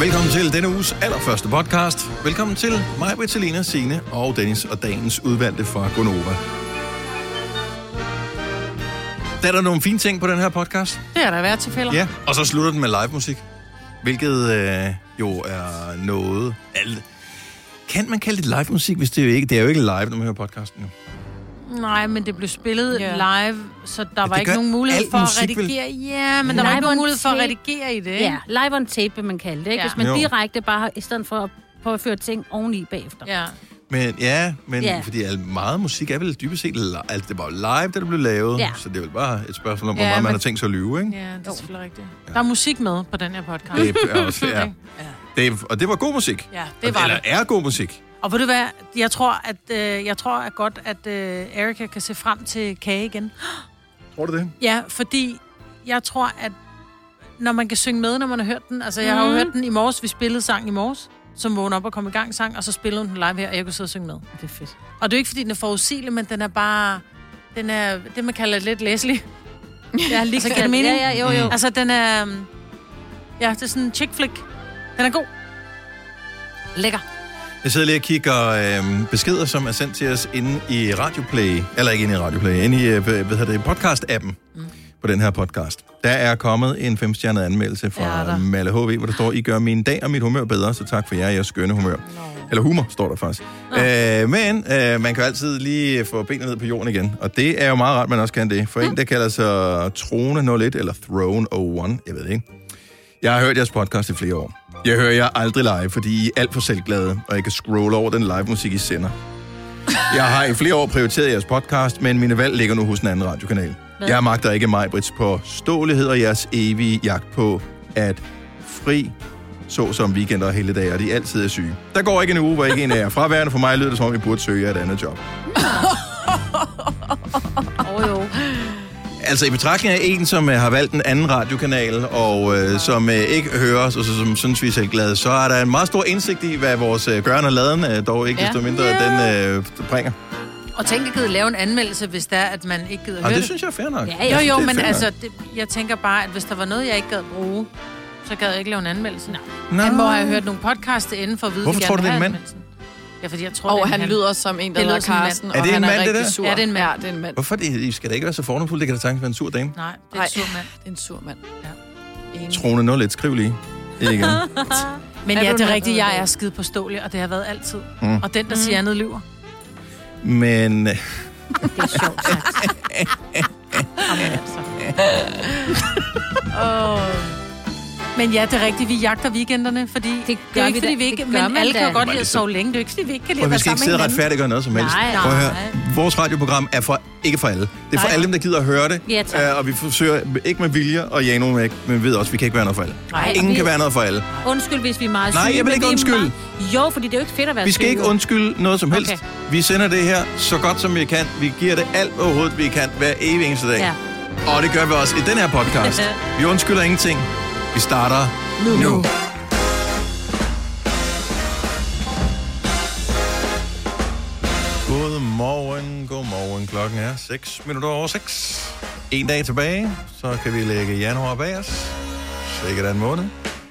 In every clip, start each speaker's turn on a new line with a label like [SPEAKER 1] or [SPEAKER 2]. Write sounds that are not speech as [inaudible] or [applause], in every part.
[SPEAKER 1] Velkommen til denne uges allerførste podcast. Velkommen til mig, Bettelina, Sine og Dennis og dagens udvalgte fra Gonova. Der er der nogle fine ting på den her podcast.
[SPEAKER 2] Det er der i hvert tilfælde.
[SPEAKER 1] Ja, og så slutter den med live musik, hvilket øh, jo er noget... Alt. Kan man kalde det live musik, hvis det jo ikke... Det er jo ikke live, når man hører podcasten. Jo.
[SPEAKER 2] Nej, men det blev spillet
[SPEAKER 3] Ja.
[SPEAKER 2] yeah. live, så der ja, var
[SPEAKER 1] det
[SPEAKER 2] ikke
[SPEAKER 1] gør
[SPEAKER 2] nogen mulighed
[SPEAKER 1] al
[SPEAKER 2] for at
[SPEAKER 1] musik, vel?
[SPEAKER 2] redigere. Ja, men der var
[SPEAKER 3] Live
[SPEAKER 2] ikke nogen
[SPEAKER 3] on
[SPEAKER 2] mulighed for at
[SPEAKER 3] tape.
[SPEAKER 2] redigere i det. ikke?
[SPEAKER 3] Ja, live on tape, vil man kalde det. Ikke?
[SPEAKER 2] Ja.
[SPEAKER 3] Hvis man
[SPEAKER 1] Jo.
[SPEAKER 3] direkte bare har, i stedet for at påføre ting oveni bagefter.
[SPEAKER 2] ja.
[SPEAKER 1] Men ja, men
[SPEAKER 3] Ja.
[SPEAKER 1] yeah. fordi al- meget musik er vel dybest set... Li- altså, det var jo live, da det blev lavet,
[SPEAKER 3] Ja.
[SPEAKER 1] så det er vel bare et spørgsmål om, hvor
[SPEAKER 2] Ja,
[SPEAKER 1] meget man
[SPEAKER 2] men-
[SPEAKER 1] har tænkt sig at lyve, ikke?
[SPEAKER 2] ja, det er selvfølgelig rigtigt. Der er musik med på den her podcast.
[SPEAKER 1] Det
[SPEAKER 2] [laughs]
[SPEAKER 1] er også, ja. Det er, og det var god musik.
[SPEAKER 2] Ja, det var
[SPEAKER 1] Eller
[SPEAKER 2] det.
[SPEAKER 1] er god musik.
[SPEAKER 2] Og ved du hvad, jeg tror, at, øh, jeg tror at godt, at øh, Erika kan se frem til kage igen.
[SPEAKER 1] Tror du det?
[SPEAKER 2] Ja, fordi jeg tror, at når man kan synge med, når man har hørt den. Altså, jeg har jo hørt den i morges. Vi spillede sang i morges, som vågnede op og kom i gang sang, og så spillede hun den live her, og jeg kunne sidde og synge med.
[SPEAKER 3] Det er fedt.
[SPEAKER 2] Og det er jo ikke, fordi den er forudsigelig, men den er bare... Den er det, man kalder lidt [laughs] læselig.
[SPEAKER 3] Ja, lige
[SPEAKER 2] Altså, giver det mening?
[SPEAKER 3] Ja, ja, jo, jo.
[SPEAKER 2] Altså, den er... øhm, Ja, det er sådan en chick flick. Den er god.
[SPEAKER 3] Lækker.
[SPEAKER 1] Jeg sidder lige og kigger øh, beskeder, som er sendt til os inde i Radioplay. Eller ikke inde i Radioplay, inde i øh, hvad hedder det, podcast-appen mm. på den her podcast. Der er kommet en femstjernet anmeldelse
[SPEAKER 2] Ja,
[SPEAKER 1] fra
[SPEAKER 2] der.
[SPEAKER 1] Malle HV, hvor der står, I gør min dag og mit humør bedre, så tak for jer, jeres skønne humør. Eller humor, står der faktisk. Øh, men øh, man kan jo altid lige få benene ned på jorden igen. Og det er jo meget rart, man også kan det. For en, der kalder sig Trone 01 eller Throne 01, jeg ved ikke. Jeg har hørt jeres podcast i flere år. Jeg hører jer aldrig live, fordi I er alt for selvglade, og jeg kan scrolle over den live musik, I sender. Jeg har i flere år prioriteret jeres podcast, men mine valg ligger nu hos en anden radiokanal. Jeg magter ikke mig, Brits, på stålighed og jeres evige jagt på at fri, såsom weekender og helligdage, og de altid er syge. Der går ikke en uge, hvor ikke en af jer er fraværende. For mig lyder det, som om I burde søge jer et andet job.
[SPEAKER 3] Jo, jo.
[SPEAKER 1] Altså i betragtning af en, som øh, har valgt en anden radiokanal, og øh, som øh, ikke hører os, og så, som synes, vi er selvglade, så er der en meget stor indsigt i, hvad vores øh, gøren og laden, øh, dog ikke
[SPEAKER 2] Ja.
[SPEAKER 1] ja. desto mindre, den øh, bringer.
[SPEAKER 2] Og tænk, at gider lave en anmeldelse, hvis det er, at man ikke gider
[SPEAKER 1] Og
[SPEAKER 2] høre
[SPEAKER 1] det synes jeg er fair nok.
[SPEAKER 3] Ja,
[SPEAKER 2] det.
[SPEAKER 3] jeg
[SPEAKER 2] Jo, jo,
[SPEAKER 1] det er
[SPEAKER 2] men
[SPEAKER 1] fair
[SPEAKER 2] altså, det, jeg tænker bare, at hvis der var noget, jeg ikke gad bruge, så gad jeg ikke lave en anmeldelse. Nej.
[SPEAKER 1] Nå.
[SPEAKER 2] Han må have hørt nogle podcasts inden for at vide,
[SPEAKER 1] Hvorfor
[SPEAKER 2] de gerne
[SPEAKER 1] tror du,
[SPEAKER 2] vil
[SPEAKER 1] det er
[SPEAKER 2] have
[SPEAKER 1] en mand?
[SPEAKER 2] anmeldelsen. Ja, fordi jeg tror, det er
[SPEAKER 4] Og
[SPEAKER 2] en
[SPEAKER 4] han
[SPEAKER 2] han.
[SPEAKER 4] lyder som en, der
[SPEAKER 2] Det
[SPEAKER 4] hedder
[SPEAKER 2] lyder som en mand.
[SPEAKER 4] Carsten,
[SPEAKER 1] Er
[SPEAKER 4] og
[SPEAKER 1] det en
[SPEAKER 4] han er
[SPEAKER 1] mand, det
[SPEAKER 4] rigtig
[SPEAKER 1] der?
[SPEAKER 4] sur.
[SPEAKER 2] Ja, det er en mand.
[SPEAKER 4] Ja, det er en mand.
[SPEAKER 1] Hvorfor det, I skal da ikke være så fornufulde? Det kan da sagtens være en sur dame.
[SPEAKER 2] Nej, det er
[SPEAKER 4] Nej.
[SPEAKER 2] en sur mand.
[SPEAKER 4] Det er en sur mand.
[SPEAKER 2] Ja.
[SPEAKER 4] Enig.
[SPEAKER 1] Trone 0, lidt skriv lige.
[SPEAKER 4] [laughs]
[SPEAKER 1] Ikke igen.
[SPEAKER 2] Men
[SPEAKER 4] Er
[SPEAKER 2] ja,
[SPEAKER 4] du
[SPEAKER 2] det er
[SPEAKER 4] en-
[SPEAKER 2] rigtigt, jeg er skide påståelig, og det har været altid.
[SPEAKER 1] Mm.
[SPEAKER 2] Mm. Og den, der siger andet,
[SPEAKER 4] [laughs]
[SPEAKER 2] lyver.
[SPEAKER 1] Men øh,
[SPEAKER 3] Det er sjovt sagt.
[SPEAKER 1] [laughs]
[SPEAKER 2] Jamen, altså. Åh. Men ja, det er rigtigt, vi jagter weekenderne, fordi det, det er
[SPEAKER 3] gør
[SPEAKER 2] jo
[SPEAKER 3] vi
[SPEAKER 2] ikke, fordi
[SPEAKER 3] da.
[SPEAKER 2] vi ikke...
[SPEAKER 3] Det
[SPEAKER 2] Men
[SPEAKER 3] gør man
[SPEAKER 2] alle kan
[SPEAKER 3] da.
[SPEAKER 2] jo godt lide
[SPEAKER 1] Men
[SPEAKER 2] at
[SPEAKER 1] så-
[SPEAKER 2] sove længe, det er jo ikke, fordi vi ikke kan lide
[SPEAKER 1] og
[SPEAKER 2] at
[SPEAKER 1] vi
[SPEAKER 2] være
[SPEAKER 1] skal ikke
[SPEAKER 2] sammen med
[SPEAKER 1] sidde og
[SPEAKER 2] hinanden.
[SPEAKER 1] retfærdiggøre noget som helst.
[SPEAKER 3] Nej,
[SPEAKER 1] Prøv at høre.
[SPEAKER 2] nej.
[SPEAKER 1] Vores radioprogram er for, ikke for alle. Det er for
[SPEAKER 2] Nej.
[SPEAKER 1] alle dem, der gider at høre det.
[SPEAKER 3] Ja, tak.
[SPEAKER 1] Øh, og vi forsøger ikke med vilje og jage nogen væk, men vi ved også, at vi kan ikke være noget for alle.
[SPEAKER 3] Nej,
[SPEAKER 1] Ingen
[SPEAKER 3] vi-
[SPEAKER 1] kan være noget for alle.
[SPEAKER 3] Undskyld, hvis vi er meget
[SPEAKER 1] Nej,
[SPEAKER 3] syge,
[SPEAKER 1] jeg vil
[SPEAKER 3] men
[SPEAKER 1] ikke
[SPEAKER 3] vi er
[SPEAKER 1] undskylde.
[SPEAKER 3] Meget... Jo, fordi det er jo ikke fedt at være
[SPEAKER 1] Vi skal
[SPEAKER 3] syg,
[SPEAKER 1] ikke
[SPEAKER 3] jo.
[SPEAKER 1] undskylde noget som helst.
[SPEAKER 3] Okay.
[SPEAKER 1] Vi sender det her så godt som vi kan. Vi giver det alt overhovedet, vi kan hver evig eneste dag.
[SPEAKER 3] Ja.
[SPEAKER 1] Og det gør vi også i den her
[SPEAKER 3] [laughs]
[SPEAKER 1] podcast. vi undskylder ingenting. Vi starter nu. nu. Godmorgen, godmorgen. Klokken er 6 minutter over 6. En dag tilbage, så kan vi lægge januar bag os. Sikkert en måned.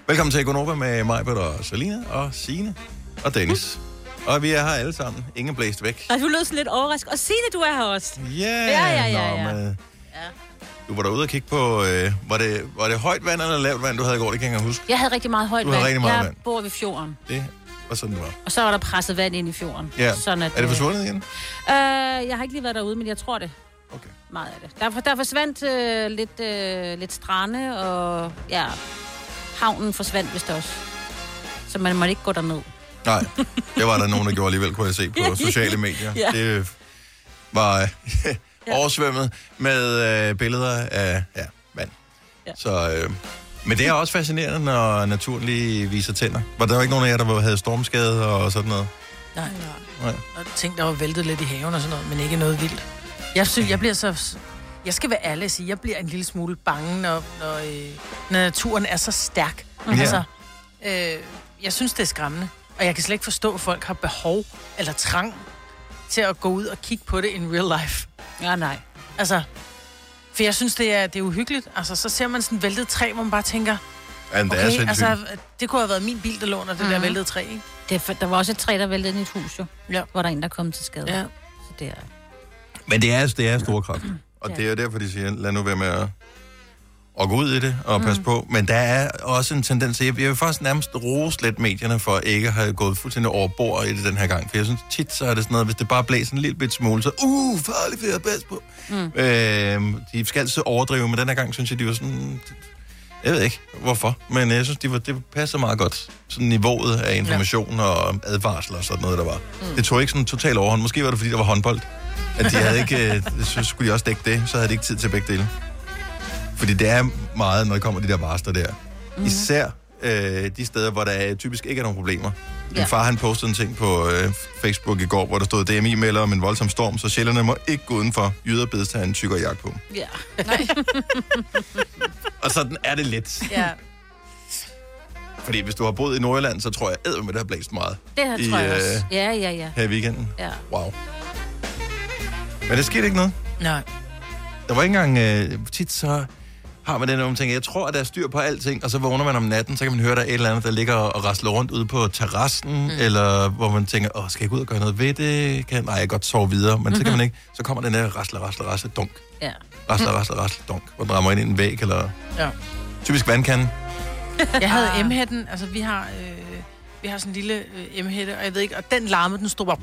[SPEAKER 1] Velkommen til Gonova med mig, Peter og Selina og Sine og Dennis.
[SPEAKER 3] Mm.
[SPEAKER 1] Og vi er her alle sammen. Ingen blæst væk.
[SPEAKER 3] Og du lød sådan lidt overrasket. Og Signe, du er her også.
[SPEAKER 1] Yeah,
[SPEAKER 3] Ja, ja, ja, ja.
[SPEAKER 1] Nå, men, øh, du var derude og kigge på, øh, var, det, var det højt vand eller lavt vand, du havde i går? Det kan jeg ikke huske.
[SPEAKER 3] Jeg havde rigtig meget højt
[SPEAKER 1] Du havde
[SPEAKER 3] vand.
[SPEAKER 1] rigtig meget
[SPEAKER 3] jeg
[SPEAKER 1] vand.
[SPEAKER 3] bor ved fjorden,
[SPEAKER 1] Det var sådan, det var.
[SPEAKER 3] og så var der presset vand ind i fjorden.
[SPEAKER 1] Ja.
[SPEAKER 3] Sådan at,
[SPEAKER 1] er det forsvundet igen?
[SPEAKER 3] Øh, jeg har ikke lige været derude, men jeg tror det.
[SPEAKER 1] Okay.
[SPEAKER 3] Meget af det. Der, for- der forsvandt øh, lidt, øh, lidt strande, og ja, havnen forsvandt vist også. Så man måtte ikke gå derned.
[SPEAKER 1] Nej, det var der nogen, der gjorde alligevel, kunne jeg se på sociale medier.
[SPEAKER 3] Ja.
[SPEAKER 1] Det
[SPEAKER 3] [laughs]
[SPEAKER 1] var øh, oversvømmet med øh, billeder af ja, vand. Ja.
[SPEAKER 3] Ja.
[SPEAKER 1] Så, øh, men det er også fascinerende, når naturen lige viser tænder. Var der jo ikke nogen af jer, der var- havde stormskade og sådan noget?
[SPEAKER 2] Nej,
[SPEAKER 1] Nej.
[SPEAKER 2] og ting, der var væltet lidt i haven og sådan noget, men ikke noget vildt. Jeg synes, jeg bliver så... Jeg skal være ærlig og sige, jeg bliver en lille smule bange, når, når, øh, når naturen er så stærk.
[SPEAKER 1] Mhm. Ja.
[SPEAKER 2] Altså, øh, jeg synes, det er skræmmende. Og jeg kan slet ikke forstå, at folk har behov eller trang til at gå ud og kigge på det in real life.
[SPEAKER 3] Ja, nej.
[SPEAKER 2] Altså, for jeg synes, det er, det er uhyggeligt. Altså, så ser man sådan et væltet træ, hvor man bare tænker,
[SPEAKER 1] Jamen, det er
[SPEAKER 2] Okay,
[SPEAKER 1] sindssygt.
[SPEAKER 2] altså, det kunne have været min bil, der lå under det
[SPEAKER 3] Mhm.
[SPEAKER 2] der væltede træ, ikke?
[SPEAKER 3] Det, er for- der var også et træ, der væltede ind i et hus, jo.
[SPEAKER 2] Ja.
[SPEAKER 3] Hvor der er en, der kom til skade.
[SPEAKER 2] Ja.
[SPEAKER 3] Så det er...
[SPEAKER 1] Men det er, det er store kræfter. Og
[SPEAKER 3] Ja.
[SPEAKER 1] det er jo derfor, de siger, lad nu være med at, at gå ud i det og passe på. Men der er også en tendens til, jeg vil faktisk nærmest rose lidt medierne for ikke at have gået fuldstændig over bord i det den her gang. For jeg synes tit, så er det sådan noget, hvis det bare blæser en lille bit smule, så uh, farligt vil jeg passe på. Mm. Øh, de skal altid overdrive, men den her gang synes jeg, de var sådan... Jeg ved ikke, hvorfor, men jeg synes, de var, det passer meget godt. Sådan niveauet af information ja. og advarsler og sådan noget, der var. Mm. Det tog ikke sådan total overhånd. Måske var det, fordi der var håndbold at de havde ikke, øh, [laughs] så skulle de også dække det, så havde de ikke tid til begge dele. Fordi det er meget, når det kommer de der varsler der. Mm-hmm. Især øh, de steder, hvor der øh, typisk ikke er nogen problemer. Min
[SPEAKER 3] Ja.
[SPEAKER 1] far han postede en ting på øh, Facebook i går, hvor der stod, DMI melder om en voldsom storm, så sjælderne må ikke gå udenfor. Jyder bedes tage en tykkere jakke på.
[SPEAKER 3] Ja.
[SPEAKER 1] Og sådan er det lidt.
[SPEAKER 2] Ja.
[SPEAKER 1] Fordi hvis du har boet i Nordjylland, så tror jeg, at det har blæst meget
[SPEAKER 3] Det her
[SPEAKER 1] I,
[SPEAKER 3] tror jeg
[SPEAKER 1] øh,
[SPEAKER 3] også. Ja, ja, ja.
[SPEAKER 1] her i weekenden.
[SPEAKER 3] Ja.
[SPEAKER 1] Wow. Men der skete ikke noget.
[SPEAKER 2] Nej.
[SPEAKER 1] Der var ikke engang... Øh, tit så har man den om ting. Jeg tror, at der er styr på alting, og så vågner man om natten, så kan man høre, at der er et eller andet, der ligger og rasler rundt ude på terrassen, mm. eller hvor man tænker, åh, skal jeg gå ud og gøre noget ved det? Kan... Nej, jeg kan godt sove videre, men mm-hmm. så
[SPEAKER 3] Mhm.
[SPEAKER 1] kan man ikke. Så kommer den der rasler, rasler, rasler, dunk.
[SPEAKER 3] ja.
[SPEAKER 1] Rasler,
[SPEAKER 3] Mm.
[SPEAKER 1] rasler, rasler, dunk. Hvor den rammer ind i en væg, eller
[SPEAKER 2] Ja.
[SPEAKER 1] typisk vandkanden.
[SPEAKER 2] Jeg havde
[SPEAKER 3] Ah.
[SPEAKER 2] M-hætten, altså vi har, øh, vi har sådan en lille øh, M-hætte, og jeg ved ikke, og den larmede, den stod bare...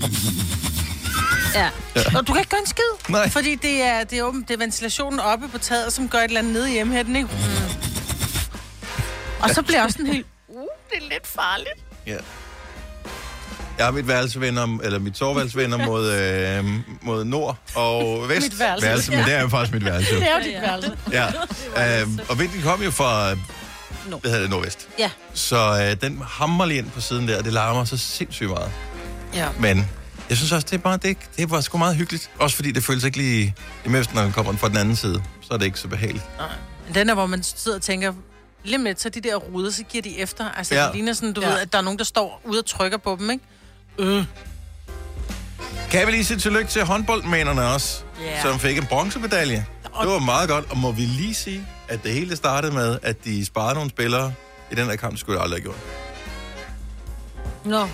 [SPEAKER 3] ja.
[SPEAKER 2] Og du kan ikke gøre en skid,
[SPEAKER 1] Nej.
[SPEAKER 2] fordi det er, det, er åben, det er ventilationen oppe på taget, som gør et eller andet nede i M-hætten, ikke?
[SPEAKER 3] Mm.
[SPEAKER 2] Og så bliver jeg også sådan helt... Uh, det er lidt farligt.
[SPEAKER 1] Ja. Jeg har mit værelse vendt om, eller mit soveværelse vendt om
[SPEAKER 2] [laughs]
[SPEAKER 1] mod, øh, mod nord og vest.
[SPEAKER 2] Mit værelse,
[SPEAKER 1] værelse men det er jo faktisk mit
[SPEAKER 2] [laughs]
[SPEAKER 1] værelse.
[SPEAKER 2] Det er jo
[SPEAKER 3] Ja,
[SPEAKER 2] dit
[SPEAKER 3] ja.
[SPEAKER 2] værelse.
[SPEAKER 1] Ja, øhm, og vinden kom jo fra
[SPEAKER 3] Nord.
[SPEAKER 1] Nord. Hvad hedder det, Nordvest.
[SPEAKER 3] Ja.
[SPEAKER 1] Så øh, den hammer lige ind på siden der, og det larmer så sindssygt meget.
[SPEAKER 2] Ja.
[SPEAKER 1] Men jeg synes også, det, er bare, det, det var sgu meget hyggeligt. Også fordi det føles ikke lige... Imens, når den kommer fra den anden side, så er det ikke så behageligt.
[SPEAKER 2] Men Den er, hvor man sidder og tænker, lige med så de der ruder, så giver de efter. Altså,
[SPEAKER 1] Ja.
[SPEAKER 2] ja. det ligner sådan, du
[SPEAKER 3] Ja.
[SPEAKER 2] ja. ved, at der er nogen, der står ude og trykker på dem, ikke? Øh.
[SPEAKER 1] Kan vi lige sige tillykke til håndboldmænderne også,
[SPEAKER 2] Ja.
[SPEAKER 1] som fik en bronzemedalje. Det var meget godt, og må vi lige sige, at det hele startede med, at de sparede nogle spillere i den der kamp, det skulle jeg aldrig have gjort.
[SPEAKER 3] Nå.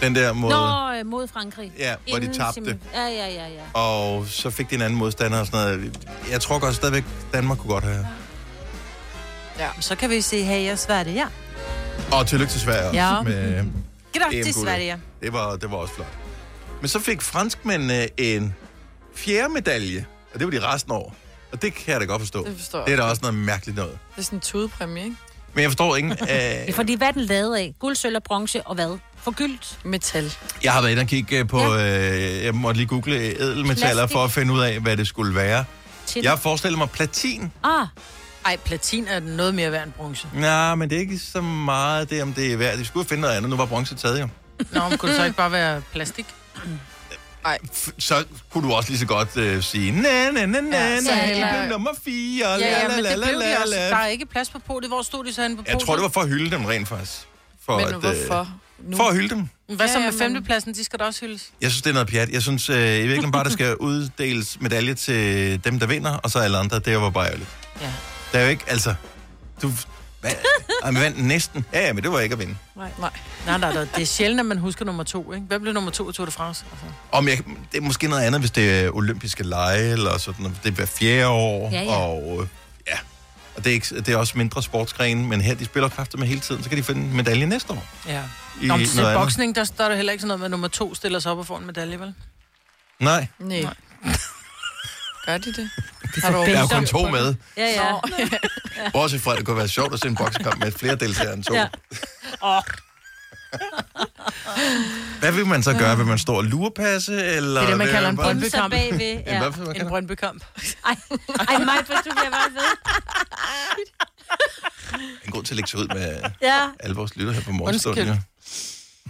[SPEAKER 1] Den der mod...
[SPEAKER 3] Nå, øh, mod Frankrig.
[SPEAKER 1] Ja, hvor de
[SPEAKER 3] Inden
[SPEAKER 1] tabte.
[SPEAKER 3] semi- Ja, ja, ja, ja.
[SPEAKER 1] og så fik de en anden modstander og sådan noget. Jeg tror godt stadigvæk, Danmark kunne godt have.
[SPEAKER 2] Så kan vi se, hey, jeg sværte, ja.
[SPEAKER 1] Og tillykke til Sverige også.
[SPEAKER 2] Ja.
[SPEAKER 1] Med
[SPEAKER 2] Gratis,
[SPEAKER 1] EM-guldet.
[SPEAKER 2] Sverige.
[SPEAKER 1] det, var, det var også flot. Men så fik franskmændene en fjerde medalje, og det var de resten over. Og det kan jeg da godt forstå.
[SPEAKER 4] Det forstår jeg.
[SPEAKER 1] det er da også noget mærkeligt noget.
[SPEAKER 4] Det er sådan en tudepræmie, ikke?
[SPEAKER 1] Men jeg
[SPEAKER 3] [laughs]
[SPEAKER 1] forstår ikke...
[SPEAKER 3] Det
[SPEAKER 1] Øh,
[SPEAKER 3] er fordi, hvad er den lavet af? Guld, sølv og bronze og hvad? Forgyldt.
[SPEAKER 4] Metal.
[SPEAKER 1] jeg har været inde og kigge øh, på... Øh, jeg måtte lige google ædelmetaller
[SPEAKER 3] Plastik.
[SPEAKER 1] for at finde ud af, hvad det skulle være.
[SPEAKER 3] Til
[SPEAKER 1] Jeg forestiller mig platin.
[SPEAKER 3] Ah,
[SPEAKER 2] Ej, platin er noget mere værd end bronze.
[SPEAKER 1] Nej, men det er ikke så meget det, om det er værd. De skulle finde noget andet. Nu var bronze taget jo.
[SPEAKER 2] Nå, men kunne det så ikke bare være plastik?
[SPEAKER 1] f- så kunne du også lige så godt øh, sige, na na na na,
[SPEAKER 2] Ja,
[SPEAKER 1] ja,
[SPEAKER 2] så
[SPEAKER 1] na,
[SPEAKER 2] heller-
[SPEAKER 1] de blev nummer 4,
[SPEAKER 2] Ja, ja, men det blev de også. Der er ikke plads på potet. Hvor stod de så henne på potet?
[SPEAKER 1] Jeg tror, det var for at hylde dem rent faktisk. For
[SPEAKER 4] Men
[SPEAKER 1] at,
[SPEAKER 4] hvorfor
[SPEAKER 1] Øh,
[SPEAKER 4] nu?
[SPEAKER 1] for at hylde
[SPEAKER 3] Hmm.
[SPEAKER 1] dem.
[SPEAKER 2] Men Hvad så
[SPEAKER 4] Ja,
[SPEAKER 2] med
[SPEAKER 4] men-
[SPEAKER 2] femtepladsen? De skal da også hyldes.
[SPEAKER 1] Jeg synes, det er noget pjat. Jeg synes øh, i virkeligheden bare, der skal uddeles medalje til dem, der vinder, og så alle andre. Det var bare ærgerligt.
[SPEAKER 2] Ja.
[SPEAKER 1] Der er jo ikke, altså... Du, hvad, Ej, men vandt næsten. Ja, ja, men det var ikke at vinde.
[SPEAKER 4] Nej, nej.
[SPEAKER 2] Nej, nej, nej. Det er sjældent, at man husker nummer to, ikke? Hvad blev nummer to i Tour de France? Altså.
[SPEAKER 1] Om jeg, det er måske noget andet, hvis det er olympiske lege, eller sådan noget. Det er hver fjerde år,
[SPEAKER 3] Ja, ja.
[SPEAKER 1] og øh, ja. Og det er, ikke, det er også mindre sportsgrene, men her, de spiller kræfter med hele tiden, så kan de finde en medalje næste år.
[SPEAKER 2] Ja.
[SPEAKER 1] I
[SPEAKER 2] Nå, men til
[SPEAKER 1] noget andet.
[SPEAKER 2] boksning, der står der heller ikke sådan noget med, at nummer to stiller sig op og får en medalje, vel?
[SPEAKER 1] Nej,
[SPEAKER 4] Nej.
[SPEAKER 2] Nej.
[SPEAKER 4] [laughs] Gør de det? Har du
[SPEAKER 1] der er jo
[SPEAKER 4] overhovedet
[SPEAKER 1] kun
[SPEAKER 4] styr på
[SPEAKER 1] to
[SPEAKER 4] det?
[SPEAKER 1] med.
[SPEAKER 3] ja,
[SPEAKER 2] [laughs]
[SPEAKER 3] ja.
[SPEAKER 4] Nå.
[SPEAKER 1] Bortset fra, at det kunne være sjovt at se en boksekamp med flere deltagere end to.
[SPEAKER 3] Ja.
[SPEAKER 2] Åh.
[SPEAKER 1] Hvad vil man så gøre? Vil man stå og lurepasse? Eller
[SPEAKER 2] Det er det, man
[SPEAKER 1] vil
[SPEAKER 2] kalder en
[SPEAKER 1] bare-
[SPEAKER 2] brøndby-
[SPEAKER 3] Bumser bagved.
[SPEAKER 1] En
[SPEAKER 3] Ja.
[SPEAKER 1] hvad for- hvad
[SPEAKER 2] En
[SPEAKER 1] kalder-
[SPEAKER 2] Brøndby-kamp.
[SPEAKER 3] [laughs] Ej, ej mig, hvis du bliver bare ved.
[SPEAKER 1] En grund til at lægge sig ud med
[SPEAKER 3] Ja.
[SPEAKER 1] alle vores lytter her på morgenstunden.
[SPEAKER 2] Undskyld.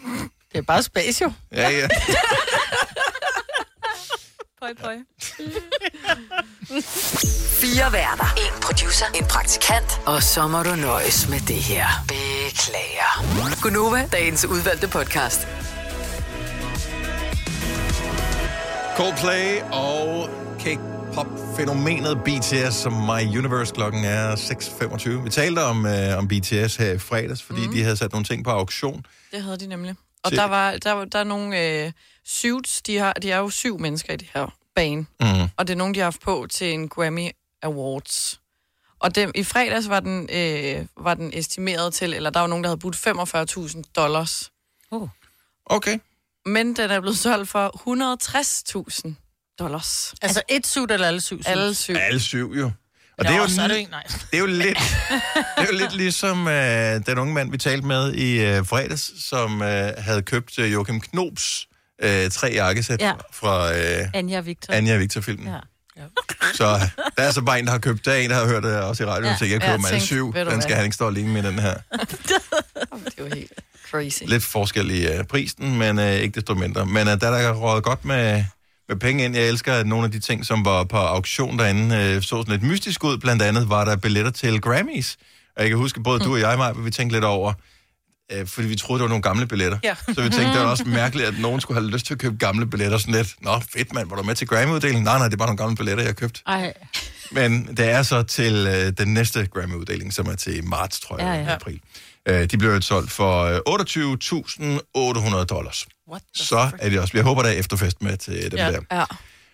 [SPEAKER 1] jo.
[SPEAKER 2] Det er bare spas, [laughs] jo.
[SPEAKER 1] Ja, ja.
[SPEAKER 3] Pøj, pøj.
[SPEAKER 2] [laughs]
[SPEAKER 5] Fire værter. En producer. En praktikant. Og så må du nøjes med det her. Beklager. Gunova, dagens udvalgte podcast.
[SPEAKER 1] Coldplay og Kate popfænomenet BTS, som My Universe klokken er 6.25. Vi talte om, øh, om BTS her i fredags, fordi mm. de havde sat nogle ting på auktion.
[SPEAKER 4] Det havde de nemlig. Og
[SPEAKER 1] Se.
[SPEAKER 4] der, var, der, var- der er nogle øh, suits, de, har, de er jo syv mennesker i det her bane.
[SPEAKER 1] Mm.
[SPEAKER 4] Og det er nogen, de har haft på til en Grammy Awards. Og dem, i fredags var den, øh, var den estimeret til, eller der var nogen, der havde budt 45.000 dollars.
[SPEAKER 2] Oh.
[SPEAKER 1] Okay.
[SPEAKER 4] Men den er blevet solgt for 160.000 dollars.
[SPEAKER 2] Altså et suit eller alle syv suits?
[SPEAKER 4] Alle syv.
[SPEAKER 1] Alle syv jo. Og
[SPEAKER 2] Nå,
[SPEAKER 1] det er jo,
[SPEAKER 2] så er det jo
[SPEAKER 1] li-
[SPEAKER 2] en, nej.
[SPEAKER 1] [laughs] det er jo lidt, det er jo lidt ligesom øh, den unge mand, vi talte med i øh, fredags, som øh, havde købt øh, Joachim Knobs øh, tre jakkesæt ja.
[SPEAKER 3] Ja.
[SPEAKER 1] fra øh,
[SPEAKER 3] Anja og Victor.
[SPEAKER 1] Anja og Victor-filmen. Ja.
[SPEAKER 3] Ja.
[SPEAKER 1] Så der er så bare en, der har købt der er en, der har hørt det også i radioen, ja.
[SPEAKER 3] Ja.
[SPEAKER 1] så jeg
[SPEAKER 4] Ja,
[SPEAKER 1] køber ja,
[SPEAKER 4] jeg
[SPEAKER 1] alle
[SPEAKER 4] tænkte,
[SPEAKER 1] syv.
[SPEAKER 4] ved du
[SPEAKER 1] Den skal
[SPEAKER 4] hvad?
[SPEAKER 1] han ikke stå alene med, den her.
[SPEAKER 4] Det var helt crazy.
[SPEAKER 1] Lidt forskel i øh, prisen, men øh, ikke desto mindre. Men øh, der er der rådet godt med, med penge ind. Jeg elsker, at nogle af de ting, som var på auktion derinde, øh, så sådan lidt mystisk ud. Blandt andet var der billetter til Grammys. Og jeg kan huske, både du og jeg, Maja, vi tænkte lidt over, øh, fordi vi troede, det var nogle gamle billetter.
[SPEAKER 2] Ja.
[SPEAKER 1] Så vi tænkte, det var også mærkeligt, at nogen skulle have lyst til at købe gamle billetter. Sådan lidt, nå fedt mand, var du med til Grammy-uddelingen? Nej, nej, det er bare nogle gamle billetter, jeg købte.
[SPEAKER 3] Ej,
[SPEAKER 1] Men det er så til øh, den næste Grammy-uddeling, som er til marts, tror jeg, ja,
[SPEAKER 3] Ja,
[SPEAKER 1] ja.
[SPEAKER 3] ja.
[SPEAKER 1] april. Øh, de blev jo solgt for øh, 28.800 dollars.
[SPEAKER 2] What the
[SPEAKER 1] Så er det også. Jeg håber, der er efterfest med til dem ja.
[SPEAKER 2] Ja.
[SPEAKER 1] der.
[SPEAKER 4] Ja,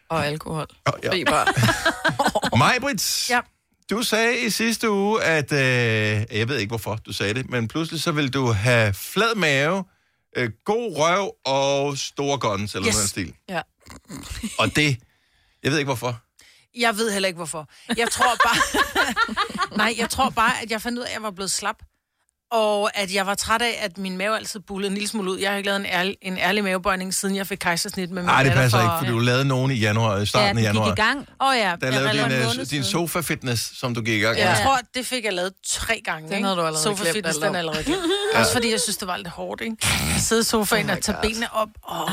[SPEAKER 4] og alkohol.
[SPEAKER 1] Oh, ja.
[SPEAKER 4] Fri bar.
[SPEAKER 2] [laughs]
[SPEAKER 1] [laughs] Majbrits,
[SPEAKER 2] Ja.
[SPEAKER 1] du sagde i sidste uge, at... Øh, jeg ved ikke, hvorfor du sagde det, men pludselig så ville du have flad mave, øh, god røv og store guns, eller yes.
[SPEAKER 2] Yes.
[SPEAKER 1] noget i den stil.
[SPEAKER 4] Ja.
[SPEAKER 1] Og det... Jeg ved ikke, hvorfor.
[SPEAKER 2] Jeg ved heller ikke, hvorfor. Jeg tror bare... [laughs] Nej, jeg tror bare, at jeg fandt ud af, at jeg var blevet slap. Og at jeg var træt af, at min mave altid bullede en lille smule ud. Jeg har ikke lavet en ærlig, en ærlig mavebøjning, siden jeg fik kejsersnit med min
[SPEAKER 1] Nej, det
[SPEAKER 2] datter
[SPEAKER 1] passer
[SPEAKER 2] for-
[SPEAKER 1] ikke, for du lavede nogen i januar, i
[SPEAKER 3] ja,
[SPEAKER 1] starten
[SPEAKER 3] den
[SPEAKER 1] af januar.
[SPEAKER 3] gik i gang.
[SPEAKER 2] Åh oh, ja,
[SPEAKER 1] Der
[SPEAKER 2] jeg,
[SPEAKER 1] lavede
[SPEAKER 2] lavede en
[SPEAKER 1] din,
[SPEAKER 2] måned
[SPEAKER 1] øh, din
[SPEAKER 2] siden.
[SPEAKER 1] sofa-fitness, som du gik i gang med.
[SPEAKER 4] Ja.
[SPEAKER 2] Jeg tror, det fik jeg lavet tre gange.
[SPEAKER 4] Den
[SPEAKER 2] ikke?
[SPEAKER 4] havde du allerede
[SPEAKER 2] Sofa
[SPEAKER 4] glemt
[SPEAKER 2] fitness,
[SPEAKER 4] alt
[SPEAKER 2] den
[SPEAKER 4] om.
[SPEAKER 2] er allerede glemt. Også fordi jeg synes, det var lidt hårdt, ikke? Sidde i sofaen oh og tage benene op, og,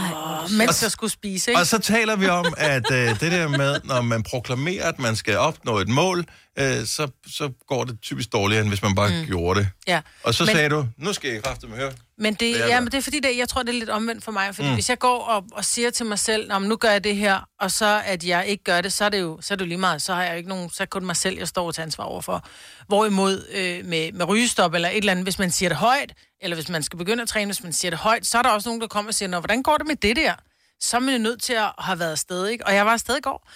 [SPEAKER 2] mens jeg skulle spise, ikke?
[SPEAKER 1] Og så taler vi om, at øh, det der med, når man proklamerer, at man skal opnå et mål, øh, så, så går det typisk dårligere, end hvis man bare mm. gjorde det.
[SPEAKER 2] Ja.
[SPEAKER 1] Og så men,
[SPEAKER 2] Men-
[SPEAKER 1] sagde du, nu skal jeg kraftigt med høre.
[SPEAKER 2] Men det,
[SPEAKER 1] Hvad er
[SPEAKER 2] ja,
[SPEAKER 1] det?
[SPEAKER 2] men det er fordi, det, jeg tror, det er lidt omvendt for mig. Fordi mm. hvis jeg går og, og siger til mig selv, "Nå, men nu gør jeg det her, og så at jeg ikke gør det, så er det jo, så er det jo lige meget. Så har jeg jo ikke nogen, så er det kun mig selv, jeg står til ansvar overfor. Hvorimod øh, med, med rygestop eller et eller andet, hvis man siger det højt, eller hvis man skal begynde at træne, hvis man siger det højt, så er der også nogen, der kommer og siger, Nå, hvordan går det med det der? Så er man jo nødt til at have været afsted, ikke? Og jeg var afsted i går.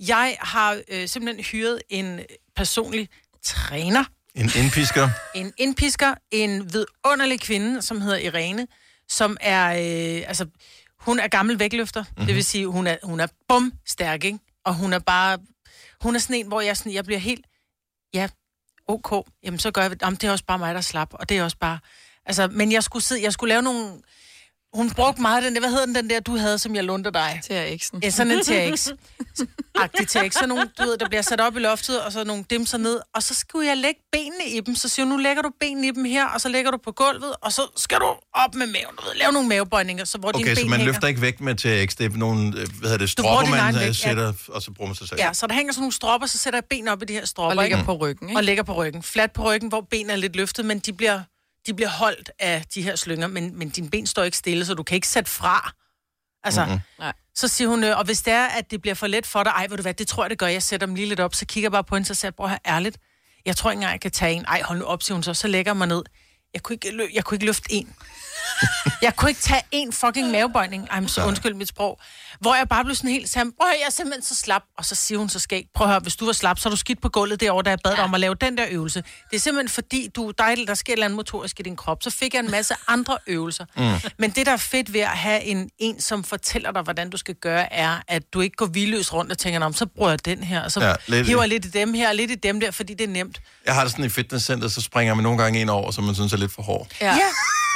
[SPEAKER 2] Jeg har øh, simpelthen hyret en øh, personlig træner
[SPEAKER 1] En indpisker.
[SPEAKER 2] en indpisker, en vidunderlig kvinde, som hedder Irene, som er, øh, altså, hun er gammel vægtløfter. Mm-hmm. Det vil sige, hun er, hun er bum stærk, ikke? Og hun er bare, hun er sådan en, hvor jeg, sådan, jeg bliver helt, ja, ok, jamen så gør jeg, jamen, det er også bare mig, der slap, og det er også bare, altså, men jeg skulle sidde, jeg skulle lave nogle, hun brugte meget den der, hvad hedder den, den der, du havde, som jeg lundte dig?
[SPEAKER 4] Til Eriksen.
[SPEAKER 2] Ja, sådan en TRX. Agtig TRX. Så nogle, du ved, der bliver sat op i loftet, og så nogle dimser ned. Og så skulle jeg lægge benene i dem. Så siger hun, nu lægger du benene i dem her, og så lægger du på gulvet, og så skal du op med maven. Du ved, lave nogle mavebøjninger, så hvor dine
[SPEAKER 1] Okay,
[SPEAKER 2] ben
[SPEAKER 1] så man
[SPEAKER 2] hænger.
[SPEAKER 1] løfter ikke vægt med TX. Det er nogle, øh, hvad hedder det,
[SPEAKER 2] bruger
[SPEAKER 1] stropper,
[SPEAKER 2] din
[SPEAKER 1] man
[SPEAKER 2] egen
[SPEAKER 1] øh,
[SPEAKER 2] vægt, ja.
[SPEAKER 1] sætter, og så bruger man sig selv.
[SPEAKER 2] Ja, så der hænger sådan nogle stropper, så sætter jeg ben op i de her
[SPEAKER 4] Og
[SPEAKER 2] stropper. ikke?
[SPEAKER 4] ligger på ryggen, ikke?
[SPEAKER 2] og ligger på ryggen. Flat på ryggen, hvor benene er lidt løftet, men de bliver, de bliver holdt af de her slynger, men, men dine ben står ikke stille, så du kan ikke sætte fra. Altså,
[SPEAKER 4] Nej.
[SPEAKER 2] mm-hmm. så siger hun, øh, og hvis det er, at det bliver for let for dig, ej, ved du hvad, det tror jeg, det gør, jeg sætter dem lige lidt op, så kigger jeg bare på hende, så siger jeg, bror her, ærligt, jeg tror ikke engang, jeg kan tage en. Ej, hold nu op, siger hun så, så lægger jeg mig ned. Jeg kunne ikke, lø- jeg kunne ikke løfte en. Jeg kunne ikke tage en fucking mavebøjning. Ej, men så undskyld mit sprog. Hvor jeg bare blev sådan helt sammen. Prøv at høre, jeg er simpelthen så slap. Og så siger hun så skæg. Prøv at høre, hvis du var slap, så er du skidt på gulvet derovre, da jeg bad dig om at lave den der øvelse. Det er simpelthen fordi, du, der, er, et- der sker et eller andet motorisk i din krop. Så fik jeg en masse andre øvelser. Mm. Men det, der er fedt ved at have en, en, som fortæller dig, hvordan du skal gøre, er, at du ikke går vildløst rundt og tænker, "Nå, men så bruger jeg den her, og så
[SPEAKER 1] Ja,
[SPEAKER 2] ja,
[SPEAKER 1] lidt-
[SPEAKER 2] lidt, hiver jeg lidt i dem her, og lidt i dem der, fordi det er nemt.
[SPEAKER 1] Jeg har det sådan i fitnesscenter, så springer man nogle gange ind over, som man synes er lidt for
[SPEAKER 2] [laughs]
[SPEAKER 1] hård.
[SPEAKER 4] Ja.
[SPEAKER 2] Ja.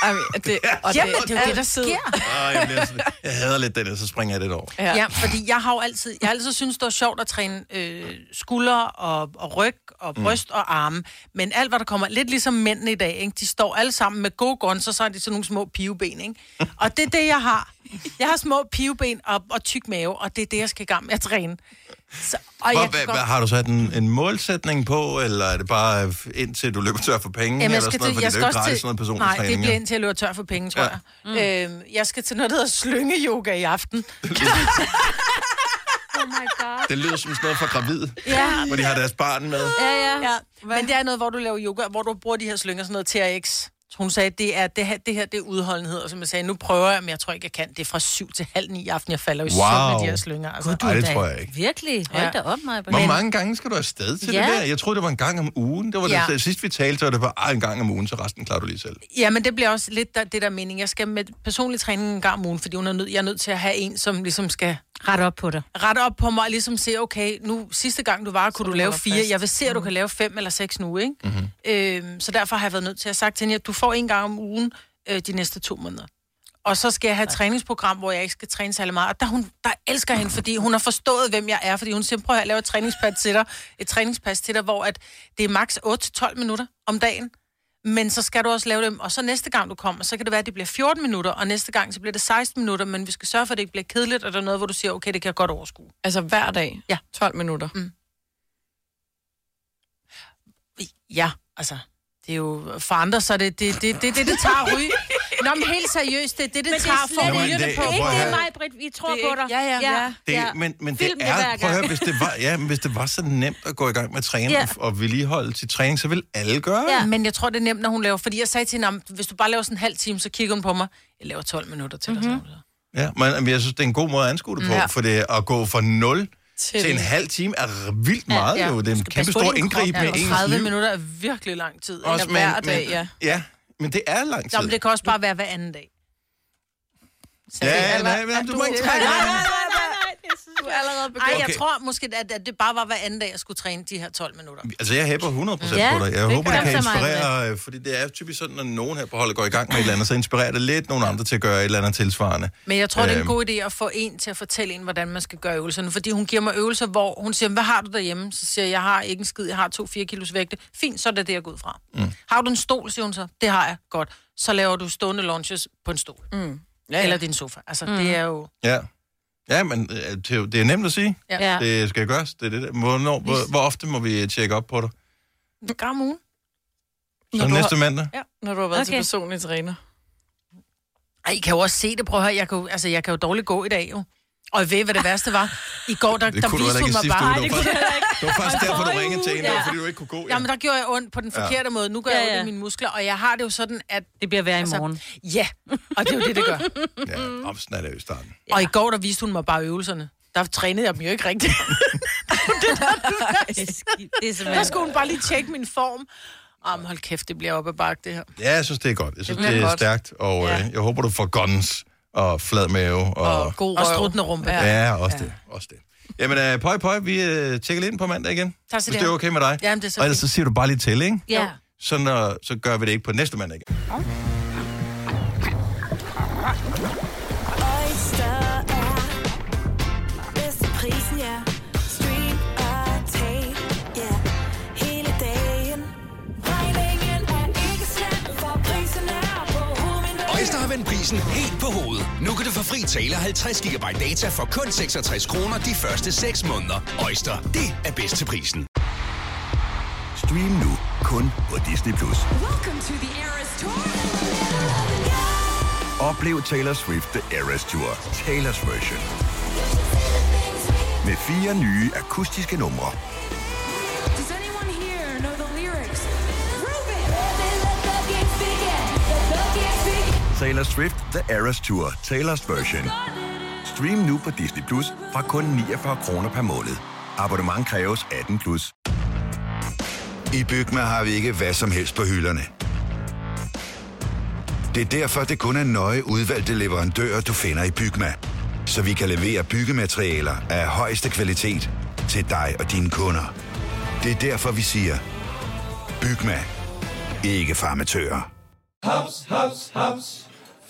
[SPEAKER 4] Ej, men det, og det,
[SPEAKER 2] Jamen, det er jo det, der
[SPEAKER 4] altid-
[SPEAKER 2] sker.
[SPEAKER 1] Ah, jeg, bliver sådan, jeg hader lidt det der, så springer jeg lidt over.
[SPEAKER 4] Ja.
[SPEAKER 2] Ja,
[SPEAKER 4] ja.
[SPEAKER 2] fordi jeg har jo altid, jeg har altid synes, det var sjovt at træne øh, skulder og, og ryg og bryst mm. og arme. Men alt, hvad der kommer, lidt ligesom mændene i dag, ikke? de står alle sammen med gode guns, og så har de sådan nogle små piveben. Ikke? Og det er det, jeg har. Jeg har små piveben og, og tyk mave, og det er det, jeg skal i gang med at træne. Så, og
[SPEAKER 1] Hvor,
[SPEAKER 2] jeg
[SPEAKER 1] hvad,
[SPEAKER 2] kan
[SPEAKER 1] hvad,
[SPEAKER 2] godt...
[SPEAKER 1] har du så en, en målsætning på, eller er det bare øh, indtil du løber tør for penge?
[SPEAKER 2] Jamen,
[SPEAKER 1] eller
[SPEAKER 2] jeg skal
[SPEAKER 1] sådan noget,
[SPEAKER 2] til,
[SPEAKER 1] fordi
[SPEAKER 2] jeg
[SPEAKER 1] det
[SPEAKER 2] skal
[SPEAKER 1] er jo ikke
[SPEAKER 2] også
[SPEAKER 1] gratis,
[SPEAKER 2] til,
[SPEAKER 1] sådan noget
[SPEAKER 2] nej,
[SPEAKER 1] personstræning.
[SPEAKER 2] det bliver
[SPEAKER 1] jo.
[SPEAKER 2] indtil jeg løber tør for penge, tror
[SPEAKER 1] Ja.
[SPEAKER 2] jeg. Mm. Øhm, jeg skal til noget, der hedder slynge-yoga i aften.
[SPEAKER 3] Oh my god.
[SPEAKER 1] Det lyder som sådan noget for gravide,
[SPEAKER 2] Ja.
[SPEAKER 1] hvor de har deres barn med.
[SPEAKER 3] Ja, ja.
[SPEAKER 2] Ja, men det er noget, hvor du laver yoga, hvor du bruger de her slynger, sådan noget TRX. Hun sagde, det, er, det, her, det her det er udholdenhed, og som jeg sagde, nu prøver jeg, men jeg tror ikke, jeg kan. Det er fra 7 til halv ni i aften, jeg falder jo wow. søvn med de her slynger. Altså.
[SPEAKER 1] Gud, Ej, det tror jeg ikke.
[SPEAKER 3] Virkelig? Hold
[SPEAKER 2] Ja.
[SPEAKER 3] da op, mig.
[SPEAKER 1] Hvor mange gange skal du afsted til
[SPEAKER 3] Ja.
[SPEAKER 1] det der? Jeg troede, det var en gang om ugen. Det var ja.
[SPEAKER 2] Ja.
[SPEAKER 1] det sidst, vi talte, så var det var "Ej, en gang om ugen, så resten klarer du lige selv.
[SPEAKER 2] Ja, men det bliver også lidt der, det der mening. Jeg skal med personlig træning en gang om ugen, fordi hun er nød, jeg er nødt til at have en, som ligesom skal
[SPEAKER 3] Ret op på dig.
[SPEAKER 2] rette op på mig og ligesom se, okay, nu sidste gang du var, kunne du lave
[SPEAKER 4] holder
[SPEAKER 2] fire.
[SPEAKER 4] fast.
[SPEAKER 2] Jeg vil se, at du kan lave fem eller seks nu, ikke?
[SPEAKER 1] Mhm.
[SPEAKER 2] Mm-hmm. Øhm, så derfor har jeg været nødt til at have sagt til hende, at du får en gang om ugen øh, de næste to måneder. Og så skal jeg have et træningsprogram, hvor jeg ikke skal træne særlig meget. Og der, hun, der elsker hende, fordi hun har forstået, hvem jeg er. Fordi hun siger, prøv at lave et træningspas til dig, et træningspas til dig, hvor at det er maks 8-12 minutter om dagen. Men så skal du også lave dem, og så næste gang du kommer, så kan det være, at det bliver 14 minutter, og næste gang så bliver det 16 minutter, men vi skal sørge for, at det ikke bliver kedeligt, og der er noget, hvor du siger, okay, det kan jeg godt overskue.
[SPEAKER 4] Altså hver dag?
[SPEAKER 2] Ja.
[SPEAKER 4] 12 minutter? Mm.
[SPEAKER 2] Ja, altså, det er jo for andre, så er det det, det, det, det, det tager ryge. Nå, men helt seriøst, det er det, det,
[SPEAKER 3] Men det
[SPEAKER 2] tager
[SPEAKER 3] er
[SPEAKER 2] for
[SPEAKER 1] Nå,
[SPEAKER 3] slet
[SPEAKER 2] rygerne
[SPEAKER 3] ikke
[SPEAKER 1] men det-
[SPEAKER 2] på.
[SPEAKER 1] prøv
[SPEAKER 3] ikke
[SPEAKER 1] at
[SPEAKER 3] det,
[SPEAKER 1] høre.
[SPEAKER 3] mig, Britt. Vi tror
[SPEAKER 4] Det er
[SPEAKER 3] på dig.
[SPEAKER 4] ikke- ja, ja, ja.
[SPEAKER 1] Det, ja. Men, men det
[SPEAKER 3] Film det
[SPEAKER 1] er,
[SPEAKER 3] hver
[SPEAKER 1] prøv at høre,
[SPEAKER 3] gang.
[SPEAKER 1] hvis det, var, ja, men hvis det var så nemt at gå i gang med at træne ja.
[SPEAKER 3] Ja.
[SPEAKER 1] og vedligeholde til træning, så ville alle gøre det.
[SPEAKER 2] Ja. Men jeg tror, det er nemt, når hun laver, fordi jeg sagde til hende, "Nå, men hvis du bare laver sådan en halv time, så kigger hun på mig, jeg laver 12 minutter til mm-hmm. dig.
[SPEAKER 1] Ja, men jeg synes, det er en god måde at anskue det på, ja.
[SPEAKER 4] Ja.
[SPEAKER 1] for det at gå fra 0 til,
[SPEAKER 4] Til-
[SPEAKER 1] til en halv time er r- vildt meget ja,
[SPEAKER 2] ja.
[SPEAKER 1] jo. Det er en kæmpe stor indgreb med
[SPEAKER 2] Ja, og
[SPEAKER 1] ens
[SPEAKER 2] 30
[SPEAKER 1] liv.
[SPEAKER 2] minutter er virkelig lang tid. ikke?
[SPEAKER 1] Også,
[SPEAKER 4] Eller hver dag, ja.
[SPEAKER 1] ja. Men det er lang tid.
[SPEAKER 2] Nå, men det kan også bare være hver anden dag.
[SPEAKER 1] ja, ja, nej, men du må ikke trække det.
[SPEAKER 4] Du er allerede begyndt.
[SPEAKER 2] Ej,
[SPEAKER 4] Ej,
[SPEAKER 2] jeg
[SPEAKER 1] Okay.
[SPEAKER 2] tror måske, at, at det bare var hver anden dag, jeg skulle træne de her 12 minutter.
[SPEAKER 1] Altså, jeg hæpper 100% ja,
[SPEAKER 3] Ja,
[SPEAKER 1] på dig. Jeg
[SPEAKER 3] det
[SPEAKER 1] håber,
[SPEAKER 3] gør
[SPEAKER 1] det kan
[SPEAKER 3] så meget
[SPEAKER 1] inspirere, øh, fordi det er typisk sådan, at nogen her på holdet går i gang med et eller andet, så inspirerer det lidt nogle andre til at gøre et eller andet tilsvarende.
[SPEAKER 2] Men jeg tror, det er en
[SPEAKER 1] Øhm.
[SPEAKER 2] god idé at få en til at fortælle en, hvordan man skal gøre øvelserne. Fordi hun giver mig øvelser, hvor hun siger, hvad har du derhjemme? Så siger jeg, jeg har ikke en skid, jeg har to 4 kilos vægte. Fint, så er det det, jeg går ud fra. Mm. Har du en stol, siger hun så. Det har jeg. Godt. Så laver du stående lunches på en stol. Mm.
[SPEAKER 4] ja, ja.
[SPEAKER 2] Eller din sofa. Altså, mm. det er jo...
[SPEAKER 1] Ja. Ja, men øh, det er jo- det er nemt at sige.
[SPEAKER 3] Ja.
[SPEAKER 1] Det skal gøres. Det er det der. Hvornår, hvor, hvor ofte må vi tjekke op på dig?
[SPEAKER 2] En gang om ugen.
[SPEAKER 1] Så
[SPEAKER 4] Når, du
[SPEAKER 1] næste
[SPEAKER 4] har,
[SPEAKER 1] mandag?
[SPEAKER 4] når du har været okay. til
[SPEAKER 3] Okay.
[SPEAKER 4] personlig træner.
[SPEAKER 2] Ej, I kan jo også se det. Prøv at høre, jeg kan jo, altså, jeg kan jo dårligt gå i dag, jo. Og ved, I, hvad det værste var? I går, der,
[SPEAKER 1] Det
[SPEAKER 2] der
[SPEAKER 1] kunne du heller
[SPEAKER 2] viste
[SPEAKER 1] ikke
[SPEAKER 2] hun mig bare...
[SPEAKER 1] i sidste uge. Det var faktisk- Det var faktisk derfor, du ringede til hende. Det var,
[SPEAKER 2] Ja.
[SPEAKER 1] fordi du ikke kunne gå.
[SPEAKER 2] Jamen, der gjorde jeg ondt på den forkerte ja. måde. Nu gør ja,
[SPEAKER 3] Ja,
[SPEAKER 2] jeg ondt
[SPEAKER 3] ja.
[SPEAKER 2] i mine muskler, og jeg har det jo sådan, at...
[SPEAKER 3] Det bliver værre i
[SPEAKER 2] Altså,
[SPEAKER 3] morgen.
[SPEAKER 2] Ja, og det er jo det, det
[SPEAKER 3] [laughs]
[SPEAKER 2] gør.
[SPEAKER 1] Ja, om sådan er det jo i starten.
[SPEAKER 2] Og i går, der viste hun mig bare øvelserne. Der trænede jeg dem jo ikke rigtigt. [laughs]
[SPEAKER 3] Det er skidt. Det er
[SPEAKER 2] Der
[SPEAKER 3] simpelthen...
[SPEAKER 2] skulle hun bare lige tjekke min form. Jamen, hold kæft, det bliver op ad bakke, det her.
[SPEAKER 1] Ja, jeg synes, det er godt. Jeg synes,
[SPEAKER 4] Det
[SPEAKER 1] det
[SPEAKER 4] bliver
[SPEAKER 1] er
[SPEAKER 4] godt.
[SPEAKER 1] stærkt, og øh, jeg håber, du får guns og flad mave. Og,
[SPEAKER 4] Og god
[SPEAKER 2] Og
[SPEAKER 4] røv.
[SPEAKER 2] struttende rumpe. Ja.
[SPEAKER 1] ja, også det. Også det. Jamen, øh, pøj, pøj, vi øh, tjekker ind på mandag igen.
[SPEAKER 2] Tak skal
[SPEAKER 1] Hvis
[SPEAKER 2] du
[SPEAKER 1] det er
[SPEAKER 2] have.
[SPEAKER 1] okay med dig.
[SPEAKER 2] Jamen, det er så
[SPEAKER 1] og ellers så
[SPEAKER 2] fint.
[SPEAKER 1] siger du bare lige til, ikke?
[SPEAKER 3] Ja.
[SPEAKER 1] Så, når, så gør vi det ikke på næste mandag igen.
[SPEAKER 6] Oyster er bedst til prisen, ja. Stream og tag, ja. Hele dagen. Regningen er ikke slem, for prisen er på hovedet.
[SPEAKER 7] Øjster har vendt prisen helt på hovedet. Nu kan du få fri tale 50 GB data for kun 66 kroner de første 6 måneder. Øjster, det er bedst til prisen.
[SPEAKER 8] Stream nu kun på Disney+. Plus. Oplev Taylor Swift The Eras Tour, Taylor's version. Med fire nye akustiske numre.
[SPEAKER 6] Does anyone here know the lyrics? Ruben! Let the game begin. Let the game begin.
[SPEAKER 8] Taylor Swift The Eras Tour, Taylor's version. Stream nu på Disney Plus fra kun 49 kroner per måned. Abonnement kræves 18 plus.
[SPEAKER 9] I Bygma har vi ikke hvad som helst på hylderne. Det er derfor, det kun er nøje udvalgte leverandører, du finder i Bygma. Så vi kan levere byggematerialer af højeste kvalitet til dig og dine kunder. Det er derfor, vi siger, Bygma. Ikke farmatører.
[SPEAKER 10] Haps, haps, haps.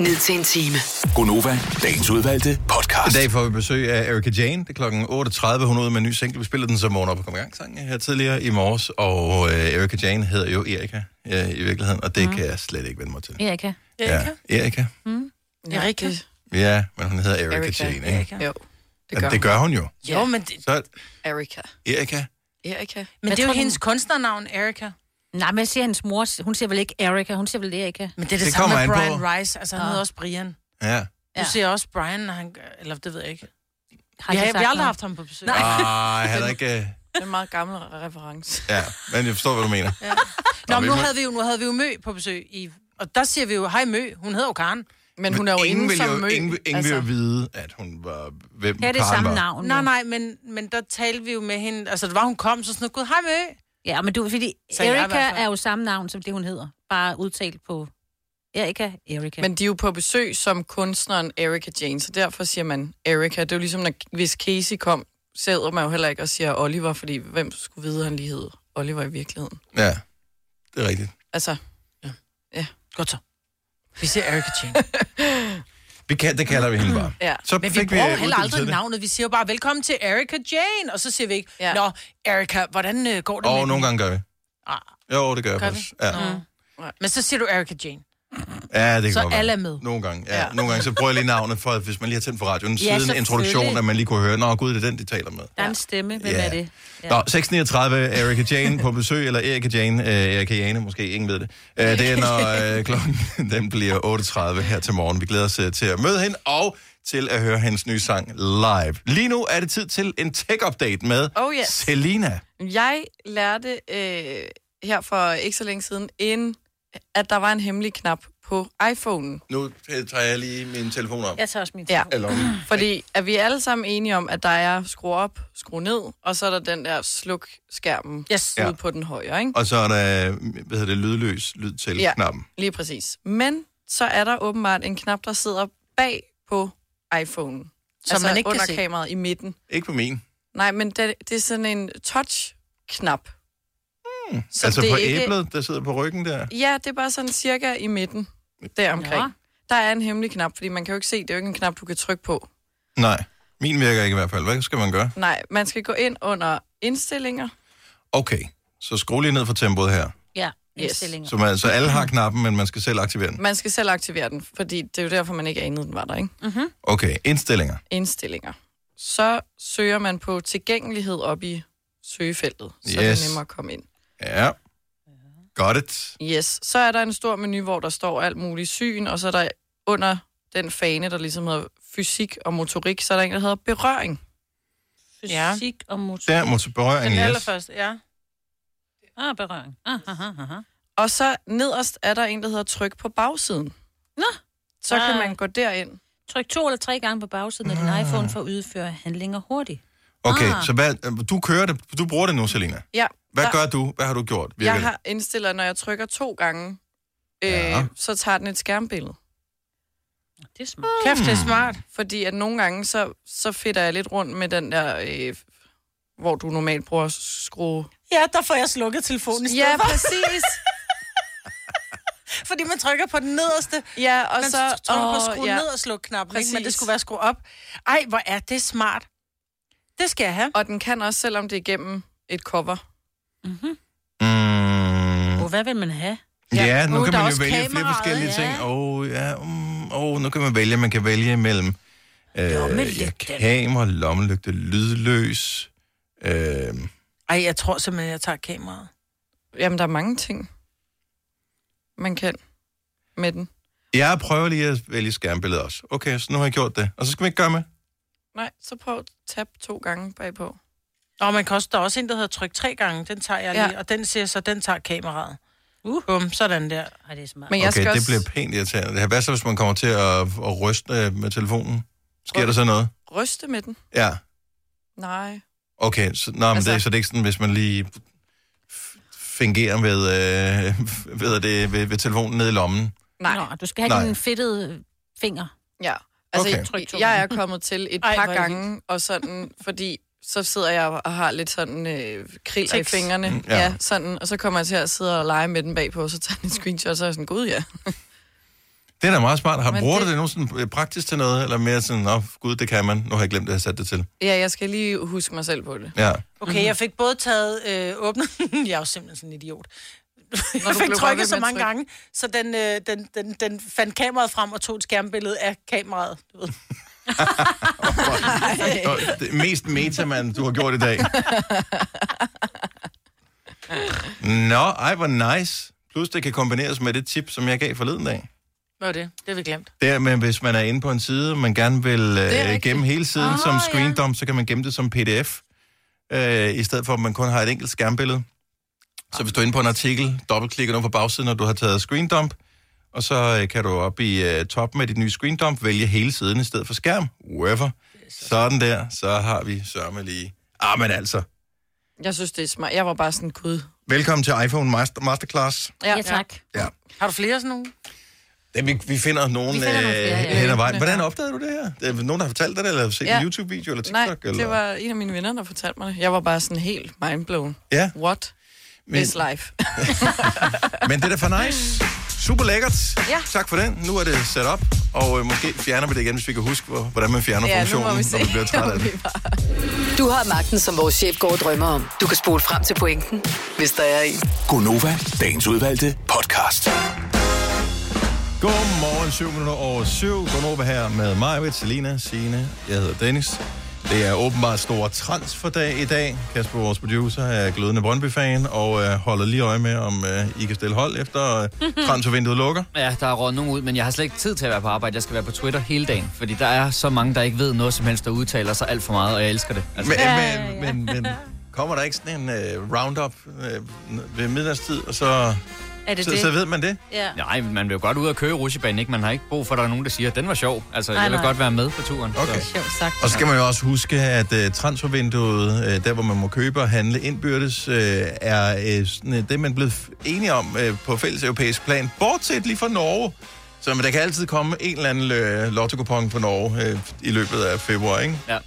[SPEAKER 5] Ned til en time.
[SPEAKER 1] Gonova, dagens udvalgte podcast. I dag får vi besøg af Erika Jane. Det er klokken 8.30. Hun er ude med en ny single. Vi spillede den som morgen op og kom i gang sangen her tidligere i morges. Og øh, Erika Jane hedder jo Erika øh, i virkeligheden, og det mm. kan jeg slet ikke vende mig til.
[SPEAKER 3] Erika.
[SPEAKER 1] Ja, Erika.
[SPEAKER 3] Mm.
[SPEAKER 2] Erika.
[SPEAKER 1] Ja, men hun hedder Erika,
[SPEAKER 4] Erika.
[SPEAKER 1] Jane, ikke? Erika.
[SPEAKER 4] Jo,
[SPEAKER 1] Det, gør det gør hun jo.
[SPEAKER 2] Jo, men det,
[SPEAKER 1] Så
[SPEAKER 4] Erika.
[SPEAKER 1] Erika.
[SPEAKER 4] Erika.
[SPEAKER 2] men det er jo hendes kunstnernavn, Erika.
[SPEAKER 3] Nej, men jeg siger hendes mor. Hun siger vel ikke Erika, hun siger vel Erika.
[SPEAKER 2] Men det er det, det samme med Brian på. Rice. Altså, han hedder også Brian.
[SPEAKER 1] Ja.
[SPEAKER 2] Du siger også Brian, når han... gør- Eller det ved jeg ikke.
[SPEAKER 4] Har
[SPEAKER 2] vi
[SPEAKER 4] de
[SPEAKER 2] har, vi
[SPEAKER 4] sagt
[SPEAKER 2] har aldrig
[SPEAKER 4] noget?
[SPEAKER 2] haft ham på besøg.
[SPEAKER 1] Nej. Ah, jeg havde ikke... øh,
[SPEAKER 4] Det er en meget gammel reference.
[SPEAKER 1] Ja, men jeg forstår, hvad du mener. Ja.
[SPEAKER 2] Nå, men nu havde, vi jo, nu havde vi jo Mø på besøg. I, og der siger vi jo, hej Mø, hun hedder jo Karen.
[SPEAKER 4] Men hun er jo
[SPEAKER 1] ingen
[SPEAKER 4] inde
[SPEAKER 1] vil
[SPEAKER 4] som
[SPEAKER 1] jo,
[SPEAKER 4] mø.
[SPEAKER 1] Ingen, vil- ingen altså.
[SPEAKER 2] Altså.
[SPEAKER 1] vil jo vide, at hun var... Hvem
[SPEAKER 2] Ja,
[SPEAKER 1] Karen var.
[SPEAKER 2] Altså, Nej, nej, men, men der talte vi jo med hende. Altså, det var, hun kom, så sådan noget, gud, hej Mø.
[SPEAKER 3] Ja, men du, fordi
[SPEAKER 2] Sagde jeg i hvert
[SPEAKER 3] Erika
[SPEAKER 2] fald.
[SPEAKER 3] er jo samme navn, som det hun hedder. Bare udtalt på Erika, Erika.
[SPEAKER 4] Men de er jo på besøg som kunstneren Erika Jane, så derfor siger man Erika. Det er jo ligesom, når, hvis Casey kom, sidder man jo heller ikke og siger Oliver, fordi hvem skulle vide, at han lige hed Oliver i virkeligheden?
[SPEAKER 1] Ja, det er rigtigt.
[SPEAKER 4] Altså, ja. ja.
[SPEAKER 2] Godt så. Vi siger Erika Jane.
[SPEAKER 1] Vi kan, det kalder vi hende bare.
[SPEAKER 2] Ja.
[SPEAKER 1] Så
[SPEAKER 2] men vi
[SPEAKER 1] fik vi,
[SPEAKER 2] bruger
[SPEAKER 1] øh,
[SPEAKER 2] jo heller
[SPEAKER 1] uddybet
[SPEAKER 2] aldrig
[SPEAKER 1] til det.
[SPEAKER 2] navnet. Vi siger jo bare, velkommen til Erika Jane. Og så siger vi ikke, ja. nå, Erika, hvordan øh, går det med
[SPEAKER 1] Og
[SPEAKER 2] den?"
[SPEAKER 1] nogle gange gør vi.
[SPEAKER 2] Ah.
[SPEAKER 1] Jo, det gør, jeg
[SPEAKER 2] Gør
[SPEAKER 1] faktisk.
[SPEAKER 2] vi?
[SPEAKER 1] Ja.
[SPEAKER 2] Nå.
[SPEAKER 3] Mm.
[SPEAKER 2] Men så siger du Erika Jane.
[SPEAKER 1] ja, det kan
[SPEAKER 2] Så
[SPEAKER 1] godt være.
[SPEAKER 2] alle er med.
[SPEAKER 1] Nogle gange, ja.
[SPEAKER 2] Ja.
[SPEAKER 1] Nogle gange, så bruger jeg lige navnet, for, at hvis man lige har tændt for radioen,
[SPEAKER 3] Ja,
[SPEAKER 1] ja, siden
[SPEAKER 3] selvfølgelig.
[SPEAKER 1] introduktionen, at man lige kunne høre, nå gud, det er den, de taler med.
[SPEAKER 3] Der er en stemme, hvem
[SPEAKER 1] Ja.
[SPEAKER 3] er det?
[SPEAKER 1] Ja. Nå, 6.39, Erika Jane på besøg, eller Erika Jane, øh, Erika Jane, måske ingen ved det. Øh, det er,
[SPEAKER 2] [laughs]
[SPEAKER 1] når øh, klokken den bliver 8.30 her til morgen. Vi glæder os øh, til at møde hende, og til at høre hendes nye sang live. Lige nu er det tid til en tech-update med
[SPEAKER 4] Oh, yes.
[SPEAKER 1] Selina.
[SPEAKER 4] [laughs] Jeg lærte øh, her for ikke så længe siden, en, at der var en hemmelig knap på iPhone.
[SPEAKER 1] Nu øh, tager jeg lige min telefon op.
[SPEAKER 3] Jeg tager også min
[SPEAKER 4] Ja.
[SPEAKER 1] Eller,
[SPEAKER 4] Fordi er vi alle sammen enige om, at der er skru op, skru ned, og så er der den der sluk-skærmen
[SPEAKER 2] yes.
[SPEAKER 1] Ja.
[SPEAKER 4] ude på den højre, ikke?
[SPEAKER 1] og så er der, øh, hvad hedder det, lydløs lyd til ja. knappen.
[SPEAKER 4] lige præcis. Men så er der åbenbart en knap, der sidder bag på iPhone. Altså
[SPEAKER 2] Som man ikke kan
[SPEAKER 4] under
[SPEAKER 2] se.
[SPEAKER 4] kameraet i midten.
[SPEAKER 1] Ikke på min.
[SPEAKER 4] Nej, men det, det er sådan en touch-knap.
[SPEAKER 1] Hmm.
[SPEAKER 4] Så
[SPEAKER 1] Altså
[SPEAKER 4] det er
[SPEAKER 1] på
[SPEAKER 4] ikke-
[SPEAKER 1] æblet, der sidder på ryggen der.
[SPEAKER 4] Ja, det er bare sådan cirka i midten, deromkring.
[SPEAKER 1] Nå.
[SPEAKER 4] Der er en hemmelig knap, fordi man kan jo ikke se, det er jo ikke en knap, du kan trykke på.
[SPEAKER 1] Nej, min virker ikke i hvert fald. Hvad skal man gøre?
[SPEAKER 4] Nej, man skal gå ind under indstillinger.
[SPEAKER 1] Okay, så skru lige ned for tempoet her.
[SPEAKER 3] Ja,
[SPEAKER 4] indstillinger.
[SPEAKER 1] Som altså, alle har knappen, men man skal selv aktivere den.
[SPEAKER 4] Man skal selv aktivere den, fordi det er jo derfor, man ikke anede, den var der, ikke? Mm-hmm.
[SPEAKER 1] Okay, indstillinger.
[SPEAKER 4] Indstillinger. Så søger man på tilgængelighed op i søgefeltet, så yes. det
[SPEAKER 1] Yes.
[SPEAKER 4] er nemmere at komme ind.
[SPEAKER 1] Ja. Got it.
[SPEAKER 4] Yes, så er der en stor menu, hvor der står alt muligt syn, og så er der under den fane, der ligesom hedder fysik og motorik, så er der en, der hedder berøring.
[SPEAKER 3] Fysik ja. og motor.
[SPEAKER 1] Der må til berøring,
[SPEAKER 4] Den
[SPEAKER 1] yes.
[SPEAKER 4] allerførste,
[SPEAKER 2] ja.
[SPEAKER 3] Ah, berøring. Ah, ah, ah, ah.
[SPEAKER 4] Og så nederst er der en, der hedder tryk på bagsiden.
[SPEAKER 3] Nå.
[SPEAKER 4] Så kan man gå derind.
[SPEAKER 3] Tryk to eller tre gange på bagsiden af din iPhone for at udføre handlinger hurtigt.
[SPEAKER 1] Okay,
[SPEAKER 3] Ah.
[SPEAKER 1] så hvad, du kører det, du bruger det nu, Selina.
[SPEAKER 4] Ja,
[SPEAKER 1] Hvad
[SPEAKER 4] der-
[SPEAKER 1] gør du? Hvad har du gjort? Virker
[SPEAKER 4] jeg
[SPEAKER 1] det?
[SPEAKER 4] har indstillet, når jeg trykker to gange, øh,
[SPEAKER 1] Ja.
[SPEAKER 4] så tager den et skærmbillede.
[SPEAKER 3] Det er smart.
[SPEAKER 2] Kæft, det er
[SPEAKER 1] Mm.
[SPEAKER 2] smart.
[SPEAKER 4] Fordi at nogle gange, så, så fitter jeg lidt rundt med den der, øh, hvor du normalt bruger skrue.
[SPEAKER 2] Ja, der får jeg slukket telefonen i stedet
[SPEAKER 4] Ja,
[SPEAKER 2] for.
[SPEAKER 4] præcis.
[SPEAKER 2] Fordi man trykker på den nederste.
[SPEAKER 4] Ja, og
[SPEAKER 2] man
[SPEAKER 4] så-
[SPEAKER 2] trykker på
[SPEAKER 4] åh,
[SPEAKER 2] skru
[SPEAKER 4] ja.
[SPEAKER 2] ned og sluk knappen, ikke? men det
[SPEAKER 4] Præcis.
[SPEAKER 2] skulle være skru op. Ej, hvor er det smart. Det skal jeg have.
[SPEAKER 4] Og den kan også, selvom det er igennem et cover.
[SPEAKER 1] Mm.
[SPEAKER 3] Og hvad vil man have?
[SPEAKER 1] Ja, ja nu
[SPEAKER 3] Uh,
[SPEAKER 1] kan
[SPEAKER 3] der er
[SPEAKER 1] man jo
[SPEAKER 3] også
[SPEAKER 1] vælge flere
[SPEAKER 3] kameraet,
[SPEAKER 1] forskellige
[SPEAKER 3] ja.
[SPEAKER 1] ting. Åh, oh, ja, mm, oh, nu kan man vælge, man kan vælge mellem øh, ja, kamera, lommelygte, lydløs. Øh,
[SPEAKER 2] Ej, jeg tror simpelthen, jeg tager kameraet.
[SPEAKER 4] Jamen, der er mange ting, man kan med den.
[SPEAKER 1] jeg prøver lige at vælge skærmbilledet også. Okay, så nu har jeg gjort det. Og så skal man ikke gøre med.
[SPEAKER 4] Nej, så prøv at tabe to gange bagpå.
[SPEAKER 2] Og man kan også, der er også en, der hedder tryk tre gange. Den tager jeg lige,
[SPEAKER 4] Ja.
[SPEAKER 2] ja. og den siger så, den tager kameraet. Uh. Bum, sådan der.
[SPEAKER 3] Ej, det er smart.
[SPEAKER 4] Men jeg
[SPEAKER 1] okay,
[SPEAKER 4] skal
[SPEAKER 1] det
[SPEAKER 4] også-
[SPEAKER 1] bliver pænt irriterende. Det her. Hvad så, hvis man kommer til at, at ryste øh, med telefonen? Sker der så noget?
[SPEAKER 4] Ryste med den?
[SPEAKER 1] Ja,
[SPEAKER 4] Nej.
[SPEAKER 1] okay. Så, nå, men altså...
[SPEAKER 4] Altså-
[SPEAKER 1] det, så det er ikke sådan, hvis man lige f- fingerer ved, øh, [laughs] ved, det, ved, ved telefonen nede i lommen.
[SPEAKER 4] Nej.
[SPEAKER 3] Nå, du skal have
[SPEAKER 1] Nej.
[SPEAKER 3] Nej. en fedtet finger.
[SPEAKER 4] Ja. Altså,
[SPEAKER 1] Okay.
[SPEAKER 4] okay. jeg, jeg er kommet til et
[SPEAKER 3] [laughs] Ej,
[SPEAKER 4] Ej, par
[SPEAKER 3] hvor er det
[SPEAKER 4] gange, og sådan, fordi så sidder jeg og har lidt sådan øh, kriller i
[SPEAKER 3] Tics.
[SPEAKER 4] fingrene.
[SPEAKER 1] Mm, ja.
[SPEAKER 4] Ja. ja. sådan. Og så kommer jeg til at sidde og lege med den bagpå, og så tager jeg en screenshot, og så er jeg sådan, gud ja.
[SPEAKER 1] Det Det er da meget smart. Har
[SPEAKER 4] Men
[SPEAKER 1] bruger det...
[SPEAKER 4] det-
[SPEAKER 1] du det nogensinde øh, praktisk til noget, eller mere sådan, nå, gud, det kan man. Nu har jeg glemt, at jeg satte det til.
[SPEAKER 4] Ja, jeg skal lige huske mig selv på det.
[SPEAKER 1] Ja.
[SPEAKER 2] Okay, jeg fik både taget øh, åbnet... [laughs] jeg er jo simpelthen sådan en idiot.
[SPEAKER 4] du blev
[SPEAKER 2] jeg [laughs] fik
[SPEAKER 4] bare ved
[SPEAKER 2] trykket så
[SPEAKER 4] med at
[SPEAKER 2] mange
[SPEAKER 4] trykke.
[SPEAKER 2] gange, så den, øh, den, den, den fandt kameraet frem og tog et skærmbillede af kameraet. Du ved.
[SPEAKER 1] Nå, det mest meta, man du har gjort i dag. Nå, ej, hvor nice. Plus det kan kombineres med det tip, som jeg gav forleden dag.
[SPEAKER 2] [laughs] Hvad var det? Det har vi glemt.
[SPEAKER 1] Der med, hvis man er inde på en side, man gerne vil øh, gemme hele siden oh, som screendom, så kan man gemme det som pdf, øh, i stedet for at man kun har et enkelt skærmbillede. Så hvis du er inde på en artikel, dobbeltklikker nu på bagsiden, når du har taget screendump, og så øh, kan du op i øh, toppen af dit nye screendump vælge hele siden i stedet for skærm. Whatever. Sådan der, så har vi sørme lige. Ah, men altså.
[SPEAKER 4] Jeg synes, det er smart. Jeg var bare sådan, gud.
[SPEAKER 1] Velkommen til iPhone Master Masterclass.
[SPEAKER 4] Ja, ja tak.
[SPEAKER 1] Ja.
[SPEAKER 2] Har du flere sådan nogle?
[SPEAKER 1] Ja, vi, vi finder nogen vi finder øh,
[SPEAKER 4] flere, ja.
[SPEAKER 1] hen ad vejen. Hvordan opdagede du det her? Er der Nogen, der har fortalt dig det, eller set ja. en YouTube-video eller TikTok?
[SPEAKER 4] Nej,
[SPEAKER 1] eller?
[SPEAKER 4] det var en af mine venner, der fortalte mig det. Jeg var bare sådan helt mindblown.
[SPEAKER 1] Ja.
[SPEAKER 4] What
[SPEAKER 1] Men-
[SPEAKER 4] Men... is life?
[SPEAKER 1] Men det er da for nice. Super lækkert.
[SPEAKER 4] Ja.
[SPEAKER 1] Tak for den. Nu er det sat op, og øh, måske fjerner vi det igen, hvis vi kan huske, hvor, hvordan man fjerner
[SPEAKER 5] Ja, nu må
[SPEAKER 1] funktionen,
[SPEAKER 5] vi
[SPEAKER 1] når man
[SPEAKER 5] se,
[SPEAKER 1] bliver
[SPEAKER 5] [laughs]
[SPEAKER 1] træt af
[SPEAKER 5] om
[SPEAKER 1] det.
[SPEAKER 5] Du har magten, som vores chef går og drømmer om. Du kan spole frem til pointen, hvis der er en.
[SPEAKER 7] Gonova, dagens udvalgte podcast.
[SPEAKER 1] Godmorgen, 7 minutter over 7. Godnova her med mig, Selina, Signe. Jeg hedder Dennis. Det er åbenbart stor transferdag i dag. Kasper, vores producer, er glødende Brøndby-fan og øh, holder lige øje med, om øh, I kan stille hold efter øh, transfervinduet lukker.
[SPEAKER 11] Ja, der er råd nogen ud, men jeg har slet ikke tid til at være på arbejde. Jeg skal være på Twitter hele dagen, fordi der er så mange, der ikke ved noget som helst, der udtaler sig alt for meget, og jeg elsker det. Altså.
[SPEAKER 1] Men, men, men, men kommer der ikke sådan en øh, roundup øh, ved middagstid, og så,
[SPEAKER 3] Er det
[SPEAKER 1] så,
[SPEAKER 11] det?
[SPEAKER 1] så ved man det?
[SPEAKER 3] Ja.
[SPEAKER 11] Nej, men man vil jo godt ud og køre i rutsjebanen, ikke? Man har ikke brug for, at der er nogen, der siger, den var sjov. Altså,
[SPEAKER 3] Nej,
[SPEAKER 11] jeg vil
[SPEAKER 3] nej.
[SPEAKER 11] godt være med på turen.
[SPEAKER 1] Okay.
[SPEAKER 3] Sjovt sagt.
[SPEAKER 1] Og så skal man jo også huske, at uh, transfervinduet, uh, der hvor man må købe og handle indbyrdes, uh, er uh, sådan, uh, det, man er blevet f- enige om uh, på fælles europæisk plan, bortset lige fra Norge. Så men der kan altid komme en eller anden uh, lotto-coupon for Norge uh, i løbet af februar, ikke?
[SPEAKER 11] Ja.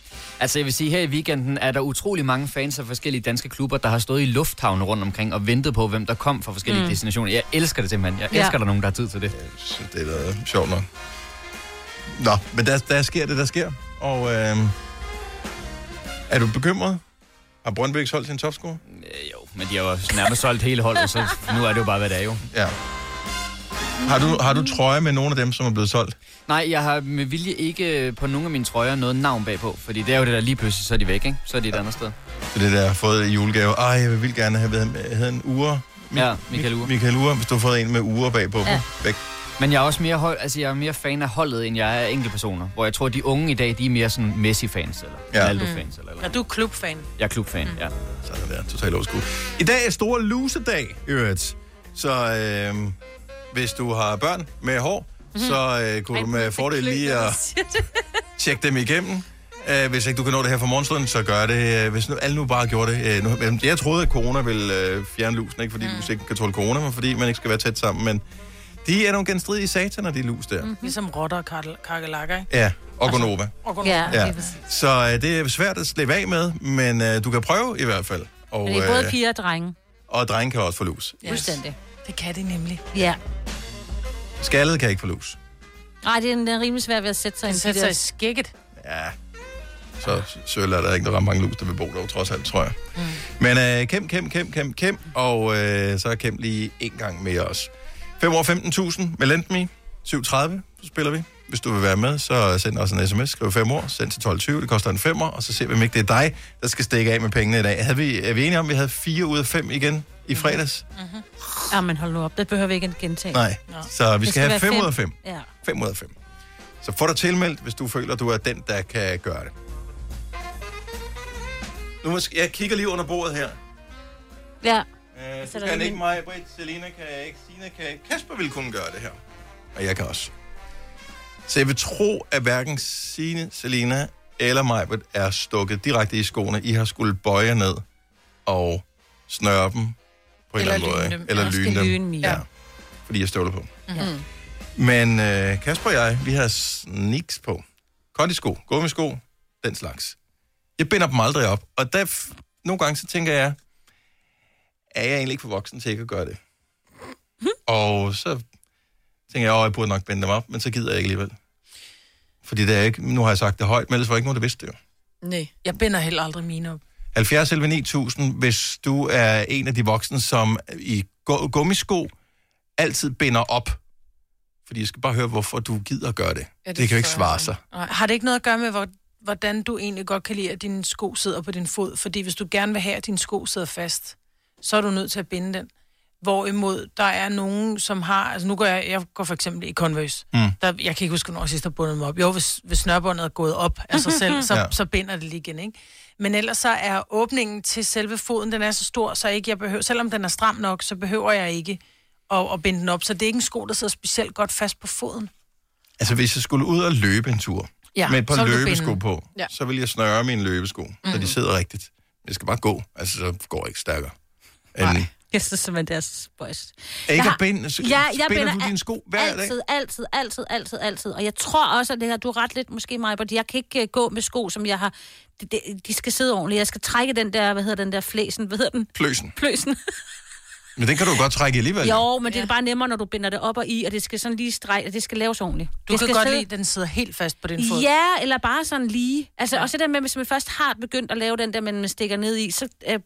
[SPEAKER 11] Altså jeg vil sige, her i weekenden er der utrolig mange fans af forskellige danske klubber, der har stået i lufthavne rundt omkring og ventet på, hvem der kom fra forskellige
[SPEAKER 1] Mm.
[SPEAKER 11] mm. destinationer. Jeg elsker det simpelthen. Jeg
[SPEAKER 1] Ja.
[SPEAKER 11] elsker, ja. der er nogen, der har tid til det.
[SPEAKER 1] Så det er da sjovt nok. Nå, men der, der sker det, der sker. Og uh, er du bekymret? Har Brøndby ikke solgt sin topscore?
[SPEAKER 11] Jo, men de har jo nærmest solgt hele holdet, så nu er det jo bare, hvad det er jo.
[SPEAKER 1] Ja. Har du, har du trøje med nogle af dem, som er blevet solgt?
[SPEAKER 11] Nej, jeg har med vilje ikke på nogen af mine trøjer noget navn bagpå, fordi det er jo det der lige pludselig, så er de væk, ikke? Så er de et andet sted.
[SPEAKER 1] Så det der har fået i julegave. Ej, jeg vil gerne have været havde en ure.
[SPEAKER 11] Ja, Michael Ure.
[SPEAKER 1] Michael Ure, hvis du har fået en med ure bagpå. Ja.
[SPEAKER 11] Ja.
[SPEAKER 1] Væk.
[SPEAKER 11] Men jeg er også mere, hold, altså jeg er mere fan af holdet, end jeg er af enkeltpersoner. Hvor jeg tror, de unge i dag, de er mere sådan Messi-fans, eller
[SPEAKER 1] Ja.
[SPEAKER 11] ja. Ronaldo-fans, eller, eller
[SPEAKER 2] Ja, du er klubfan.
[SPEAKER 1] Mm.
[SPEAKER 11] jeg er klubfan, ja.
[SPEAKER 1] Sådan der, totalt overskud. I dag er store lusedag, i øvrigt. Så øh, hvis du har børn med hår,
[SPEAKER 11] Mhm.
[SPEAKER 1] mm-hmm. så øh, kunne du med fordel lige at tjekke dem igennem. Uh, hvis ikke du kan nå det her fra morgenstunden, så gør det. Uh, hvis nu, alle nu bare gjorde det. Uh, nu, jeg troede, at corona ville uh, fjerne lusen, ikke fordi mm. lus ikke kan tåle corona, men fordi man ikke skal være tæt sammen. Men de er nogle genstridige sataner, de lus der. Mm.
[SPEAKER 11] Mhm.
[SPEAKER 2] Mm. Ligesom rotter og kakkel- kakkelakker, ikke?
[SPEAKER 1] Ja, og Gonova.
[SPEAKER 2] Og går
[SPEAKER 3] Ja,
[SPEAKER 1] Ja.
[SPEAKER 3] lige præcis.
[SPEAKER 1] Så øh, det er svært at slippe af med, men øh, du kan prøve i hvert fald. Og,
[SPEAKER 3] Men det er både
[SPEAKER 1] øh,
[SPEAKER 3] piger og drenge.
[SPEAKER 1] og drenge kan også få lus.
[SPEAKER 3] Yes. Fuldstændig.
[SPEAKER 2] Det kan det nemlig.
[SPEAKER 3] Ja.
[SPEAKER 1] Skaldet kan ikke få lus.
[SPEAKER 3] Nej, det er, den er rimelig svært ved at sætte sig ind.
[SPEAKER 2] sætter sig i skægget.
[SPEAKER 1] Ja. Så sølle er der ikke ret mange lus, der vil bo der, trods alt, tror jeg. Mm. Men øh, kæmp, kæmp, kæmp, kæmp, kæmp. Og øh, så kæmp lige en gang mere også. 5 år 15.000 med Lendme. 7.30 så spiller vi. Hvis du vil være med, så send os en sms. Skriv 5 år, send til 12.20. Det koster en 5 og så ser vi, om ikke det er dig, der skal stikke af med pengene i dag. Havde vi, er vi enige om, at vi havde 4 ud af 5 igen i fredags?
[SPEAKER 3] Ja, Ah, men hold nu op. Det behøver vi ikke at gentage.
[SPEAKER 1] Nej. Så vi
[SPEAKER 3] Det
[SPEAKER 1] skal, skal have
[SPEAKER 3] være
[SPEAKER 1] 5 ud af 5.
[SPEAKER 3] Ja.
[SPEAKER 1] 5 ud af 5. Så få dig tilmeldt, hvis du føler, du er den, der kan gøre det. Nu måske, jeg kigger lige under bordet her.
[SPEAKER 3] Ja.
[SPEAKER 1] Øh,
[SPEAKER 3] Så
[SPEAKER 1] du
[SPEAKER 3] der
[SPEAKER 1] kan
[SPEAKER 3] er
[SPEAKER 1] ikke
[SPEAKER 3] en-
[SPEAKER 1] mig, Britt, Selina kan ikke, Sina kan ikke. Kasper vil kunne gøre det her. Og jeg kan også. Så jeg vil tro, at hverken Sine, Selina eller mig er stukket direkte i skoene. I har skulle bøje jer ned og snøre dem på en eller anden måde. ikke? Eller lyne dem.
[SPEAKER 3] Ja.
[SPEAKER 1] Fordi jeg støvler på.
[SPEAKER 3] Mm.
[SPEAKER 1] Men øh, Kasper og jeg, vi har sneaks på. Kondisko, gummisko, den slags. Jeg binder dem aldrig op. Og der, f- nogle gange så tænker jeg, er jeg egentlig ikke for voksen til ikke at gøre det? Og så tænker jeg, åh, jeg burde nok binde dem op, men så gider jeg ikke alligevel. Fordi det er ikke, nu har jeg sagt det højt, men ellers var ikke nogen, der vidste det jo.
[SPEAKER 2] Nej. Jeg binder heller aldrig mine op.
[SPEAKER 1] 70 11 9000, hvis du er en af de voksne, som i gu- gummisko altid binder op. Fordi jeg skal bare høre, hvorfor du gider gøre det. Ja, det, det kan jo ikke svare sig.
[SPEAKER 2] Nej. Har det ikke noget at gøre med, hvor, hvordan du egentlig godt kan lide, at dine sko sidder på din fod? Fordi hvis du gerne vil have, at dine sko sidder fast, så er du nødt til at binde den. Hvorimod der er nogen, som har... Altså nu går jeg, jeg går for eksempel i Converse. Mm. Der, jeg kan ikke huske, hvornår jeg sidst har bundet dem op. Jo, hvis, hvis snørbåndet er gået op af sig selv, så,
[SPEAKER 1] [laughs]
[SPEAKER 12] Ja.
[SPEAKER 2] ja. så binder det lige igen, ikke? Men ellers så er åbningen til selve foden, den er så stor, så ikke jeg behøver... Selvom den er stram nok, så behøver jeg ikke at, at binde den op. Så det er ikke en sko, der sidder specielt godt fast på foden.
[SPEAKER 1] Altså, hvis jeg skulle ud og løbe en tur,
[SPEAKER 2] Ja,
[SPEAKER 1] med et
[SPEAKER 2] så
[SPEAKER 1] par
[SPEAKER 2] vil du binde
[SPEAKER 1] løbesko
[SPEAKER 2] den.
[SPEAKER 1] på,
[SPEAKER 2] Ja.
[SPEAKER 1] ja. så vil jeg snøre mine løbesko, mm. så
[SPEAKER 3] Mhm.
[SPEAKER 1] de sidder rigtigt. Jeg skal bare gå, altså så går jeg ikke stærkere. Nej.
[SPEAKER 3] Jeg synes simpelthen, det er spøjst.
[SPEAKER 1] Ikke
[SPEAKER 3] Jeg
[SPEAKER 1] at binde, så
[SPEAKER 3] ja, jeg
[SPEAKER 1] binder du
[SPEAKER 3] al-
[SPEAKER 1] dine sko hver dag?
[SPEAKER 3] altid, Altid, altid, altid, altid. Og jeg tror også, at det her, du er ret lidt måske mig, fordi jeg kan ikke øh, gå med sko, som jeg har... De, de, de skal sidde ordentligt. Jeg skal trække den der, hvad hedder den der flæsen, hvad hedder den?
[SPEAKER 1] Pløsen.
[SPEAKER 3] Pløsen.
[SPEAKER 1] Men den kan du jo godt trække alligevel.
[SPEAKER 3] Jo, men det er bare nemmere, når du binder det op og i, og det skal sådan lige strege, og det skal laves ordentligt.
[SPEAKER 2] Du
[SPEAKER 3] det
[SPEAKER 2] kan
[SPEAKER 3] skal
[SPEAKER 2] godt lide, at den sidder helt fast på din fod.
[SPEAKER 3] Ja, eller bare sådan lige. Altså ja. også det der med, hvis man først har begyndt at lave den der, man stikker ned i, så øh,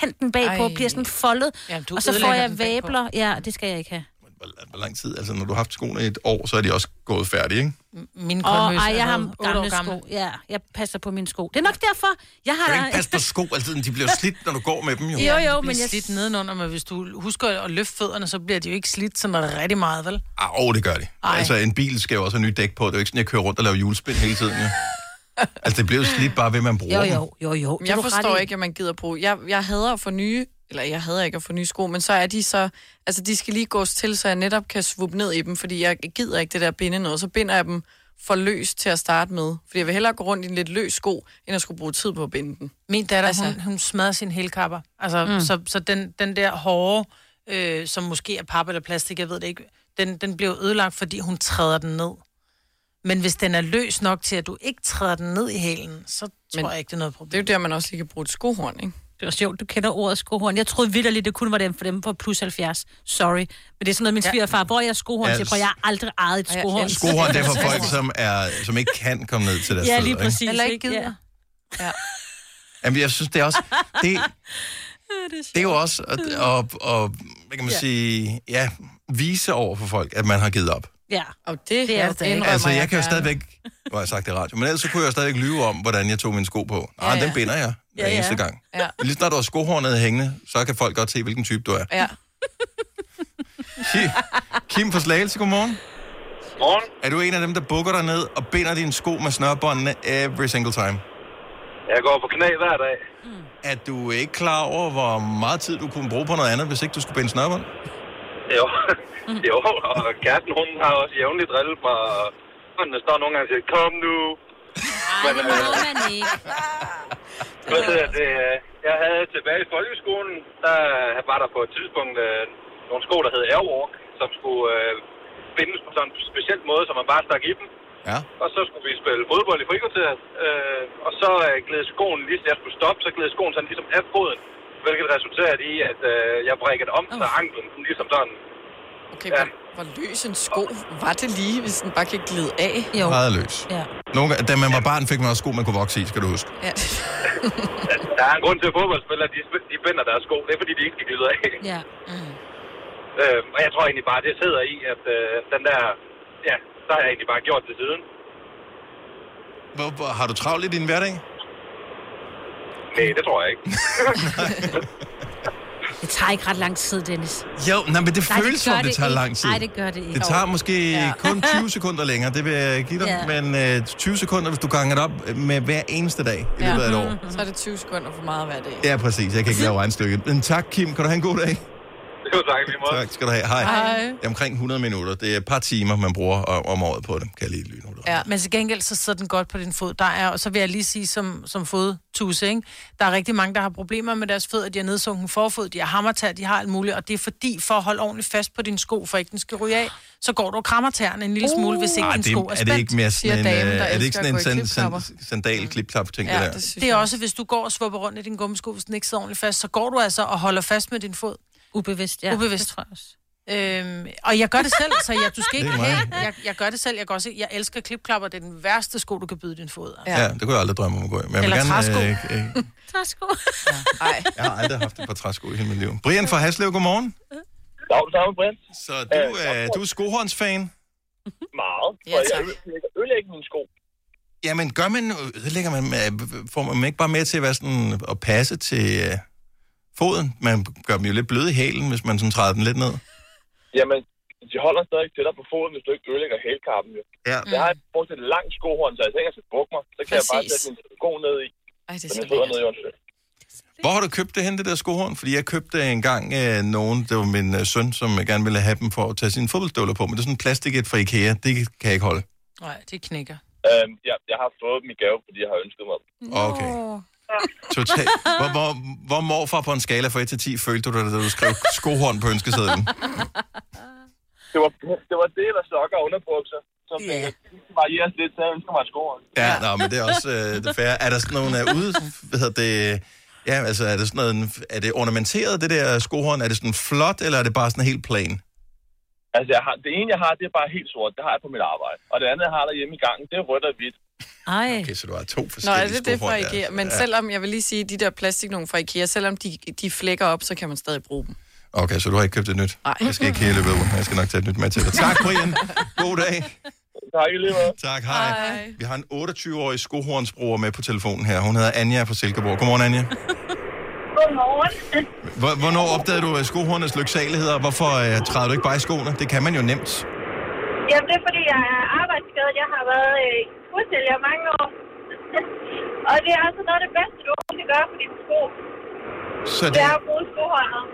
[SPEAKER 3] kanten bagpå
[SPEAKER 2] Ej.
[SPEAKER 3] Ej. bliver sådan foldet,
[SPEAKER 2] Jamen, du
[SPEAKER 3] og så får
[SPEAKER 2] ødelægger
[SPEAKER 3] jeg
[SPEAKER 2] den bagpå.
[SPEAKER 3] væbler. Ja, det skal jeg ikke have.
[SPEAKER 1] Hvor lang tid? Altså, når du har haft skoene i et år, så er de også gået færdige, ikke?
[SPEAKER 2] Min
[SPEAKER 3] Og
[SPEAKER 2] Converse
[SPEAKER 3] ej,
[SPEAKER 2] er
[SPEAKER 3] jeg har
[SPEAKER 2] noget otte år
[SPEAKER 3] gamle
[SPEAKER 2] gammel.
[SPEAKER 3] sko. Ja, jeg passer på mine sko. Det er nok derfor, jeg
[SPEAKER 1] Du kan
[SPEAKER 3] har...
[SPEAKER 1] ikke passe på sko altid, de bliver slidt, når du går med dem, jo.
[SPEAKER 2] Jo, jo, men
[SPEAKER 3] men
[SPEAKER 2] jeg...
[SPEAKER 3] jeg-
[SPEAKER 2] slidt nedenunder, men hvis du husker at løfte fødderne, så bliver de jo ikke slidt sådan rigtig meget, vel?
[SPEAKER 1] Ah, åh, det gør det.
[SPEAKER 2] Ej.
[SPEAKER 1] Ej. Altså, en bil skal jo også have nye dæk på. Det er jo ikke sådan, jeg kører rundt og laver julespind hele tiden, jo. Altså, det bliver jo slidt bare ved, at man bruger dem.
[SPEAKER 3] jo, jo.
[SPEAKER 4] Men
[SPEAKER 1] Det
[SPEAKER 4] [laughs]
[SPEAKER 1] er
[SPEAKER 4] jeg
[SPEAKER 1] du ret
[SPEAKER 4] forstår
[SPEAKER 1] i.
[SPEAKER 4] ikke, at man gider bruge... Jeg, jeg hader at få nye... Eller jeg hader ikke at få nye sko, men så er de så... Altså, de skal lige gås til, så jeg netop kan svuppe ned i dem, fordi jeg gider ikke det der at binde noget. Så binder jeg dem for løs til at starte med. Fordi jeg vil hellere gå rundt i en lidt løs sko, end at skulle bruge tid på at binde den.
[SPEAKER 2] Min datter, altså... hun, hun smadrer sin helkapper. Altså,
[SPEAKER 4] Mm.
[SPEAKER 2] mm. så, så den, den der hårde, øh, som måske er pap eller plastik, jeg ved det ikke, den, den bliver jo ødelagt, fordi hun træder den ned. Men hvis den er løs nok til, at du ikke træder den ned i hælen, så tror
[SPEAKER 4] Men
[SPEAKER 2] jeg ikke, det er noget problem.
[SPEAKER 4] Det er jo der, man også lige kan bruge et skohorn, ikke?
[SPEAKER 3] Det var sjovt, du kender ordet skohorn. Jeg troede vildt det kun var dem for dem på plus 70. Sorry. Men det er sådan noget, min
[SPEAKER 4] Ja.
[SPEAKER 3] svigerfar, hvor er jeg skohorn
[SPEAKER 1] Ja,
[SPEAKER 3] til, for jeg har aldrig ejet et
[SPEAKER 4] Og jeg
[SPEAKER 3] skohorn.
[SPEAKER 1] Skohorn, det er
[SPEAKER 3] [laughs]
[SPEAKER 1] for folk, som, er, som ikke kan komme ned til deres
[SPEAKER 3] Ja,
[SPEAKER 1] fødder,
[SPEAKER 3] lige præcis.
[SPEAKER 4] Eller ikke
[SPEAKER 3] gider.
[SPEAKER 4] Ja.
[SPEAKER 1] Jamen, jeg synes, det er også... Det,
[SPEAKER 3] det, er
[SPEAKER 1] det er jo også at, at, at, hvad kan man
[SPEAKER 4] Ja.
[SPEAKER 1] sige, ja, vise over for folk, at man har givet op.
[SPEAKER 3] Ja.
[SPEAKER 4] Og det, det er det indrømmer
[SPEAKER 1] Altså, jeg kan jo
[SPEAKER 4] gerne.
[SPEAKER 1] stadigvæk... Nu har jeg sagt det i radio, men ellers så kunne jeg jo stadigvæk lyve om, hvordan jeg tog mine sko på. Nej, ja, ja. den binder jeg
[SPEAKER 4] Ja,
[SPEAKER 1] hver ja,
[SPEAKER 4] ja.
[SPEAKER 1] ja. eneste gang.
[SPEAKER 4] Ja.
[SPEAKER 1] Men lige snart du har skohornet hængende, så kan folk godt se, hvilken type du er.
[SPEAKER 4] Ja.
[SPEAKER 1] Ki- Kim fra Slagelse, godmorgen. Morgen. Er du en af dem, der bukker dig ned og binder dine sko med snørbåndene every single time?
[SPEAKER 13] Jeg går på knæ hver dag.
[SPEAKER 3] Mm.
[SPEAKER 1] Er du ikke klar over, hvor meget tid du kunne bruge på noget andet, hvis ikke du skulle binde snørbånd?
[SPEAKER 13] Jo, [laughs] jo og kæresten, hun har også jævnligt drillet mig. Og den står nogle gange og siger, kom nu. Men, øh,
[SPEAKER 3] man ikke.
[SPEAKER 13] hvad hedder det? øh, Jeg havde tilbage i folkeskolen, der var der på et tidspunkt øh, nogle sko, der hed Airwalk, som skulle øh, bindes på sådan en speciel måde, så man bare stak i dem.
[SPEAKER 1] Ja.
[SPEAKER 13] Og så skulle vi spille fodbold i frikvarteret, øh, og så øh, gled skoen, lige så jeg skulle stoppe, så gled skoen sådan ligesom af foden, hvilket resulterede i, at øh, jeg brækkede om, så anklen sådan ligesom sådan
[SPEAKER 4] Okay, hvor, hvor løs en sko var det lige, hvis den bare kan glide af?
[SPEAKER 3] Jo.
[SPEAKER 1] Meget løs.
[SPEAKER 3] Ja.
[SPEAKER 1] Nogle, gange- da man var barn, fik man også sko, man kunne vokse i, skal du huske.
[SPEAKER 4] Ja.
[SPEAKER 13] Der er en grund til, at fodboldspillere de, sp- de binder deres sko. Det er, fordi de ikke skal glide af. [laughs]
[SPEAKER 3] Ja.
[SPEAKER 13] Øh, og jeg tror egentlig bare, det sidder i, at øh, den der... Ja, der har jeg egentlig bare gjort til siden.
[SPEAKER 1] Hvor, hvor, har du travlt i din hverdag?
[SPEAKER 13] Nej, det tror jeg ikke.
[SPEAKER 3] Det tager ikke ret lang tid, Dennis.
[SPEAKER 1] Jo, nej, men det
[SPEAKER 3] Nej, det
[SPEAKER 1] føles som,
[SPEAKER 3] gør
[SPEAKER 1] det,
[SPEAKER 3] det
[SPEAKER 1] tager
[SPEAKER 3] ikke.
[SPEAKER 1] lang tid.
[SPEAKER 3] Nej, det gør det ikke.
[SPEAKER 1] Det tager måske ja. [laughs] kun 20 sekunder længere, det vil jeg give dig.
[SPEAKER 4] Ja.
[SPEAKER 1] Ja. Men øh, 20 sekunder, hvis du ganger det op øh, med hver eneste dag i løbet af et år.
[SPEAKER 4] [laughs] Så er det 20 sekunder for meget hver dag.
[SPEAKER 1] Ja, præcis. Jeg kan ikke lave regnstykket. Men tak, Kim. Kan du have en god dag?
[SPEAKER 13] Jo, tak lige
[SPEAKER 1] måde. Tak skal du have. Hej.
[SPEAKER 4] Hej.
[SPEAKER 1] Det er omkring 100 minutter. Det er et par timer, man bruger o- om året på det, kan jeg lige lytte.
[SPEAKER 2] Ja. Men til gengæld, så sidder den godt på din fod. Der er, og så vil jeg lige sige, som, som fodtuse, ikke? der er rigtig mange, der har problemer med deres fødder. De har nedsunken forfod, de har hammertær, de har alt muligt. Og det er fordi, for at holde ordentligt fast på din sko, for ikke den skal ryge af, så går du og krammer tæren en lille smule, hvis ikke
[SPEAKER 1] Ah,
[SPEAKER 2] din
[SPEAKER 1] det,
[SPEAKER 2] sko er
[SPEAKER 1] er
[SPEAKER 2] spændt.
[SPEAKER 1] det ikke mere sådan en, øh, er det ikke sådan en sand,
[SPEAKER 2] sand,
[SPEAKER 1] sand, sandal klip klap ting
[SPEAKER 2] Ja,
[SPEAKER 1] det der?
[SPEAKER 2] det, det er også, hvis du går og svupper rundt i din gummisko, hvis den ikke sidder ordentligt fast, så går du altså og holder fast med din fod.
[SPEAKER 3] Ubevidst, ja.
[SPEAKER 2] Ubevidst.
[SPEAKER 3] Det tror jeg også.
[SPEAKER 2] Øhm, og jeg gør det selv, så jeg, du skal
[SPEAKER 1] Det er
[SPEAKER 2] ikke
[SPEAKER 1] mig.
[SPEAKER 2] have. Jeg, jeg gør det selv. Jeg, kan også, jeg elsker klipklapper. Det er den værste sko, du kan byde din fod.
[SPEAKER 1] Ja. ja, det kunne jeg aldrig drømme om at gå i. Men jeg, vil
[SPEAKER 2] Eller træsko.
[SPEAKER 1] gerne, øh, øh,
[SPEAKER 3] Træsko.
[SPEAKER 1] jeg har aldrig haft et par træsko i hele mit liv. Brian fra Haslev, godmorgen.
[SPEAKER 12] Dag, dag, Brian.
[SPEAKER 1] Så du, øh, du er skohornsfan?
[SPEAKER 12] Meget. Ja, og jeg ødelægger- ødelægger mine sko.
[SPEAKER 1] Jamen, gør man, ødelægger man, øh, får man ikke bare med til at, være sådan, øh, at passe til øh, foden? Man gør dem jo lidt bløde i hælen, hvis man sådan træder den lidt ned.
[SPEAKER 12] Jamen, de holder stadig til dig på foden, hvis du ikke ødelægger hælkappen. Jo.
[SPEAKER 1] Ja.
[SPEAKER 12] Jeg har brugt et langt skohorn, så jeg tænker, at jeg skal bukke mig. Så kan jeg bare
[SPEAKER 1] Præcis.
[SPEAKER 12] sætte min sko ned i.
[SPEAKER 4] Ej, det
[SPEAKER 12] er så lækkert. Ned i undersøg.
[SPEAKER 1] Hvor har du købt det hen, det der skohorn? Fordi jeg købte engang øh, nogen, det var min øh, søn, som gerne ville have dem for at tage sine fodboldstøvler på, men det er sådan en plastik et fra Ikea, det kan jeg ikke holde.
[SPEAKER 2] Nej, det knækker.
[SPEAKER 12] Øhm, ja, jeg har fået dem i gave, fordi jeg har ønsket mig dem.
[SPEAKER 1] Okay.
[SPEAKER 2] [laughs]
[SPEAKER 1] Totalt. Hvor, hvor, hvor morfar på en skala fra 1 til 10 følte du dig, da du skrev skohorn på ønskesedlen?
[SPEAKER 12] Det var, det var det, der sokker og underbukser. Så yeah. det varieres lidt, så jeg ønsker mig et skohorn.
[SPEAKER 1] Ja, ja. Nå, men det er også øh, det færre. Er der sådan nogle øh, ude... Hvad hedder det? Ja, altså, er det sådan noget, er det ornamenteret, det der skohorn? Er det sådan flot, eller er det bare sådan helt plan?
[SPEAKER 12] Altså, jeg har, det ene, jeg har, det er bare helt sort. Det har jeg på mit arbejde. Og det andet, jeg har derhjemme i gangen, det er rødt og hvidt.
[SPEAKER 3] Ej.
[SPEAKER 1] Okay, så du har to
[SPEAKER 4] Nå,
[SPEAKER 1] forskellige
[SPEAKER 4] er det det fra
[SPEAKER 1] skohorn, ja.
[SPEAKER 4] IKEA? Men
[SPEAKER 1] Ja.
[SPEAKER 4] selvom, jeg vil lige sige, de der plastik nogen fra IKEA, selvom de, de flækker op, så kan man stadig bruge dem.
[SPEAKER 1] Okay, så du har ikke købt et nyt?
[SPEAKER 4] Nej.
[SPEAKER 1] Jeg skal ikke hele løbet rundt. Jeg skal nok tage et nyt med til dig. Tak, Brian. God dag.
[SPEAKER 12] Tak, lige
[SPEAKER 1] Tak, hej. hej. Vi har en 28-årig skohornsbruger med på telefonen her. Hun hedder Anja fra Silkeborg. Godmorgen, Anja.
[SPEAKER 14] Godmorgen.
[SPEAKER 1] Hvor- Hvornår opdagede du øh, skohornets lyksaligheder, og hvorfor øh, træder du ikke bare i skoene? Det kan man jo nemt.
[SPEAKER 14] [laughs] Jamen, det er fordi, jeg er arbejdsskadet. Jeg har været øh, skuespiller i mange år. [laughs] og det er altså noget af det bedste, du kan gøre for dine sko.
[SPEAKER 1] Så
[SPEAKER 14] Det
[SPEAKER 1] det,
[SPEAKER 14] er at bruge skohåndet.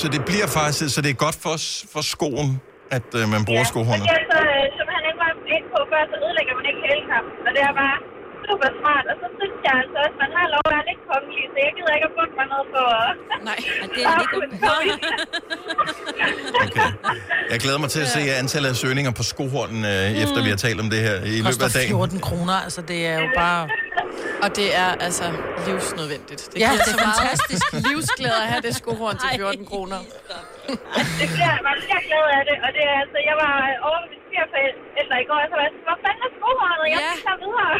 [SPEAKER 1] så det bliver faktisk, så det er godt for, s- for skoen, at øh, man bruger
[SPEAKER 14] Og
[SPEAKER 1] skohornet.
[SPEAKER 14] det er altså, øh, som han ikke var inde på før, så ødelægger man ikke hælkampen. Og det er bare super smart. Og så synes jeg altså også, man har lov at være lidt kongelig, så jeg gider ikke at bukke mig noget for...
[SPEAKER 3] Nej,
[SPEAKER 14] det [laughs] er ikke...
[SPEAKER 1] Jeg glæder mig til at se øh, antallet af søgninger på skohornen, øh, efter vi har talt om det her i løbet
[SPEAKER 2] Koster
[SPEAKER 1] af dagen.
[SPEAKER 2] 14 kroner, altså det er jo bare...
[SPEAKER 4] Og det er altså livsnødvendigt. Det
[SPEAKER 2] Ja,
[SPEAKER 4] giver
[SPEAKER 2] det
[SPEAKER 4] så
[SPEAKER 2] er
[SPEAKER 4] meget
[SPEAKER 2] fantastisk.
[SPEAKER 4] livsglæde at have det skohorn til 14 kroner.
[SPEAKER 14] Det bliver jeg bare lige så glad af det, og det er altså, jeg var over ved mine svigerforældre i går, og så var jeg sådan, hvor fanden er skohåndet? Jeg skal tage videre.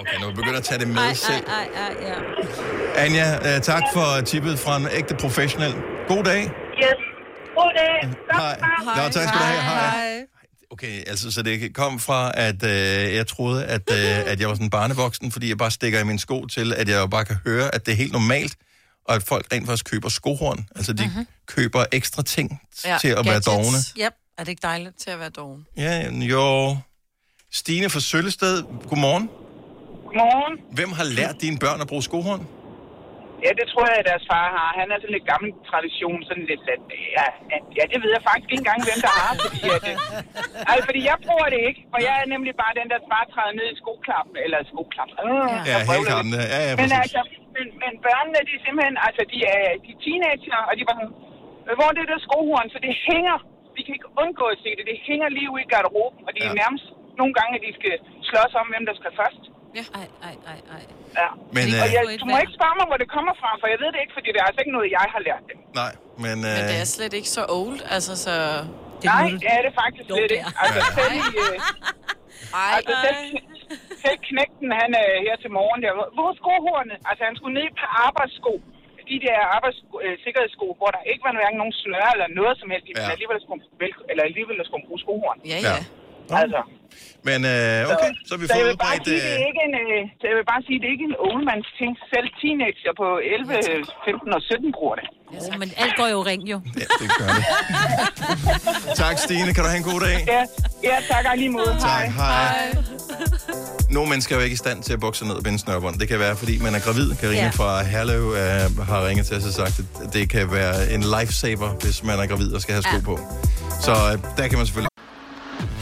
[SPEAKER 1] Okay, nu begynder jeg at tage det
[SPEAKER 3] Ej,
[SPEAKER 1] med selv.
[SPEAKER 3] ej, ej, ej, ja.
[SPEAKER 1] Anja, øh, tak for tippet fra en ægte professionel. God dag.
[SPEAKER 14] Yes. God dag.
[SPEAKER 1] Hej. Nå, tak skal du have. Hej. Okay, altså, så det kom fra, at øh, jeg troede, at, øh, at jeg var sådan barnevoksen, fordi jeg bare stikker i mine sko til, at jeg jo bare kan høre, at det er helt normalt, og at folk rent faktisk køber skohorn. Altså, de mm-hmm. køber ekstra ting ja, til at være dogne.
[SPEAKER 2] Yep. Er det ikke dejligt?
[SPEAKER 4] Til at være dogne.
[SPEAKER 1] Ja, jo. Stine fra Søllested, godmorgen.
[SPEAKER 15] Godmorgen.
[SPEAKER 1] Hvem har lært dine børn at bruge skohorn?
[SPEAKER 15] Ja, det tror jeg, at deres far har. Han er sådan lidt gammel tradition, sådan lidt... lidt ja, ja, det ved jeg faktisk ikke engang, hvem der har. Fordi, at, øh, altså, fordi jeg bruger det ikke, for jeg er nemlig bare den, der bare træder ned i skoklappen, eller skoklappen. Øh,
[SPEAKER 1] Ja,
[SPEAKER 15] jeg
[SPEAKER 1] ja
[SPEAKER 15] vrøvler
[SPEAKER 1] helt
[SPEAKER 15] lidt.
[SPEAKER 1] gammel. Ja, ja,
[SPEAKER 15] men
[SPEAKER 1] præcis.
[SPEAKER 15] altså, men, men børnene, de er simpelthen, altså, de er, de er teenager, og de var sådan, "Øh, hvor er det der skohorn? Så det hænger, vi kan ikke undgå at se det, det hænger lige ude i garderoben, og det er ja. nærmest nogle gange, at de skal slås om, hvem der skal først.
[SPEAKER 3] Ja. Ej, ej, ej, ej.
[SPEAKER 15] Ja.
[SPEAKER 1] Men,
[SPEAKER 15] og
[SPEAKER 1] øh,
[SPEAKER 15] jeg, du må ikke spørge mig, hvor det kommer fra, for jeg ved det ikke, fordi det er altså ikke noget, jeg har lært dem.
[SPEAKER 1] Nej, men...
[SPEAKER 4] Men
[SPEAKER 1] Øh,
[SPEAKER 4] det er slet ikke så old, altså så...
[SPEAKER 15] Nej, det er det faktisk slet ikke. Altså, selv, i, øh, altså, selv, selv knægten, han er her til morgen. Der. Hvor er skohornet? Altså, han skulle ned på arbejdssko. De der arbejdssko, øh, sikkerhedssko, hvor der ikke var hverken nogen snøre eller noget som helst. i, Men
[SPEAKER 1] Ja.
[SPEAKER 15] alligevel skulle, vel, eller alligevel skulle man bruge skohorn.
[SPEAKER 1] ja.
[SPEAKER 15] Altså.
[SPEAKER 1] Men øh, okay, så har vi
[SPEAKER 15] så
[SPEAKER 1] fået
[SPEAKER 15] jeg vil bare
[SPEAKER 1] udbredt...
[SPEAKER 15] sige, det er
[SPEAKER 1] Øh,
[SPEAKER 15] ikke en, øh, så jeg vil bare sige, det er ikke en oldmandsting. Selv teenager på 11, 15 og 17 bruger det.
[SPEAKER 3] Oh, men alt går jo i ring, jo.
[SPEAKER 1] Ja, det gør det. tak, Stine. Kan du have en god
[SPEAKER 15] [laughs]
[SPEAKER 1] dag?
[SPEAKER 15] Ja, ja tak og lige måde.
[SPEAKER 1] Tak, hej. Nogle mennesker er jo ikke i stand til at bukse ned og binde snørbånd. Det kan være, fordi man er gravid. Karina
[SPEAKER 9] Ja.
[SPEAKER 1] ja. fra Herlev øh, har ringet til os og sagt, at det kan være en lifesaver, hvis man er gravid og skal have sko på. Så øh, der kan man selvfølgelig...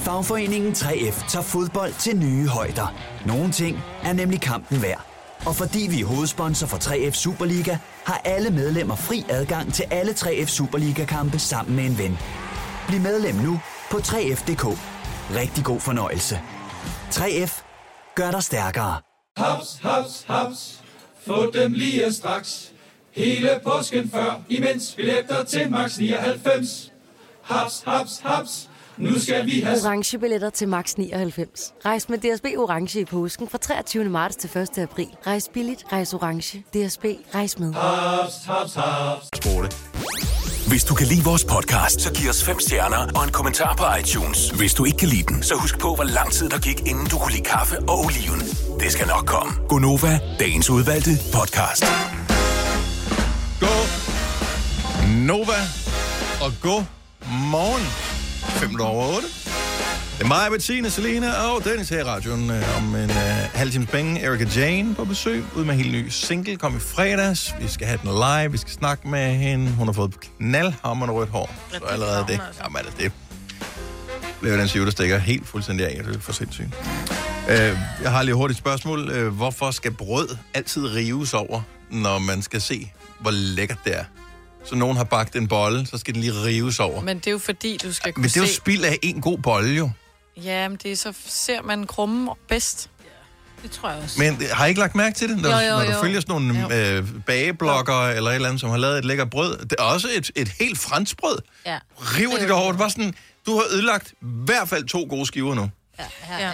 [SPEAKER 16] Fagforeningen 3F tager fodbold til nye højder. Nogle ting er nemlig kampen værd. Og fordi vi er hovedsponsor for 3F Superliga, har alle medlemmer fri adgang til alle 3F Superliga-kampe sammen med en ven. Bliv medlem nu på 3F.dk. Rigtig god fornøjelse. 3F gør dig stærkere.
[SPEAKER 10] Haps, haps, haps. Få dem lige straks. Hele påsken før, imens billetter til max 99. Haps, haps, haps. Nu skal vi have...
[SPEAKER 17] orange billetter til max 99. Rejs med DSB orange i påsken fra 23. marts til 1. april. Rejs billigt, rejs orange. DSB rejs med.
[SPEAKER 10] Haps, haps, haps.
[SPEAKER 7] Sporte. Hvis du kan lide vores podcast, så giv os fem stjerner og en kommentar på iTunes. Hvis du ikke kan lide den, så husk på, hvor lang tid der gik, inden du kunne lide kaffe og oliven. Det skal nok komme.
[SPEAKER 8] Gonova, dagens udvalgte podcast.
[SPEAKER 1] Nova og god morgen. 5 over 8. Det er mig, Bettina, Selena og Dennis her i radioen øh, om en øh, halv times penge. Erika Jane på besøg, ud med en helt ny single, kom i fredags. Vi skal have den live, vi skal snakke med hende. Hun har fået knaldhammerende rødt hår. Så allerede det. Jamen er det det. Blev den syv, der stikker helt fuldstændig af. Det er for sindssygt. Øh, jeg har lige hurtigt et spørgsmål. Øh, hvorfor skal brød altid rives over, når man skal se, hvor lækkert det er? Så nogen har bagt en bolle, så skal den lige rives over.
[SPEAKER 4] Men det er jo fordi, du skal kunne
[SPEAKER 1] Men det er jo
[SPEAKER 4] se...
[SPEAKER 1] spild af en god bolle, jo.
[SPEAKER 4] Ja, men det er så ser man krumme bedst.
[SPEAKER 2] Det tror jeg også.
[SPEAKER 1] Men har I ikke lagt mærke til det? Når,
[SPEAKER 4] Jo, jo,
[SPEAKER 1] når du
[SPEAKER 4] jo.
[SPEAKER 1] følger sådan nogle øh, bageblogger eller et eller andet, som har lavet et lækkert brød. Det er også et, et helt fransk brød.
[SPEAKER 3] Ja.
[SPEAKER 1] River de det over. Det var sådan, du har ødelagt i hvert fald to gode skiver nu.
[SPEAKER 4] Mm.
[SPEAKER 2] Ja, ja.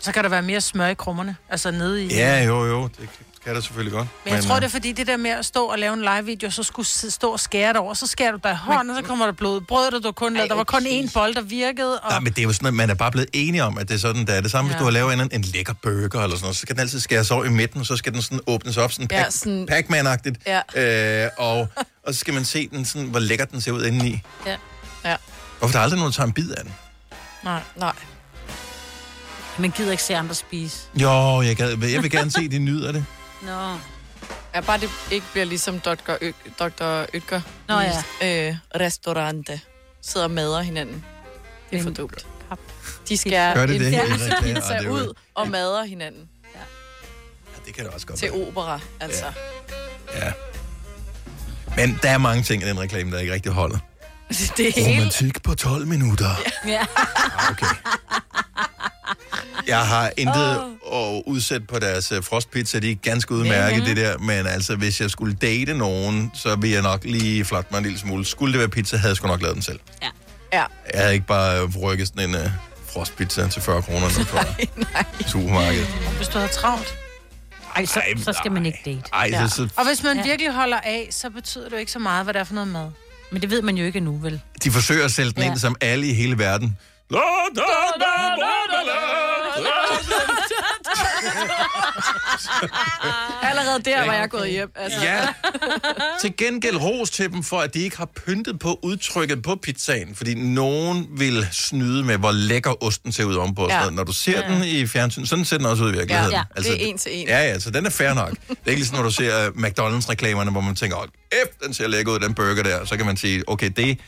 [SPEAKER 2] Så kan der være mere smør i krummerne, altså nede i...
[SPEAKER 1] Ja, jo, jo. Det kan der selvfølgelig godt.
[SPEAKER 2] Men jeg tror,
[SPEAKER 1] øh,
[SPEAKER 2] det er fordi det der med at stå og lave en live-video, så skulle s- stå og skære det over, så skærer du dig i hånden, og så kommer der blod. Brødet, du har kun lavet, der var kun én bold, der virkede, og...
[SPEAKER 1] Nej, men det er jo sådan, at man er bare blevet enige om, at det er sådan, der er det samme, ja.
[SPEAKER 2] Ja.
[SPEAKER 1] hvis du har lavet en, en lækker burger eller sådan noget, så skal den altid skæres over i midten, og så skal den sådan åbnes op, sådan,
[SPEAKER 4] Ja,
[SPEAKER 1] pac,
[SPEAKER 4] sådan-
[SPEAKER 1] Pac-Man-agtigt, ja. øh, og, og så skal man se den sådan, hvor lækker den ser ud indeni.
[SPEAKER 4] Ja. ja.
[SPEAKER 1] Hvorfor er der aldrig nogen, der tager en bid af den?
[SPEAKER 2] Nej.
[SPEAKER 4] Nej.
[SPEAKER 3] Man gider ikke se andre spise.
[SPEAKER 1] Jo, jeg, gad, jeg vil gerne se, at de nyder det.
[SPEAKER 3] Nå.
[SPEAKER 4] Ja, bare det ikke bliver ligesom Dr. Ø- Dr. Ytger
[SPEAKER 3] Nå
[SPEAKER 4] i øh, restaurante. Sidder og mader hinanden. Det er for dumt. De skærer
[SPEAKER 1] Gør
[SPEAKER 4] en
[SPEAKER 1] det det? Ja,
[SPEAKER 4] pose
[SPEAKER 1] det er rigtigt. Ja,
[SPEAKER 4] pizza
[SPEAKER 1] det er jo-
[SPEAKER 4] ud og mader hinanden
[SPEAKER 1] Det kan det også godt
[SPEAKER 4] til opera, altså. [laughs]
[SPEAKER 1] være. Men der er mange ting i den reklame, der ikke rigtig holder.
[SPEAKER 4] Det
[SPEAKER 1] Romantik på 12 minutter.
[SPEAKER 18] [laughs]
[SPEAKER 3] Ja.
[SPEAKER 1] Jeg har intet at udsætte på deres øh, frostpizza. De er ganske udmærket, mm-hmm. det der. Men altså, hvis jeg skulle date nogen, så ville jeg nok lige flotte mig en lille smule. Skulle det være pizza, havde jeg sgu nok lavet den selv.
[SPEAKER 4] Ja.
[SPEAKER 1] Jeg havde ikke bare øh, rykket sådan en uh, frostpizza til 40 kroner ned på supermarkedet.
[SPEAKER 2] Hvis du har travlt.
[SPEAKER 3] Ej, så,
[SPEAKER 1] Ej,
[SPEAKER 3] så skal man ikke date.
[SPEAKER 1] Ej, så- så-
[SPEAKER 2] Og hvis man virkelig holder af, så betyder det jo ikke så meget, hvad det er for noget mad.
[SPEAKER 3] Men det ved man jo ikke nu, vel?
[SPEAKER 1] De forsøger at sælge den ja. ind som alle i hele verden. La, da, da, da, da,
[SPEAKER 4] Allerede der var jeg gået hjem. Altså.
[SPEAKER 1] [laughs]
[SPEAKER 4] [laughs]
[SPEAKER 1] Ja. Til gengæld ros til dem for, at de ikke har pyntet på udtrykket på pizzaen, fordi nogen vil snyde med, hvor lækker osten ser ud ovenpå.
[SPEAKER 4] Ja.
[SPEAKER 1] Ja. Når du ser
[SPEAKER 4] Ja.
[SPEAKER 1] ja. den i fjernsyn, sådan ser den også ud i virkeligheden. Altså,
[SPEAKER 4] Ja, det er en til en.
[SPEAKER 1] Ja, ja, så den er fair nok. Det er ikke ligesom, når du ser uh, McDonald's-reklamerne, hvor man tænker, åh, F, den ser lækker ud, den burger der. Så kan man sige, okay, det...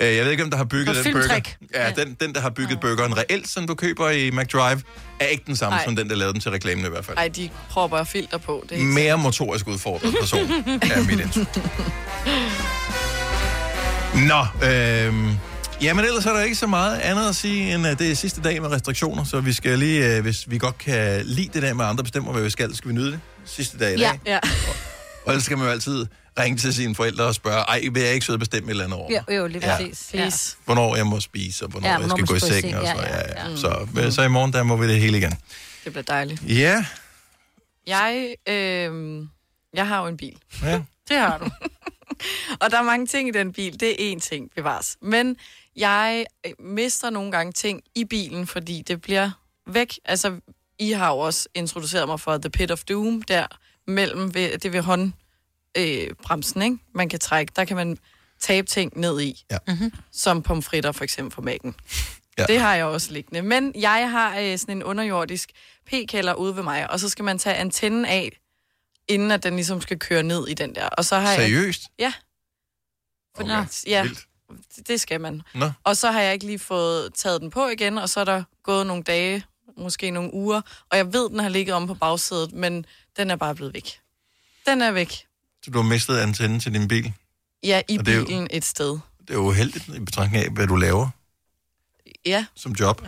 [SPEAKER 1] Øh, jeg ved ikke, hvem der har bygget
[SPEAKER 2] Det var
[SPEAKER 1] den burger.
[SPEAKER 2] filmtrick.
[SPEAKER 1] Ja, den, den, der har bygget burgeren reelt, som du køber i McDrive, er ikke den samme
[SPEAKER 4] Nej.
[SPEAKER 1] Ej. som den, der lavede den til reklamen i hvert fald.
[SPEAKER 4] Ej, de propper filter på. Det er ikke
[SPEAKER 1] Mere motorisk udfordret person er
[SPEAKER 4] [laughs]
[SPEAKER 1] mit indtryk. Nå, øhm, jamen ellers er der ikke så meget andet at sige, end at det er sidste dag med restriktioner, så vi skal lige, øh, hvis vi godt kan lide det der med at andre bestemmer, hvad vi skal, skal vi nyde det sidste dag i dag.
[SPEAKER 6] Ja.
[SPEAKER 4] ja.
[SPEAKER 1] Og ellers skal man jo altid ringe til sine forældre og spørge, ej, vil jeg ikke sidde og bestemme et eller andet over,
[SPEAKER 3] Jo, jo, lige
[SPEAKER 1] Ja.
[SPEAKER 3] præcis. Ja.
[SPEAKER 1] hvornår jeg må spise, og hvornår,
[SPEAKER 3] Ja,
[SPEAKER 1] ja,
[SPEAKER 3] hvornår
[SPEAKER 1] jeg skal
[SPEAKER 3] man
[SPEAKER 1] gå
[SPEAKER 3] skal
[SPEAKER 1] i
[SPEAKER 3] gå i
[SPEAKER 1] seng,
[SPEAKER 3] seng,
[SPEAKER 1] og
[SPEAKER 3] ja, Mm.
[SPEAKER 1] sådan noget.
[SPEAKER 3] ja,
[SPEAKER 1] Ja, ja,
[SPEAKER 4] ja.
[SPEAKER 1] ja. Så, øh, så i morgen, der må vi det hele igen.
[SPEAKER 4] Mm. Det bliver dejligt.
[SPEAKER 1] Ja,
[SPEAKER 4] Jeg, øh, jeg har jo en bil.
[SPEAKER 1] Ja.
[SPEAKER 2] Det har du.
[SPEAKER 4] [laughs] og der er mange ting i den bil. Det er én ting, bevares. Men jeg øh, mister nogle gange ting i bilen, fordi det bliver væk. Altså, I har jo også introduceret mig for The Pit of Doom, der mellem ved, det ved hånd, øh, bremsen, ikke? man kan trække. Der kan man tabe ting ned i, ja. mm-hmm. som pomfritter for eksempel for mækken. Ja. Det har jeg også liggende. Men jeg har øh, sådan en underjordisk p-kælder ude ved mig, og så skal man tage antennen af, inden at den ligesom skal køre ned i den der. Og så har
[SPEAKER 1] Seriøst?
[SPEAKER 4] Jeg, ja. Fordi, okay. Ja, Vildt. det skal man.
[SPEAKER 1] Nå.
[SPEAKER 4] Og så har jeg ikke lige fået taget den på igen, og så er der gået nogle dage, måske nogle uger, og jeg ved, den har ligget om på bagsædet, men den er bare blevet væk. Den er væk.
[SPEAKER 1] Så du har mistet antennen til din bil?
[SPEAKER 4] Ja, i
[SPEAKER 1] Og det er jo-
[SPEAKER 4] bilen et sted.
[SPEAKER 1] Det er jo uheldigt i betragtning af, hvad du laver
[SPEAKER 4] Ja.
[SPEAKER 1] som
[SPEAKER 3] [laughs]
[SPEAKER 1] job.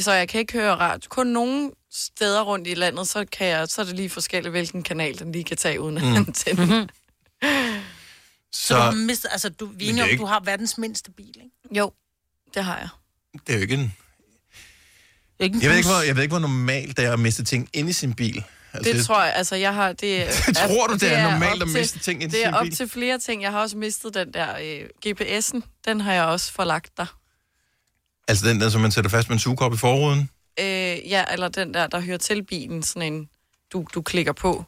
[SPEAKER 4] Så jeg kan ikke høre radio. Kun nogle steder rundt i landet, så, kan jeg, så er det lige forskelligt, hvilken kanal den lige kan tage uden
[SPEAKER 1] Mm.
[SPEAKER 4] mm. antenne.
[SPEAKER 2] Mhm. Så, så du har
[SPEAKER 1] Så
[SPEAKER 2] mistet, altså du, vi er
[SPEAKER 1] det
[SPEAKER 2] enige
[SPEAKER 1] er
[SPEAKER 2] om,
[SPEAKER 1] ikke-
[SPEAKER 2] du har verdens mindste bil, ikke?
[SPEAKER 4] Jo, det har jeg.
[SPEAKER 1] det er jo ikke en...
[SPEAKER 2] Ikke en
[SPEAKER 1] Jeg ved ikke,
[SPEAKER 2] bus.
[SPEAKER 1] hvor, jeg ved ikke, hvor normalt det er at miste ting inde i sin bil.
[SPEAKER 4] Altså, det tror jeg, altså jeg har...
[SPEAKER 1] [laughs]
[SPEAKER 4] Det,
[SPEAKER 1] Det tror du, det er normalt
[SPEAKER 4] op
[SPEAKER 1] at
[SPEAKER 4] til-
[SPEAKER 1] miste ting i
[SPEAKER 4] Det
[SPEAKER 1] sin
[SPEAKER 4] er op
[SPEAKER 1] bil?
[SPEAKER 4] til flere ting. Jeg har også mistet den der øh, GPS'en. Den har jeg også forlagt dig.
[SPEAKER 1] Altså den der, som man sætter fast med en sugekop i forruden.
[SPEAKER 4] Øh, ja, eller den der, der hører til bilen, sådan en, du, du klikker på.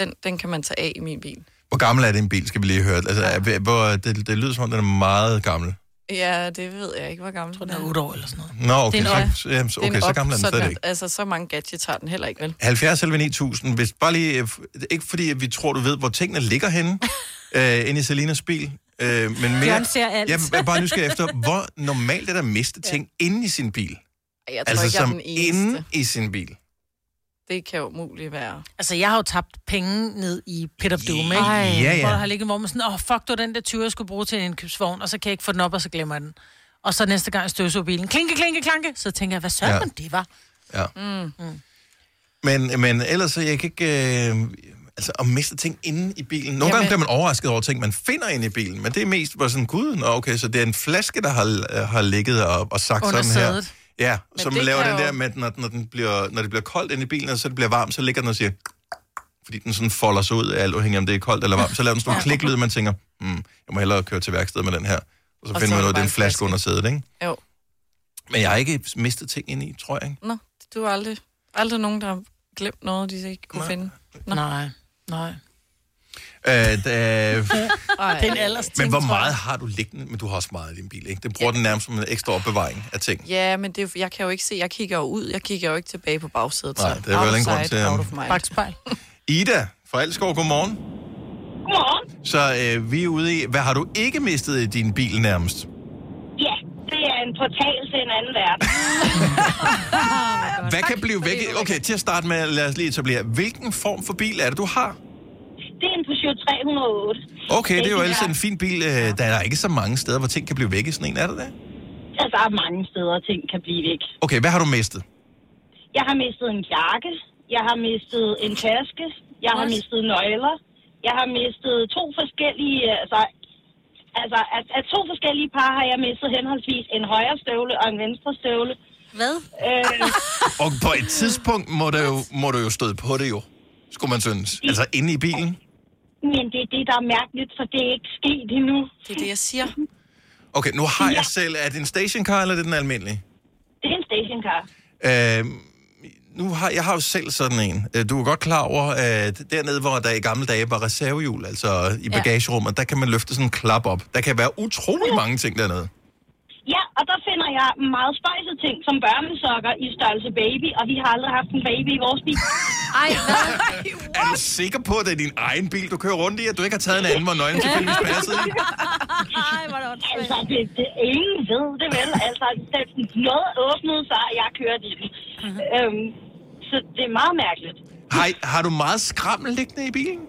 [SPEAKER 4] Den, den kan man tage af i min bil.
[SPEAKER 1] Hvor gammel er din bil, skal vi lige høre. Altså, er, hvor, det, det lyder som om, den er meget gammel.
[SPEAKER 4] Ja, det ved jeg ikke, hvor gammel den er.
[SPEAKER 2] 8 år eller sådan noget.
[SPEAKER 1] Nå, okay,
[SPEAKER 4] Det er
[SPEAKER 1] så,
[SPEAKER 4] en op.
[SPEAKER 1] så, jamen, så,
[SPEAKER 4] Det er en
[SPEAKER 1] okay, så
[SPEAKER 4] op,
[SPEAKER 1] gammel er den stadigvæk.
[SPEAKER 4] Altså, så mange gadgets har den heller ikke, vel?
[SPEAKER 1] 70 eller 9000, hvis bare lige, øh, ikke fordi at vi tror, du ved, hvor tingene ligger
[SPEAKER 4] [laughs]
[SPEAKER 1] henne, øh, inde i Selinas bil, øh, men mere...
[SPEAKER 19] Bjørn ser alt.
[SPEAKER 1] Jeg er bare nysgerrig
[SPEAKER 4] [laughs]
[SPEAKER 1] efter, hvor normalt er der at miste ting ja. inde i sin bil?
[SPEAKER 4] Ej, Jeg tror
[SPEAKER 1] altså
[SPEAKER 4] altså, ikke, jeg er den
[SPEAKER 1] som
[SPEAKER 4] eneste.
[SPEAKER 1] inde i sin bil.
[SPEAKER 4] Det kan jo muligt være.
[SPEAKER 2] Altså, jeg har jo tabt penge ned i Pit of Doom, ikke?
[SPEAKER 1] Ja, ja.
[SPEAKER 2] Hvor der har ligget, hvor man sådan, åh, oh, fuck, du den der 20, jeg skulle bruge til en indkøbsvogn, og så kan jeg ikke få den op, og så glemmer jeg den. Og så næste gang støvsuger bilen, klinke, klinke, klanke, så tænker jeg, hvad søren
[SPEAKER 1] Ja.
[SPEAKER 2] ja. det var?
[SPEAKER 1] Ja.
[SPEAKER 2] Mm. Mm.
[SPEAKER 1] Men, men ellers, så jeg kan ikke... Øh, altså, at miste ting inde i bilen. Nogle Jamen. gange
[SPEAKER 4] Jamen.
[SPEAKER 1] bliver man overrasket over ting, man finder inde i bilen, men det er mest bare sådan, gud, nå, okay, så det er en flaske, der har, øh, har ligget og, og sagt
[SPEAKER 4] Under
[SPEAKER 1] sådan her.
[SPEAKER 4] sædet.
[SPEAKER 1] Ja,
[SPEAKER 4] Men
[SPEAKER 1] som
[SPEAKER 4] det
[SPEAKER 1] laver
[SPEAKER 4] kan
[SPEAKER 1] den
[SPEAKER 4] jo-
[SPEAKER 1] der med, at når, når, den bliver, når det bliver koldt inde i bilen, og så det bliver varmt, så ligger den og siger... Fordi den sådan folder sig ud af alt, afhængig om det er koldt eller varmt. Så laver den sådan nogle kliklyd, man tænker, mm, jeg må hellere køre til værkstedet med den her. Og så
[SPEAKER 4] Og
[SPEAKER 1] finder
[SPEAKER 4] så
[SPEAKER 1] man
[SPEAKER 4] er det
[SPEAKER 1] ud af, at det
[SPEAKER 4] bare
[SPEAKER 1] er en
[SPEAKER 4] en
[SPEAKER 1] flaske under sædet, ikke?
[SPEAKER 4] Jo.
[SPEAKER 1] Men jeg har ikke mistet ting ind i, tror jeg, ikke?
[SPEAKER 4] Nå, du er aldrig, aldrig nogen, der har glemt noget, de ikke kunne
[SPEAKER 1] Nej.
[SPEAKER 4] Nej. finde. Nå.
[SPEAKER 2] Nej, nej.
[SPEAKER 4] [laughs]
[SPEAKER 1] Øh, da-
[SPEAKER 4] Ej.
[SPEAKER 2] Det er en alders
[SPEAKER 1] Men hvor meget har du liggende? Men du har også meget i din bil, ikke? Det bruger ja. den nærmest som en ekstra opbevaring af ting.
[SPEAKER 4] Ja, men det, er jo- jeg kan jo ikke se, jeg kigger jo ud, jeg kigger jo ikke tilbage på bagsædet.
[SPEAKER 1] Nej,
[SPEAKER 4] så
[SPEAKER 1] der er vel
[SPEAKER 4] out
[SPEAKER 1] ingen grund
[SPEAKER 4] sight,
[SPEAKER 1] til, um, at-
[SPEAKER 4] out of mind.
[SPEAKER 2] Bagspejl.
[SPEAKER 1] Ida fra Elskov, godmorgen. Godmorgen. Så øh, vi er ude i, hvad har du ikke mistet i din bil nærmest?
[SPEAKER 20] Ja, det er en portal til en anden verden.
[SPEAKER 1] Hvad kan blive væk? i- Okay, til at starte med, lad os lige etablere. Hvilken form for bil er det, du har?
[SPEAKER 20] Det er en Peugeot 308.
[SPEAKER 1] Okay, det er jo
[SPEAKER 20] den
[SPEAKER 1] ellers
[SPEAKER 20] her-
[SPEAKER 1] en fin bil. Øh, der er ikke så mange steder, hvor ting kan blive væk i sådan en, er der det?
[SPEAKER 20] Altså, der er mange steder, ting kan blive væk.
[SPEAKER 1] Okay, hvad har du mistet?
[SPEAKER 20] Jeg har mistet en jakke. Jeg har mistet en taske. Jeg har
[SPEAKER 14] What?
[SPEAKER 20] mistet nøgler. Jeg har mistet to forskellige... Altså, altså at, at to forskellige par har jeg mistet henholdsvis en højre støvle og en venstre støvle.
[SPEAKER 19] Hvad?
[SPEAKER 20] Øh,
[SPEAKER 1] Og på et tidspunkt må du jo, må du jo støde på det jo, skulle man synes. Altså inde i bilen.
[SPEAKER 20] men det er det, der er mærkeligt, for det er ikke sket endnu.
[SPEAKER 4] Det er det, jeg siger.
[SPEAKER 1] Okay, nu har jeg selv... Er det en stationcar, eller er det den almindelige?
[SPEAKER 20] Det er en stationcar.
[SPEAKER 1] Øh, nu har, jeg har jo selv sådan en. Øh, Du er godt klar over, at dernede, hvor der i gamle dage var reservehjul, altså i
[SPEAKER 20] Ja.
[SPEAKER 1] bagagerummet, der kan man løfte sådan en klap op. Der kan være utrolig mange ting dernede.
[SPEAKER 20] Ja, og der finder jeg meget spøjse ting, som børnesokker i størrelse baby, og vi har aldrig haft en baby i vores bil.
[SPEAKER 19] Ej,
[SPEAKER 1] Er du sikker på, at det er din egen bil, du kører rundt i, at du ikke har taget en anden, hvor nøglen tilfældigvis passer i?
[SPEAKER 19] Ej, hvor er det
[SPEAKER 20] Altså, det, det, ingen ved det vel. Altså, det, noget åbnede sig, og jeg kørte i den. Øhm, så det er meget mærkeligt.
[SPEAKER 1] Har, har du meget skrammel liggende i bilen?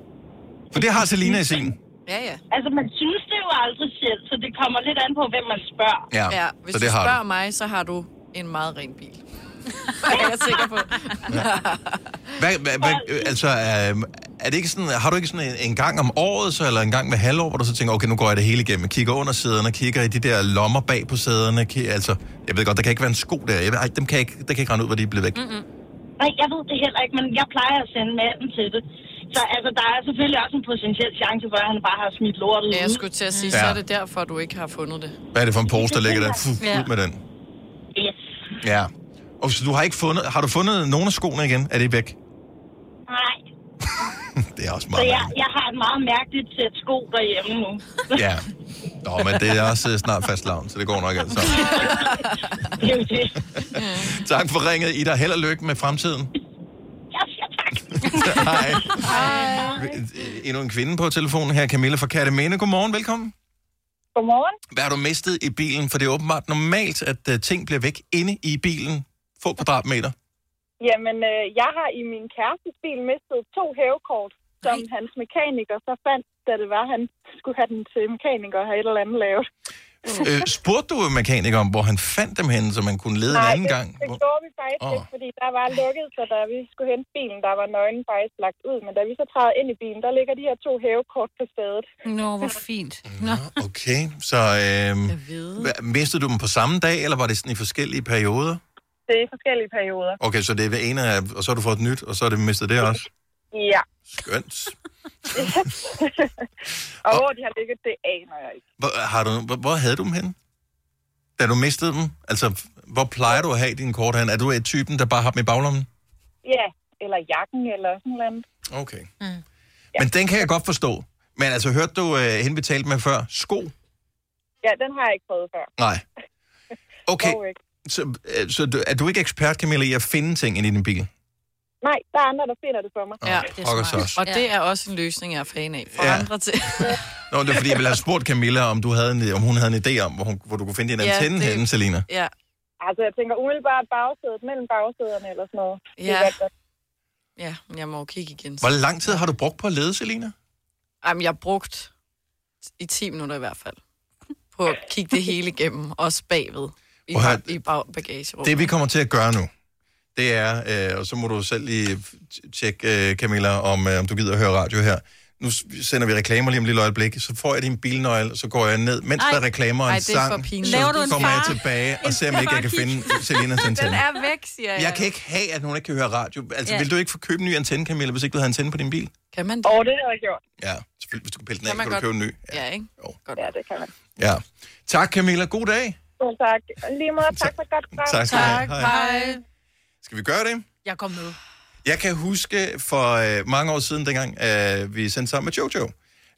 [SPEAKER 1] For det har Selina i sin.
[SPEAKER 4] Ja, ja.
[SPEAKER 20] Altså, man synes det jo aldrig selv, så det kommer lidt an på, hvem man spørger.
[SPEAKER 1] Ja,
[SPEAKER 4] ja hvis
[SPEAKER 1] så
[SPEAKER 4] så
[SPEAKER 1] det
[SPEAKER 4] det du
[SPEAKER 1] har du.
[SPEAKER 4] spørger har mig, så har du en meget ren bil. [laughs] det er jeg sikker på.
[SPEAKER 1] Hvad, hvad, hvad, øh, altså, øh, er det ikke sådan, har du ikke sådan en, en gang om året, så, eller en gang hver halvår, hvor du så tænker, okay, nu går jeg det hele igennem, kigger under sæderne, kigger i de der lommer bag på sæderne, kigger, altså, jeg ved godt, der kan ikke være en sko der, jeg ved, ej, dem kan jeg ikke, der kan ikke rende ud, hvor de er blevet væk. Mm-hmm.
[SPEAKER 20] Nej, jeg ved det heller ikke, men jeg plejer at sende maden til det. Så altså, der er selvfølgelig også en potentiel chance for, at han bare har smidt lortet ud.
[SPEAKER 4] Ja, jeg skulle til at sige,
[SPEAKER 1] Ja.
[SPEAKER 4] så er det derfor, du ikke har fundet det.
[SPEAKER 1] Hvad er det for en pose, der ligger der? Fuh, Ud med den.
[SPEAKER 20] Yes.
[SPEAKER 1] Ja. Og så du har ikke fundet... Har du fundet nogle af skoene igen? Er det væk? Hm,
[SPEAKER 20] Nej.
[SPEAKER 1] Det er også
[SPEAKER 20] Så
[SPEAKER 1] meget...
[SPEAKER 20] jeg, jeg har et meget mærkeligt sæt sko derhjemme nu.
[SPEAKER 1] Ja. Nå, men det er også øh, snart fast lavn, så det går nok altså.
[SPEAKER 20] Det er jo det.
[SPEAKER 1] Tak for ringet, Ida. Held og lykke med fremtiden. Hej. Endnu en kvinde på telefonen her, Camilla fra Katamene. Godmorgen, velkommen.
[SPEAKER 20] Godmorgen.
[SPEAKER 1] Hvad har du mistet i bilen? For det er åbenbart normalt, at øh, ting bliver væk inde i bilen. Få kvadratmeter.
[SPEAKER 21] Jamen, øh, jeg har i min kærestes bil mistet to hævekort, som Nej. hans mekaniker så fandt, da det var, han skulle have den til mekaniker og have et eller andet lavet. [laughs]
[SPEAKER 1] Øh, spurgte du mekanikeren, hvor han fandt dem henne, så man kunne lede en anden
[SPEAKER 21] det,
[SPEAKER 1] gang?
[SPEAKER 21] det gjorde vi faktisk
[SPEAKER 1] Åh.
[SPEAKER 21] oh. ikke, fordi der var lukket, så da vi skulle hente bilen, der var nøglen faktisk lagt ud. Men da vi så træder ind i bilen, der ligger de her to hævekort på stedet.
[SPEAKER 3] Nå, hvor fint.
[SPEAKER 1] Nå. Okay, så øh, hva- mistede du dem på samme dag, eller var det sådan i forskellige perioder?
[SPEAKER 21] Det er forskellige perioder.
[SPEAKER 1] Okay, så det er ved ene af, og så har du fået et nyt, og så har du mistet det også. [laughs]
[SPEAKER 21] Ja. [laughs]
[SPEAKER 1] Skønt.
[SPEAKER 21] og hvor de har ligget, det aner jeg ikke.
[SPEAKER 1] Hvor, har du, hvor, hvor havde du dem henne? Da du mistede dem? Altså, hvor plejer du at have dine kort hen? Er du et typen, der bare har dem i baglommen?
[SPEAKER 21] Ja, eller jakken, eller sådan noget andet.
[SPEAKER 1] Okay. Mm. Men den kan jeg godt forstå. Men altså, hørte du øh, hende vi talte med før? Sko?
[SPEAKER 21] Ja, den har jeg ikke prøvet før.
[SPEAKER 1] Nej. Okay,
[SPEAKER 21] Dog ikke.
[SPEAKER 1] så, øh, så du, er du ikke ekspert, Camilla, i at finde ting inde i din bil?
[SPEAKER 21] Nej, der er andre, der finder det for mig.
[SPEAKER 1] Ja, det er pokker smart. så også.
[SPEAKER 4] Og det er også en løsning, jeg er fan af. For
[SPEAKER 1] Ja.
[SPEAKER 4] ja. andre til.
[SPEAKER 1] Nå, det er fordi, jeg ville have spurgt Camilla, om, du havde en, om hun havde en idé om, hvor, hun, hvor du kunne finde din
[SPEAKER 21] Ja,
[SPEAKER 1] antenne
[SPEAKER 21] det-
[SPEAKER 1] henne, Selina.
[SPEAKER 4] Ja.
[SPEAKER 21] Altså, jeg tænker umiddelbart bagsædet, mellem bagsæderne eller sådan noget. Det er
[SPEAKER 4] Ja.
[SPEAKER 21] godt, godt.
[SPEAKER 4] ja, men jeg må jo kigge igen.
[SPEAKER 1] Hvor lang tid har du brugt på at lede, Selina?
[SPEAKER 4] Jamen, jeg har brugt i 10 minutter i hvert fald på at kigge det hele igennem, også bagved i,
[SPEAKER 1] Prøv at høre,
[SPEAKER 4] bag, i bag, bagagerummet.
[SPEAKER 1] Det vi kommer til at gøre nu, det er, øh, og så må du selv lige t- tjekke, øh, Camilla, om, øh, om du gider at høre radio her. Nu s- sender vi reklamer lige om et lille øjeblik, så får jeg din bilnøgle, så går jeg ned, mens
[SPEAKER 4] Ej.
[SPEAKER 1] der er reklamer og
[SPEAKER 4] Ej,
[SPEAKER 1] en
[SPEAKER 4] det er for
[SPEAKER 1] sang,
[SPEAKER 4] pinligt.
[SPEAKER 1] så
[SPEAKER 4] Laver du en
[SPEAKER 1] kommer jeg
[SPEAKER 4] far-
[SPEAKER 1] tilbage og
[SPEAKER 4] en
[SPEAKER 1] ser, om ikke jeg kan
[SPEAKER 4] farkig?
[SPEAKER 1] finde Selinas antenne.
[SPEAKER 4] væk, siger
[SPEAKER 1] Jeg kan ikke have, at nogen ikke kan høre radio. Altså,
[SPEAKER 4] Ja.
[SPEAKER 1] vil du ikke få købe en ny antenne, Camilla, hvis ikke du havde antenne på din bil?
[SPEAKER 4] Kan man det?
[SPEAKER 21] Åh, oh, det havde jeg gjort.
[SPEAKER 1] Ja, selvfølgelig. Hvis du kan pille den af,
[SPEAKER 4] Kan
[SPEAKER 1] kan,
[SPEAKER 4] man
[SPEAKER 1] kan du
[SPEAKER 4] godt.
[SPEAKER 1] købe en ny.
[SPEAKER 4] Ja, ikke? Godt.
[SPEAKER 21] Ja, det kan man.
[SPEAKER 1] Ja. Tak, Camilla. God dag.
[SPEAKER 21] Selv tak. Lige måde, tak for et godt program.
[SPEAKER 1] Tak skal du have. Tak, Hej.
[SPEAKER 2] hej.
[SPEAKER 1] Skal vi gøre det?
[SPEAKER 2] Jeg kom med.
[SPEAKER 1] Jeg kan huske for øh, mange år siden, dengang øh, vi sendte sammen med Jojo,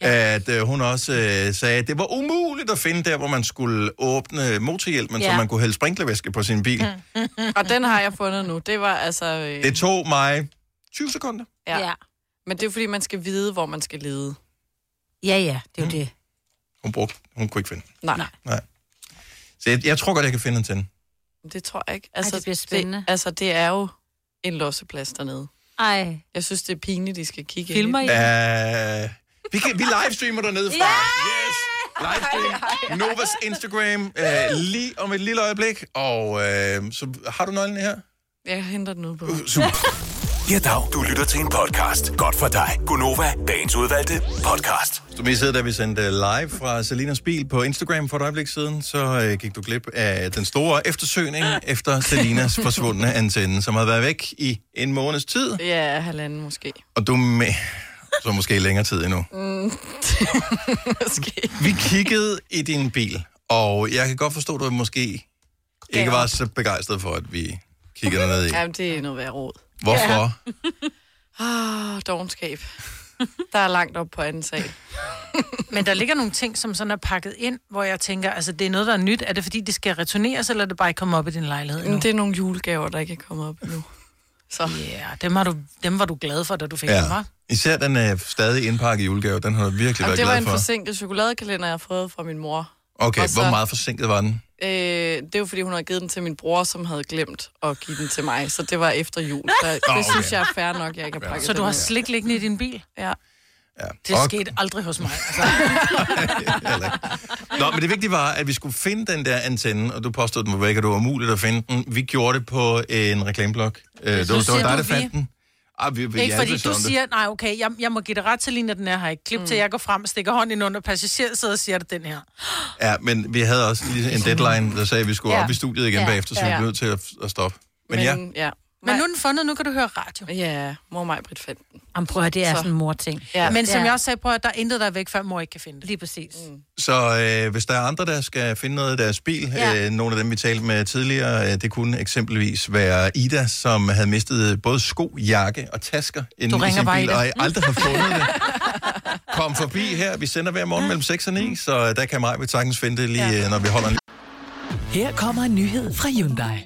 [SPEAKER 1] ja. at øh, hun også øh, sagde, at det var umuligt at finde der, hvor man skulle åbne motorhjelmen, ja.
[SPEAKER 4] Ja.
[SPEAKER 1] så man kunne hælde sprinklervæske på sin bil. Mm.
[SPEAKER 4] Og den har jeg fundet nu. Det var altså... Øh,
[SPEAKER 1] Det tog mig 20 sekunder.
[SPEAKER 4] ja. ja. Men det er fordi, man skal vide, hvor man skal lede.
[SPEAKER 3] Ja, ja, det er jo det.
[SPEAKER 1] Hun brugte, hun kunne ikke finde. den.
[SPEAKER 4] Nej. Nej.
[SPEAKER 1] Nej. Så jeg, jeg tror godt, jeg kan finde en til.
[SPEAKER 4] Det tror jeg ikke. Altså,
[SPEAKER 3] det bliver spændende.
[SPEAKER 4] Det, altså, det er jo en losseplads dernede.
[SPEAKER 3] Ej.
[SPEAKER 4] Jeg synes, det er pinligt, de skal kigge
[SPEAKER 3] Filmer
[SPEAKER 4] ind.
[SPEAKER 3] I?
[SPEAKER 1] Øh, vi, kan, vi livestreamer dernede fra. Yes! Livestream. Novas Instagram øh, lige om et lille øjeblik. Og øh, så har du nøglen her?
[SPEAKER 4] Jeg henter den ud
[SPEAKER 1] Uh,
[SPEAKER 4] på.
[SPEAKER 7] Ja, dag. Du lytter til en podcast. Godt for dig. Gunova, dagens udvalgte podcast.
[SPEAKER 1] Hvis du missede, da vi sendte øh, live fra Selinas bil på Instagram for et øjeblik siden, så øh, gik du glip af den store eftersøgning efter Selinas forsvundne antenne, som havde været væk i en måneds tid.
[SPEAKER 4] Ja, halvanden måske.
[SPEAKER 1] Og du med... [laughs] Så måske længere tid endnu.
[SPEAKER 4] Mm. [laughs] måske.
[SPEAKER 1] Vi kiggede i din bil, og jeg kan godt forstå, at du måske ikke var så begejstret for, at vi kiggede ned i.
[SPEAKER 4] Jamen, det er noget værd råd.
[SPEAKER 1] Hvorfor?
[SPEAKER 4] Åh, oh, dogenskab. [laughs] Der er langt op på anden sag.
[SPEAKER 2] [laughs] Men der ligger nogle ting, som sådan er pakket ind, hvor jeg tænker, altså det er noget, der er nyt. Er det fordi, det skal returneres, eller er det bare ikke kommet op i din lejlighed endnu?
[SPEAKER 4] Men det er nogle julegaver, der ikke er kommet op endnu. Så.
[SPEAKER 2] Ja, dem, har du, dem var du glad for, da du fik ja.
[SPEAKER 1] Ja.
[SPEAKER 2] dem, var?
[SPEAKER 1] Især den øh, stadig indpakket julegave, den har du virkelig
[SPEAKER 4] Jamen,
[SPEAKER 1] været
[SPEAKER 4] det var
[SPEAKER 1] glad
[SPEAKER 4] en
[SPEAKER 1] for.
[SPEAKER 4] forsinket chokoladekalender, jeg har fået fra min mor.
[SPEAKER 1] Okay,
[SPEAKER 4] Og så-
[SPEAKER 1] hvor meget forsinket var den?
[SPEAKER 4] Øh, det var fordi, hun havde givet den til min bror, som havde glemt at give den til mig. Så det var efter jul. Så det
[SPEAKER 1] [laughs] Nå,
[SPEAKER 4] okay.
[SPEAKER 1] okay.
[SPEAKER 4] synes jeg er fair nok, jeg ikke har pakket
[SPEAKER 2] Så du
[SPEAKER 4] den
[SPEAKER 2] har
[SPEAKER 4] ned.
[SPEAKER 2] slik liggende i din bil?
[SPEAKER 4] Ja.
[SPEAKER 1] Ja.
[SPEAKER 2] Det
[SPEAKER 1] Og-
[SPEAKER 2] skete aldrig hos mig. Altså.
[SPEAKER 1] Nå, men det vigtige var, at vi skulle finde den der antenne, og du påstod, den var væk, og det var umuligt at finde den. Vi gjorde det på en reklameblok. Øh, det, var, det var
[SPEAKER 2] siger
[SPEAKER 1] dig,
[SPEAKER 2] du vi.
[SPEAKER 1] der fandt den. Ej, vi, vi
[SPEAKER 2] Ikke fordi
[SPEAKER 1] hjalp os om
[SPEAKER 2] du
[SPEAKER 1] det.
[SPEAKER 2] siger, nej okay, jeg, jeg må give dig ret til lige, når den er her. Ikke? Klip mm. til, jeg går frem, stikker hånden ind under passageret, sidder og siger det den her.
[SPEAKER 1] Ja, men vi havde
[SPEAKER 2] [laughs]
[SPEAKER 1] også lige en deadline, der sagde, at vi skulle
[SPEAKER 2] Ja.
[SPEAKER 1] op i studiet igen
[SPEAKER 2] Ja.
[SPEAKER 1] bagefter, så vi
[SPEAKER 2] Ja.
[SPEAKER 1] blev nødt til at, at stoppe. Men, men ja,
[SPEAKER 4] ja.
[SPEAKER 2] Men nu er den fundet, nu kan du høre radio.
[SPEAKER 4] Ja, mor mig, Britt fandt den.
[SPEAKER 3] Jamen, prøv at høre, det er
[SPEAKER 4] Så.
[SPEAKER 3] sådan en mor-ting.
[SPEAKER 2] Ja. Men som
[SPEAKER 3] Ja.
[SPEAKER 2] jeg også sagde, prøv at der er intet, der er væk, før mor ikke kan finde det.
[SPEAKER 3] Lige præcis.
[SPEAKER 4] [laughs]
[SPEAKER 3] Mm.
[SPEAKER 1] Så øh, hvis der er andre, der skal finde noget af deres bil,
[SPEAKER 3] Ja.
[SPEAKER 1] ja. øh, nogle af dem, vi talte med tidligere, øh, det kunne eksempelvis være Ida, som havde mistet øh, både sko, jakke og tasker inde i
[SPEAKER 2] ringer
[SPEAKER 1] sin
[SPEAKER 2] bare
[SPEAKER 1] bil,
[SPEAKER 2] Ida.
[SPEAKER 1] og jeg aldrig har fundet det. Kom forbi her. Vi sender hver morgen mellem 6 og 9, så øh, der kan mig ved sagtens finde det lige, ja. når vi holder en
[SPEAKER 22] Her kommer en nyhed fra Hyundai.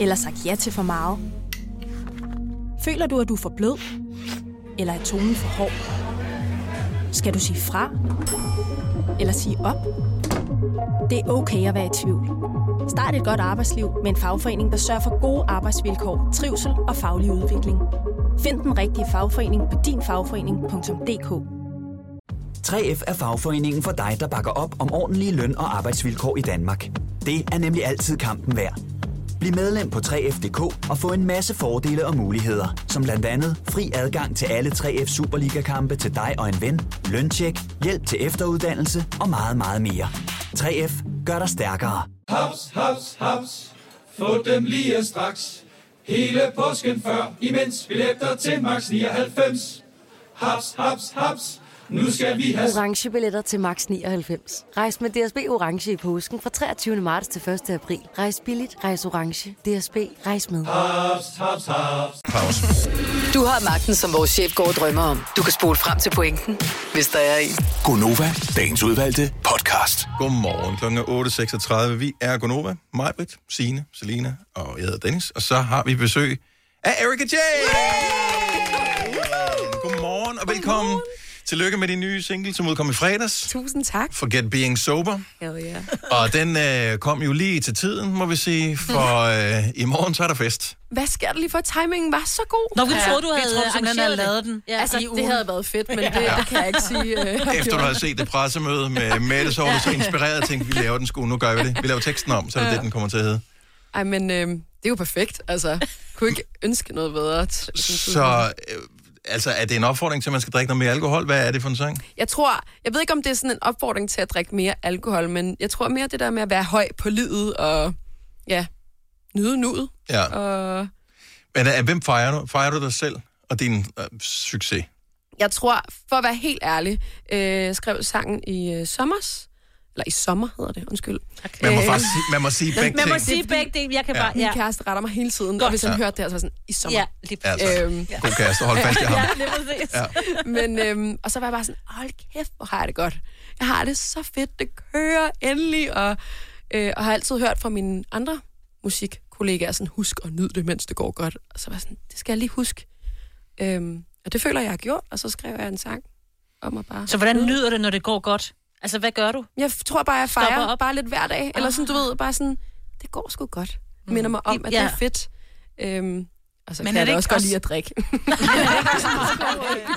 [SPEAKER 23] Eller sagt ja til for meget? Føler du, at du er for blød? Eller er tonen for hård? Skal du sige fra? Eller sige op? Det er okay at være i tvivl. Start et godt arbejdsliv med en fagforening, der sørger for gode arbejdsvilkår, trivsel og faglig udvikling. Find den rigtige fagforening på dinfagforening.dk
[SPEAKER 16] 3F er fagforeningen for dig, der bakker op om ordentlige løn- og arbejdsvilkår i Danmark. Det er nemlig altid kampen værd. Bliv medlem på 3F.dk og få en masse fordele og muligheder, som blandt andet fri adgang til alle 3F Superliga-kampe til dig og en ven, løntjek, hjælp til efteruddannelse og meget, meget mere. 3F gør dig stærkere.
[SPEAKER 10] Haps, haps, haps. Få dem lige straks. Hele påsken før, imens billetter til max 99. Haps, haps, haps. Nu skal vi have
[SPEAKER 17] orange billetter til max 99. Rejs med DSB orange i påsken fra 23. marts til 1. april. Rejs billigt, rejs orange. DSB rejs med.
[SPEAKER 10] haps, haps, haps.
[SPEAKER 1] pause.
[SPEAKER 5] Du har magten, som vores chef går og drømmer om. Du kan spole frem til pointen, hvis der er en.
[SPEAKER 1] Gonova, dagens udvalgte podcast. Godmorgen, kl. 8.36. Vi er Gonova, Majbrit, Signe, Selina og jeg hedder Dennis. Og så har vi besøg af Erika J. Godmorgen og velkommen. Tillykke med din nye single, som udkom i fredags.
[SPEAKER 18] Tusind tak.
[SPEAKER 1] Forget Being Sober.
[SPEAKER 18] Hell yeah.
[SPEAKER 1] Og den øh, kom jo lige til tiden, må vi sige, for øh, i morgen så er der
[SPEAKER 18] [laughs]
[SPEAKER 1] fest.
[SPEAKER 18] Hvad sker der lige for, at timingen var så god?
[SPEAKER 3] Nå, vi troede, du havde arrangeret det.
[SPEAKER 18] Ja, altså,
[SPEAKER 3] i
[SPEAKER 18] det
[SPEAKER 3] ugen.
[SPEAKER 18] havde været fedt, men det,
[SPEAKER 1] Ja.
[SPEAKER 18] det kan jeg ikke sige. øh, jeg
[SPEAKER 1] Efter du
[SPEAKER 18] gjorde.
[SPEAKER 1] havde set det pressemøde med Mette, så var du så inspireret og tænkte, vi laver den sgu, nu gør vi det. Vi laver teksten om, så er det
[SPEAKER 18] Ja.
[SPEAKER 1] det, den kommer til at hedde.
[SPEAKER 18] Ej, men øh, det er jo perfekt. Altså, kunne ikke ønske noget bedre.
[SPEAKER 1] Så øh, altså, er det en opfordring til, at man skal drikke noget mere alkohol? Hvad er det for en sang?
[SPEAKER 18] Jeg tror, jeg ved ikke, om det er sådan en opfordring til at drikke mere alkohol, men jeg tror mere det der med at være høj på livet og ja, nyde nuet.
[SPEAKER 1] Ja.
[SPEAKER 18] Og
[SPEAKER 1] Men øh, hvem fejrer du? Fejrer du dig selv og din øh, succes?
[SPEAKER 18] jeg tror, for at være helt ærlig, øh, skrev sangen i øh, sommers. Eller i sommer hedder det, undskyld.
[SPEAKER 1] Man må
[SPEAKER 18] Øh,
[SPEAKER 1] faktisk sige- man må sige begge Man må ting.
[SPEAKER 18] Det
[SPEAKER 1] sige
[SPEAKER 18] er fordi,
[SPEAKER 3] begge dele, jeg kan
[SPEAKER 1] Ja. bare-
[SPEAKER 18] Min
[SPEAKER 1] ja.
[SPEAKER 18] kæreste retter mig hele tiden, og hvis han
[SPEAKER 1] Ja.
[SPEAKER 18] hørte det her, så var jeg sådan, i sommer.
[SPEAKER 3] Ja, lige
[SPEAKER 1] Altså,
[SPEAKER 6] [laughs]
[SPEAKER 1] god kæreste, hold fast i ham.
[SPEAKER 18] Øhm, Ja, lige præcis.
[SPEAKER 1] Ja.
[SPEAKER 18] Men, øhm, og så var jeg bare sådan, hold kæft, hvor har jeg det godt. Jeg har det så fedt, det kører endelig, og, øh, og har altid hørt fra mine andre musikkollegaer, sådan, husk at nyde det, mens det går godt. Og så var jeg sådan, det skal jeg lige huske. Øhm, og det føler jeg, jeg har gjort, og så skrev jeg en sang om at bare...
[SPEAKER 3] Så hvordan nyder det, når det går godt? Altså, hvad gør du?
[SPEAKER 18] Jeg tror bare, jeg
[SPEAKER 3] Stopper
[SPEAKER 18] fejrer
[SPEAKER 3] op.
[SPEAKER 18] bare lidt hver dag. Eller sådan, du ved, bare sådan, det går sgu godt. Mm. Minder mig om, at ja. det
[SPEAKER 3] Ja.
[SPEAKER 18] er fedt. Øhm, og så
[SPEAKER 2] Men
[SPEAKER 18] Men kan jeg
[SPEAKER 2] er det
[SPEAKER 18] da
[SPEAKER 2] ikke
[SPEAKER 18] også godt
[SPEAKER 2] også-
[SPEAKER 18] lide at drikke.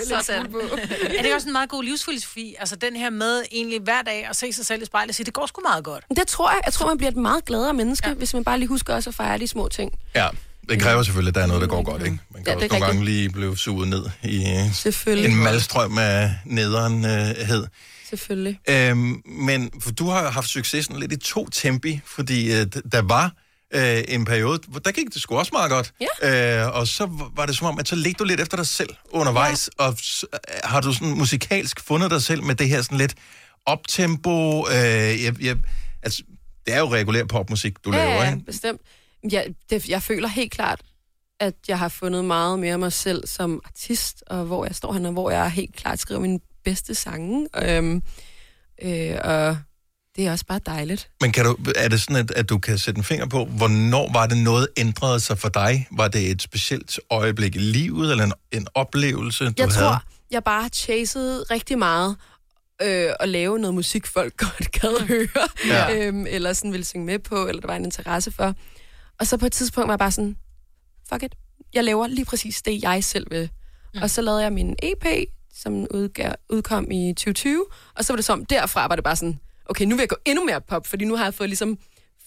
[SPEAKER 2] Sådan. [laughs] Er det også en meget god livsfilosofi? Altså den her med egentlig hver dag at se sig selv i spejlet og sige, det går sgu meget godt.
[SPEAKER 18] Det tror jeg. Jeg tror, man bliver et meget gladere menneske, ja. hvis man bare lige husker også at fejre de små ting.
[SPEAKER 1] Ja, det kræver selvfølgelig, at der er noget, der går godt, ikke? Man kan
[SPEAKER 18] Ja,
[SPEAKER 1] ja,
[SPEAKER 18] det er
[SPEAKER 1] også
[SPEAKER 18] rigtigt.
[SPEAKER 1] nogle gange lige blive suget ned i øh,
[SPEAKER 18] Selvfølgelig.
[SPEAKER 1] en malstrøm af øh, nederenhed.
[SPEAKER 18] Selvfølgelig.
[SPEAKER 1] Øhm, men for du har jo haft succesen lidt i to tempi, fordi øh, d- der var øh, en periode, hvor der gik det sgu også meget godt. Ja. Øh, og så v- var det som om, at så ledte du lidt efter dig selv undervejs, ja. og s- øh, har du sådan musikalsk fundet dig selv med det her sådan lidt optempo? Øh, jeg, jeg, altså, det er jo regulær popmusik, du laver,
[SPEAKER 18] ja,
[SPEAKER 1] ikke?
[SPEAKER 18] bestemt. Jeg, det, jeg føler helt klart, at jeg har fundet meget mere af mig selv som artist, og hvor jeg står hen, og hvor jeg helt klart skriver mine bedste sange. Øhm, øh, og det er også bare dejligt.
[SPEAKER 1] Men kan du, er det sådan, at, at du kan sætte en finger på, hvornår var det noget ændrede sig for dig? Var det et specielt øjeblik i livet, eller en, en oplevelse, du
[SPEAKER 18] jeg
[SPEAKER 1] havde?
[SPEAKER 18] tror, jeg bare har chaset rigtig meget øh, at lave noget musik, folk [laughs] godt gad høre,
[SPEAKER 1] Ja.
[SPEAKER 18] ja. øhm, eller sådan ville synge med på, eller der var en interesse for. Og så på et tidspunkt var jeg bare sådan, fuck it, jeg laver lige præcis det, jeg selv vil. Mm. Og så lavede jeg min EP, som udgav, udkom i 2020, og så var det som, derfra var det bare sådan, okay, nu vil jeg gå endnu mere pop, fordi nu har jeg fået, ligesom,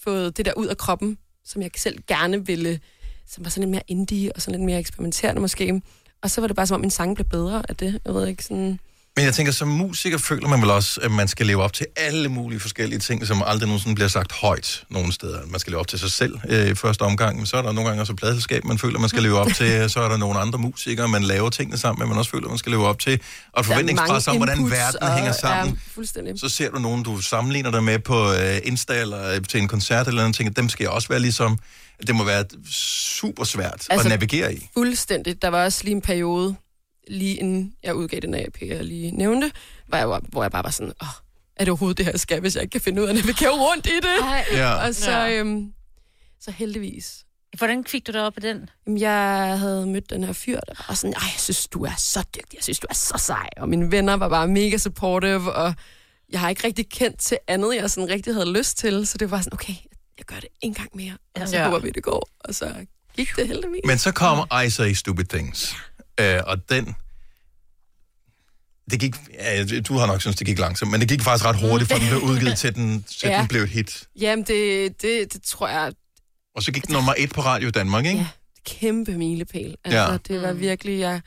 [SPEAKER 18] fået det der ud af kroppen, som jeg selv gerne ville, som var sådan lidt mere indie og sådan lidt mere eksperimenterende måske. Og så var det bare som om, min sang blev bedre af det. Jeg ved ikke, sådan...
[SPEAKER 1] Men jeg tænker, som musiker føler man vel også, at man skal leve op til alle mulige forskellige ting, som aldrig nogensinde bliver sagt højt nogen steder. Man skal leve op til sig selv øh, i første omgang, men så er der nogle gange også et pladselskab, man føler, man skal leve op
[SPEAKER 18] [laughs]
[SPEAKER 1] til. Så er der nogle andre musikere, man laver tingene sammen med, man også føler, man skal leve op til. Og et
[SPEAKER 18] Der er
[SPEAKER 1] forventningspres
[SPEAKER 18] mange
[SPEAKER 1] om, hvordan
[SPEAKER 18] inputs,
[SPEAKER 1] verden
[SPEAKER 18] og-
[SPEAKER 1] hænger sammen.
[SPEAKER 18] Ja, fuldstændig.
[SPEAKER 1] Så ser du nogen, du sammenligner dig med på øh, Insta eller øh, til en koncert eller noget, tænker, dem skal jeg også være ligesom. Det må være super svært altså,
[SPEAKER 18] Altså,
[SPEAKER 1] at navigere i.
[SPEAKER 18] Fuldstændigt. Der var også lige en periode, lige inden jeg udgav den AP, jeg lige nævnte, hvor jeg, var, hvor jeg bare var sådan, Åh, er det overhovedet det her jeg skal, hvis jeg ikke kan finde ud af at navigere rundt i det?
[SPEAKER 3] Ej.
[SPEAKER 18] Ja. Og så,
[SPEAKER 3] Ja.
[SPEAKER 18] øhm, så heldigvis.
[SPEAKER 3] Hvordan fik du dig op på den?
[SPEAKER 18] Jamen, jeg havde mødt den her fyr, der var sådan, Ej, jeg synes, du er så dygtig, jeg synes, du er så sej. Og mine venner var bare mega supportive, og jeg har ikke rigtig kendt til andet, jeg sådan rigtig havde lyst til. Så det var sådan, okay, jeg gør det en gang mere, og så
[SPEAKER 1] Ja.
[SPEAKER 18] håber vi, det går. Og så gik det heldigvis.
[SPEAKER 1] Men så kom I Say Stupid Things. Øh, og den... Det gik... Ja, du har nok synes det gik langsomt, men det gik faktisk ret hurtigt, for den blev udgivet til den,
[SPEAKER 18] [laughs]
[SPEAKER 1] til
[SPEAKER 18] Ja.
[SPEAKER 1] den blev et hit.
[SPEAKER 18] Jamen, det, det, det tror jeg er
[SPEAKER 1] Og så gik den nummer et på Radio Danmark, ikke? Ja.
[SPEAKER 18] et kæmpe milepæl. Altså,
[SPEAKER 1] Ja.
[SPEAKER 18] ja. det var virkelig, jeg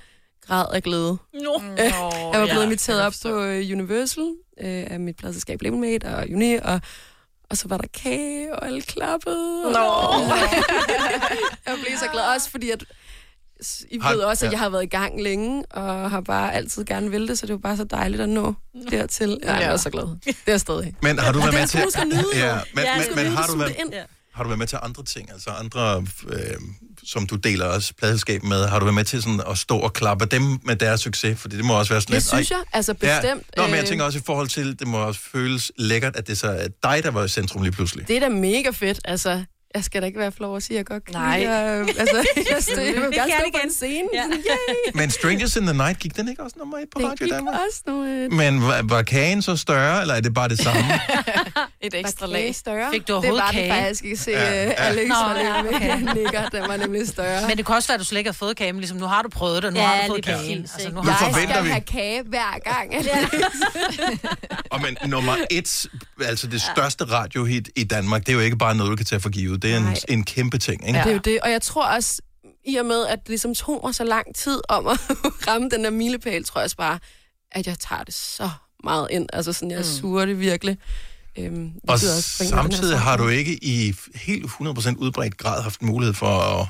[SPEAKER 18] græd af glæde.
[SPEAKER 3] No.
[SPEAKER 18] Nå, [laughs] jeg var blevet inviteret op på øh, Universal øh, af mit pladselskab Lemonmate og Uni, og, og så var der kage, og alle klappede. Nå! [laughs] jeg blev så glad også, fordi at, s- I
[SPEAKER 1] Har-
[SPEAKER 18] ved også, at
[SPEAKER 1] ja.
[SPEAKER 18] jeg har været i gang længe, og har bare altid gerne vil det, så det var bare så dejligt at nå dertil. Mm. Ja, jeg
[SPEAKER 1] Ja.
[SPEAKER 18] var så glad. Det er jeg stadig.
[SPEAKER 1] Men har du
[SPEAKER 18] Og
[SPEAKER 1] været
[SPEAKER 18] det
[SPEAKER 1] med
[SPEAKER 18] er
[SPEAKER 1] til...
[SPEAKER 18] sgu, du skal nyde, jo.
[SPEAKER 1] ja, men,
[SPEAKER 18] Ja,
[SPEAKER 1] ja,
[SPEAKER 18] du
[SPEAKER 1] men,
[SPEAKER 18] skal
[SPEAKER 1] men
[SPEAKER 18] nyde
[SPEAKER 1] har,
[SPEAKER 18] det,
[SPEAKER 1] du
[SPEAKER 18] suge
[SPEAKER 1] været,
[SPEAKER 18] det ind. Ja.
[SPEAKER 1] har du været med til andre ting? Altså andre, øh, som du deler også pladeselskab med, har du været med til sådan at stå og klappe dem med deres succes? Fordi det må også være sådan
[SPEAKER 18] Det
[SPEAKER 1] lidt... "Ej,
[SPEAKER 18] synes jeg, altså bestemt.
[SPEAKER 1] Ja. Nå, men jeg
[SPEAKER 18] Øh,
[SPEAKER 1] tænker også i forhold til, det må også føles lækkert, at det så er dig, der var i centrum lige pludselig.
[SPEAKER 18] Det er da mega fedt, altså. Jeg skal da ikke være flov at sige, at jeg godt kan
[SPEAKER 4] Nej.
[SPEAKER 18] lide, øh, [laughs]
[SPEAKER 4] [laughs]
[SPEAKER 18] altså, jeg, stod, jeg vil
[SPEAKER 4] Det
[SPEAKER 18] gerne
[SPEAKER 4] kan
[SPEAKER 18] stå
[SPEAKER 4] jeg
[SPEAKER 18] på en
[SPEAKER 4] igen.
[SPEAKER 18] scene.
[SPEAKER 4] Ja.
[SPEAKER 18] Ja. Yay.
[SPEAKER 1] Men Strangers in the Night, gik den ikke også nummer et på
[SPEAKER 18] Det
[SPEAKER 1] Radio
[SPEAKER 18] gik
[SPEAKER 1] Danmark?
[SPEAKER 18] også øh, nu et,
[SPEAKER 1] Men var, var kagen så større, eller er det bare det
[SPEAKER 18] [laughs]
[SPEAKER 1] samme?
[SPEAKER 18] et
[SPEAKER 4] ekstra lag.
[SPEAKER 18] større.
[SPEAKER 4] Fik du
[SPEAKER 18] det
[SPEAKER 4] overhovedet
[SPEAKER 18] var
[SPEAKER 4] kage?
[SPEAKER 18] det faktisk ikke se
[SPEAKER 4] Ja,
[SPEAKER 18] ja.
[SPEAKER 4] ja.
[SPEAKER 18] Alex
[SPEAKER 2] Nå,
[SPEAKER 18] og
[SPEAKER 2] ja,
[SPEAKER 18] Løbe
[SPEAKER 2] okay.
[SPEAKER 18] ligger. Den var nemlig større.
[SPEAKER 2] Men det kan også være, at du slet ikke har fået kagen. Ligesom, nu har du prøvet det, nu
[SPEAKER 18] Ja,
[SPEAKER 2] har du fået
[SPEAKER 18] lige
[SPEAKER 2] kagen.
[SPEAKER 18] præcis,
[SPEAKER 2] Altså,
[SPEAKER 18] ikke?
[SPEAKER 2] nu
[SPEAKER 1] Nu
[SPEAKER 2] har du
[SPEAKER 1] forventer
[SPEAKER 18] skal
[SPEAKER 1] vi.
[SPEAKER 18] have kage hver gang. Alex.
[SPEAKER 1] Og men nummer et, altså det største radiohit i Danmark, det er jo ikke bare noget, du kan tage for givet. Det er en,
[SPEAKER 18] Nej.
[SPEAKER 1] en kæmpe ting, ikke?
[SPEAKER 18] Det er jo det, og jeg tror også, i og med, at det ligesom tog mig så lang tid om at [laughs] ramme den der milepæl, tror jeg også bare, at jeg tager det så meget ind. Altså sådan, jeg
[SPEAKER 1] Mm.
[SPEAKER 18] mm. suger det virkelig. Øhm, det
[SPEAKER 1] Og
[SPEAKER 18] betyder også, at bringe den her
[SPEAKER 1] samtidig
[SPEAKER 18] sang.
[SPEAKER 1] har du ikke i helt 100% udbredt grad haft mulighed for at,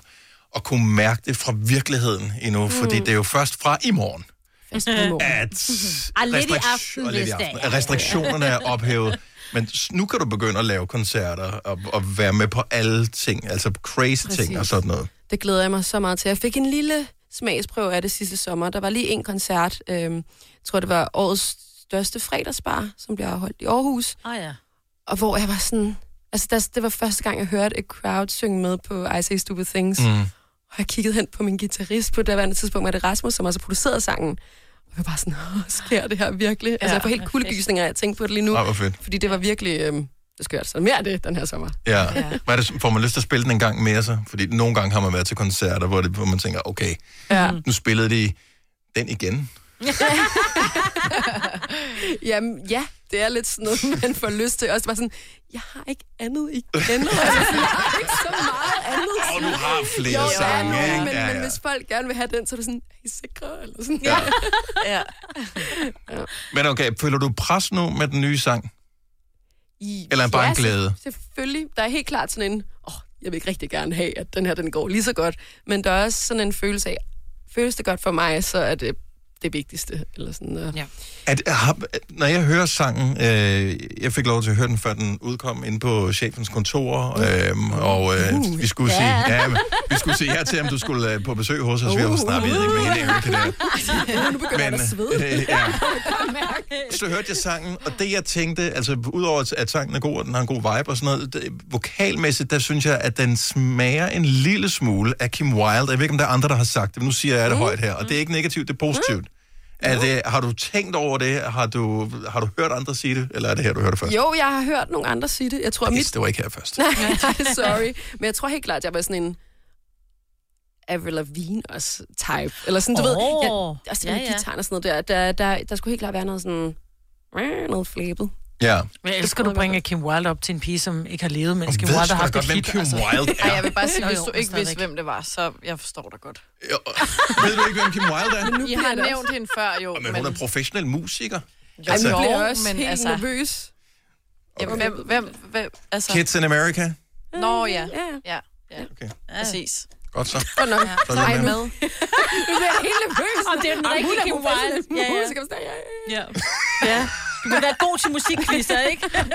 [SPEAKER 1] at kunne mærke det fra virkeligheden endnu, mm. fordi
[SPEAKER 3] Mm.
[SPEAKER 1] det er jo først fra i morgen, at
[SPEAKER 3] Ah, lidt i
[SPEAKER 1] restriktion-
[SPEAKER 3] aften,
[SPEAKER 1] Mhm. og lidt i
[SPEAKER 3] hvis det
[SPEAKER 1] aften,
[SPEAKER 3] er.
[SPEAKER 1] at restriktionerne [laughs] er ophævet. Men s- nu kan du begynde at lave koncerter og, og være med på alle ting, altså crazy Præcis. ting og
[SPEAKER 18] Præcis.
[SPEAKER 1] sådan noget.
[SPEAKER 18] Det glæder jeg mig så meget til. Jeg fik en lille smagsprøve af det sidste sommer. Der var lige en koncert. Øhm, jeg tror, det var årets største fredagsbar, som bliver holdt i Aarhus.
[SPEAKER 3] Åh oh, ja.
[SPEAKER 18] Og hvor jeg var sådan... Altså, der, det var første gang, jeg hørte et crowd synge med på I Say Stupid Things.
[SPEAKER 6] Mm.
[SPEAKER 18] Og jeg kiggede hen på min guitarist på daværende tidspunkt, var det Rasmus, som også producerede sangen. Og jeg var bare sådan, åh, sker det her virkelig? Ja,
[SPEAKER 4] Ja,
[SPEAKER 18] altså, jeg får helt
[SPEAKER 4] hvor
[SPEAKER 18] kuldegysninger, af at tænke på det lige nu.
[SPEAKER 1] Ej, hvor fedt.
[SPEAKER 18] Fordi det var virkelig, øhm, det er skørt. Så mere af det den her sommer.
[SPEAKER 1] Ja. ja. Hvad er det, får man lyst til at spille den en gang mere så? Fordi nogle gange har man været til koncerter, hvor, det, hvor man tænker, okay,
[SPEAKER 18] Ja.
[SPEAKER 1] nu spillede de den igen.
[SPEAKER 18] [laughs] Jamen, ja, det er lidt sådan noget, [laughs] man får lyst til. Også bare sådan, jeg har ikke andet igen. Altså, sådan, jeg har ikke så [laughs] meget andet.
[SPEAKER 1] Og du har flere
[SPEAKER 18] jo, der er
[SPEAKER 1] sange,
[SPEAKER 18] nogen,
[SPEAKER 1] ikke?
[SPEAKER 18] Men,
[SPEAKER 1] Ja,
[SPEAKER 18] men
[SPEAKER 1] ja.
[SPEAKER 18] hvis folk gerne vil have den, så er du sådan, er I sikre? Eller sådan. [laughs]
[SPEAKER 1] Ja.
[SPEAKER 18] ja.
[SPEAKER 1] [laughs] Men okay, føler du pres nu med den nye sang?
[SPEAKER 18] I,
[SPEAKER 1] Eller bare en
[SPEAKER 18] ja, se-
[SPEAKER 1] glæde.
[SPEAKER 18] Selvfølgelig. Der er helt klart sådan en, åh, oh, jeg vil ikke rigtig gerne have, at den her den går lige så godt. Men der er også sådan en følelse af, føles det godt for mig, så er det det vigtigste. Eller sådan, uh, ja.
[SPEAKER 1] At, har, når jeg hører sangen, øh, jeg fik lov til at høre den, før den udkom inde på chefens kontor, øh, og øh,
[SPEAKER 7] Uh,
[SPEAKER 1] vi skulle
[SPEAKER 7] ja.
[SPEAKER 1] sige, ja, men vi skulle sige ja til, om du skulle øh, på besøg hos os. Vi
[SPEAKER 6] Uh,
[SPEAKER 1] har jo snart vi ved ikke med hende, jeg kan det.
[SPEAKER 18] nu begynder
[SPEAKER 1] Men,
[SPEAKER 18] jeg at svede.
[SPEAKER 1] øh, ja. Så hørte jeg sangen, og det jeg tænkte, altså udover at- at sangen er god, og den har en god vibe og sådan noget, det, vokalmæssigt, der synes jeg, at den smager en lille smule af Kim Wilde. Jeg ved ikke, om der er andre, der har sagt det, men nu siger
[SPEAKER 4] Mm.
[SPEAKER 1] jeg det højt her, og det er ikke negativt, det er positivt. Er det, har du tænkt over det? Har du, har du hørt andre sige det? Eller er det her, du hørte først?
[SPEAKER 18] Jo, jeg har hørt nogle andre sige det. Jeg tror,
[SPEAKER 1] Yes,
[SPEAKER 18] mit... [laughs]
[SPEAKER 1] det var ikke her først.
[SPEAKER 18] Nej, sorry. Men jeg tror helt klart, at jeg var sådan en... Avril Lavigne også type. Eller sådan, du oh, ved, jeg, altså, ja,
[SPEAKER 3] ja,
[SPEAKER 18] ja.
[SPEAKER 3] ja.
[SPEAKER 18] gitaren og sådan noget der, der, der, der skulle helt klart være noget sådan, "Rrr", noget flæbet.
[SPEAKER 1] Ja.
[SPEAKER 2] Men jeg elsker, du bringer Kim Wilde op til en pige, som ikke har levet, mens
[SPEAKER 1] Og
[SPEAKER 2] Kim
[SPEAKER 1] ved
[SPEAKER 2] Wilde
[SPEAKER 1] sgu
[SPEAKER 2] har
[SPEAKER 1] da
[SPEAKER 2] haft
[SPEAKER 1] godt,
[SPEAKER 2] et
[SPEAKER 1] hvem
[SPEAKER 2] hit.
[SPEAKER 1] Kim Wilde er.
[SPEAKER 4] Ej, jeg vil bare sige,
[SPEAKER 2] Nå
[SPEAKER 4] hvis
[SPEAKER 2] jo,
[SPEAKER 4] du
[SPEAKER 2] men
[SPEAKER 4] ikke vidste,
[SPEAKER 2] stadigvæk.
[SPEAKER 4] hvem det var, så jeg forstår dig godt.
[SPEAKER 1] Ved du ikke, hvem Kim Wilde
[SPEAKER 4] [laughs]
[SPEAKER 1] er?
[SPEAKER 4] I har nævnt hende før, jo.
[SPEAKER 1] Men hun er professionel musiker.
[SPEAKER 4] Jo, altså, jo, men altså... nervøs. Jamen, hvem, hvem, hvem, altså...
[SPEAKER 1] Kids in America.
[SPEAKER 4] Nå, ja. Ja, ja.
[SPEAKER 1] Okay.
[SPEAKER 4] Præcis.
[SPEAKER 1] Godt så.
[SPEAKER 4] Godt nok.
[SPEAKER 1] Så er vi med.
[SPEAKER 18] Nu bliver jeg helt nervøs.
[SPEAKER 3] Om det er den
[SPEAKER 18] Om
[SPEAKER 3] rigtige
[SPEAKER 18] hun
[SPEAKER 3] Kim
[SPEAKER 18] professionel
[SPEAKER 3] Wilde. Ja, ja.
[SPEAKER 18] musiker, så der- ja, ja.
[SPEAKER 3] Ja. ja. Du vil være god til musikquizzer, [laughs] ikke? Du spiller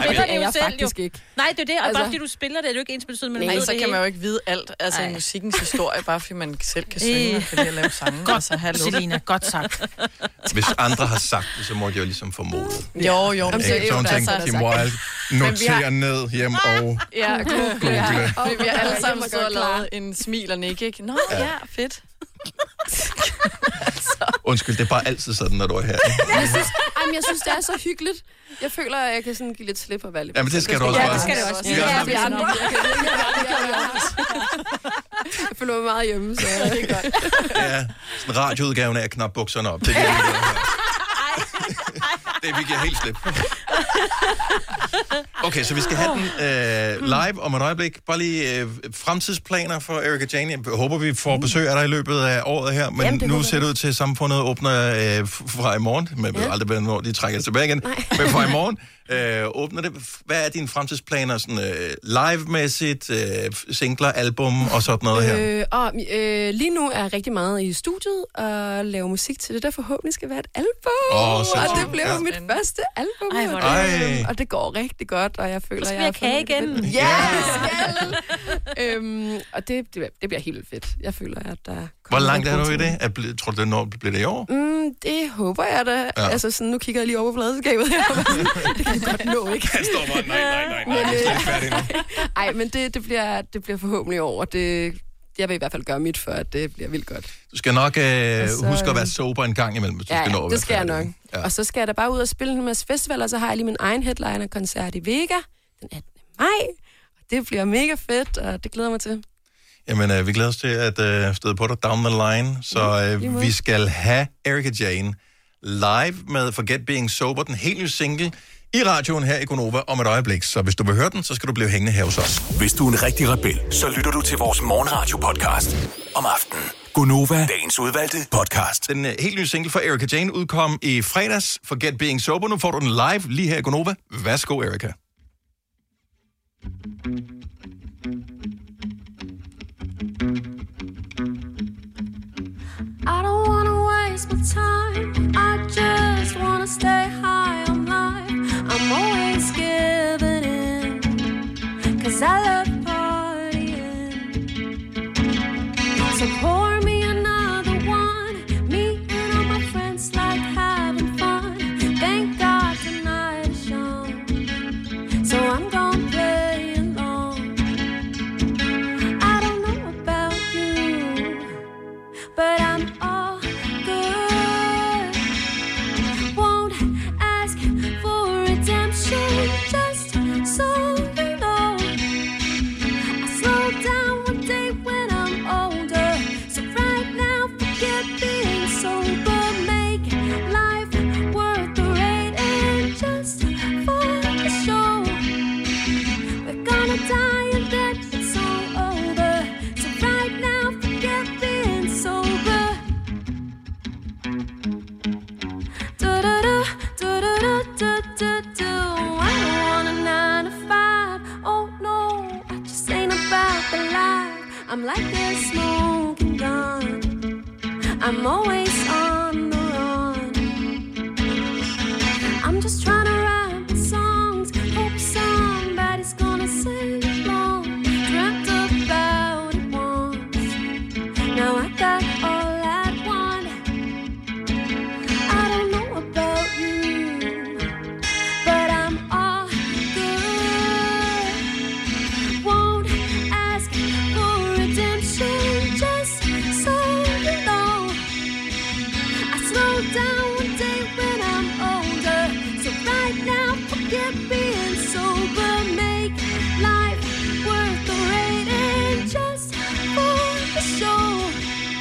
[SPEAKER 4] jeg-
[SPEAKER 3] det
[SPEAKER 4] jeg
[SPEAKER 3] jo
[SPEAKER 4] er
[SPEAKER 3] selv,
[SPEAKER 4] faktisk
[SPEAKER 18] jo. Ikke.
[SPEAKER 3] Nej, det er det, og altså,
[SPEAKER 4] Altså-
[SPEAKER 3] bare fordi du spiller det, er det jo ikke ens betydende, men
[SPEAKER 4] Men
[SPEAKER 3] man ved
[SPEAKER 4] så
[SPEAKER 3] det
[SPEAKER 4] kan
[SPEAKER 3] hele.
[SPEAKER 4] man jo ikke vide alt, altså i
[SPEAKER 3] Nej.
[SPEAKER 4] musikkens historie, bare fordi man selv kan synge,
[SPEAKER 3] Øh.
[SPEAKER 4] og kan lide at lave sange.
[SPEAKER 2] Godt,
[SPEAKER 4] altså, hallo.
[SPEAKER 2] Selina, godt
[SPEAKER 4] [laughs]
[SPEAKER 2] sagt.
[SPEAKER 1] Hvis andre har sagt det, så måtte jeg jo ligesom formode.
[SPEAKER 4] Jo, jo, men
[SPEAKER 1] Ikke?
[SPEAKER 4] så er det
[SPEAKER 1] så
[SPEAKER 4] jo
[SPEAKER 1] hun
[SPEAKER 4] der, så
[SPEAKER 1] tænkte,
[SPEAKER 4] er der
[SPEAKER 1] Kim
[SPEAKER 4] sagt.
[SPEAKER 1] Wilde
[SPEAKER 4] Men vi har-
[SPEAKER 1] noterer ned hjem og...
[SPEAKER 4] Ja, Google.
[SPEAKER 1] Ja.
[SPEAKER 4] Ja. Fordi vi har alle
[SPEAKER 18] Jeg
[SPEAKER 4] sammen
[SPEAKER 18] må
[SPEAKER 4] stået og
[SPEAKER 18] godt klare.
[SPEAKER 4] lavet en smil og nik, ikke? Nå,
[SPEAKER 1] Ja.
[SPEAKER 4] ja, ja fedt. Altså.
[SPEAKER 1] Undskyld, det er bare altid sådan, når du er her. ikke?
[SPEAKER 18] Jeg synes, jamen, jeg synes, det er så hyggeligt. Jeg føler, at jeg kan sådan give lidt slip og være lidt...
[SPEAKER 1] Jamen, det skal du også
[SPEAKER 18] Ja,
[SPEAKER 1] bare.
[SPEAKER 18] det skal du også.
[SPEAKER 1] Vi er også-
[SPEAKER 18] vi andre. Jeg kan- jeg kan- jeg kan- Jeg føler mig meget hjemme, så det er godt.
[SPEAKER 1] Ja, sådan radioudgaven af at knappe bukserne op. Det er det, vi gør her. det, vi giver helt slip. Okay, så vi skal have den øh, live om et øjeblik. Bare lige øh, fremtidsplaner for Erika Jane. Jeg håber, vi får besøg af dig i løbet af året her, men
[SPEAKER 18] Mm. Jamen, det
[SPEAKER 1] nu
[SPEAKER 18] håber
[SPEAKER 1] ser det ud til, at samfundet åbner øh, f- fra i morgen. Man ved
[SPEAKER 18] Ja.
[SPEAKER 1] aldrig, hvornår de trækker sig tilbage igen. Men fra i morgen øh, åbner det. Hvad er dine fremtidsplaner sådan, øh, live-mæssigt? Øh, singler, album og sådan noget her?
[SPEAKER 18] Øh, og, øh, lige nu er jeg rigtig meget i studiet og laver musik til det, der forhåbentlig skal være et album.
[SPEAKER 1] Åh,
[SPEAKER 18] og
[SPEAKER 1] sindssygt.
[SPEAKER 18] det blev
[SPEAKER 1] Ja.
[SPEAKER 18] ja. mit første album.
[SPEAKER 3] Ej, hvor
[SPEAKER 18] og,
[SPEAKER 1] er det-
[SPEAKER 18] øhm, og det går rigtig godt, og jeg føler,
[SPEAKER 3] Så skal
[SPEAKER 18] jeg
[SPEAKER 3] vi
[SPEAKER 18] har
[SPEAKER 3] have kage
[SPEAKER 18] fundet
[SPEAKER 3] igen.
[SPEAKER 18] det.
[SPEAKER 3] Ja.
[SPEAKER 18] Ja, yeah. øhm, og det, det, det bliver helt vildt fedt. Jeg føler, at der kommer
[SPEAKER 1] Hvor langt
[SPEAKER 18] nogle
[SPEAKER 1] er du
[SPEAKER 18] gode
[SPEAKER 1] i
[SPEAKER 18] ting.
[SPEAKER 1] det? Er, ble- tror du, det når, bliver det i år?
[SPEAKER 18] Mm, det håber jeg da.
[SPEAKER 1] Ja.
[SPEAKER 18] Ja. Altså, sådan, nu kigger jeg lige over på pladeskabet her. [laughs] det kan jeg godt nå, ikke?
[SPEAKER 1] Han står bare, nej, nej, nej, nej, det er
[SPEAKER 18] øh,
[SPEAKER 1] slet ikke færdigt endnu.
[SPEAKER 18] Ej, men det, det, bliver, det bliver forhåbentlig over. og Det, jeg vil i hvert fald gøre mit for, at det bliver vildt godt.
[SPEAKER 1] Du skal nok øh,
[SPEAKER 18] så,
[SPEAKER 1] huske at
[SPEAKER 18] øh,
[SPEAKER 1] være sober en gang imellem, hvis du
[SPEAKER 18] ja,
[SPEAKER 1] skal nå at
[SPEAKER 18] ja,
[SPEAKER 1] være
[SPEAKER 18] det skal jeg
[SPEAKER 1] færdig.
[SPEAKER 18] nok. Ja. Og så skal jeg da bare ud og spille en masse festivaler, og så har jeg lige min egen headliner-koncert i Vega den 18. maj. Og det bliver mega fedt, og det glæder jeg mig til.
[SPEAKER 1] Jamen, øh, vi glæder os til at øh, støde på dig down the line. Så
[SPEAKER 18] Mm, lige
[SPEAKER 1] øh,
[SPEAKER 18] måde.
[SPEAKER 1] vi skal have Erika Jane live med Forget Being Sober, den helt nye single, i radioen her i Gonova om et øjeblik. Så hvis du vil høre den, så skal du blive hængende her hos os.
[SPEAKER 7] Hvis du er en rigtig rebel, så lytter du til vores morgenradio-podcast om aftenen. Gunova, dagens udvalgte podcast.
[SPEAKER 1] Den øh, helt nye single fra Erika Jane udkom i fredags, Forget Being Sober. Nu får du den live lige her i Gonova. Værsgo, Erika.
[SPEAKER 6] I don't wanna waste my time. I just wanna stay high on life. I'm always giving in. Cause I love partying. So pour me another one. Me and all my friends like having fun. Thank God tonight is young. So I'm gonna play along. I don't know about you but I'm all good. Oh,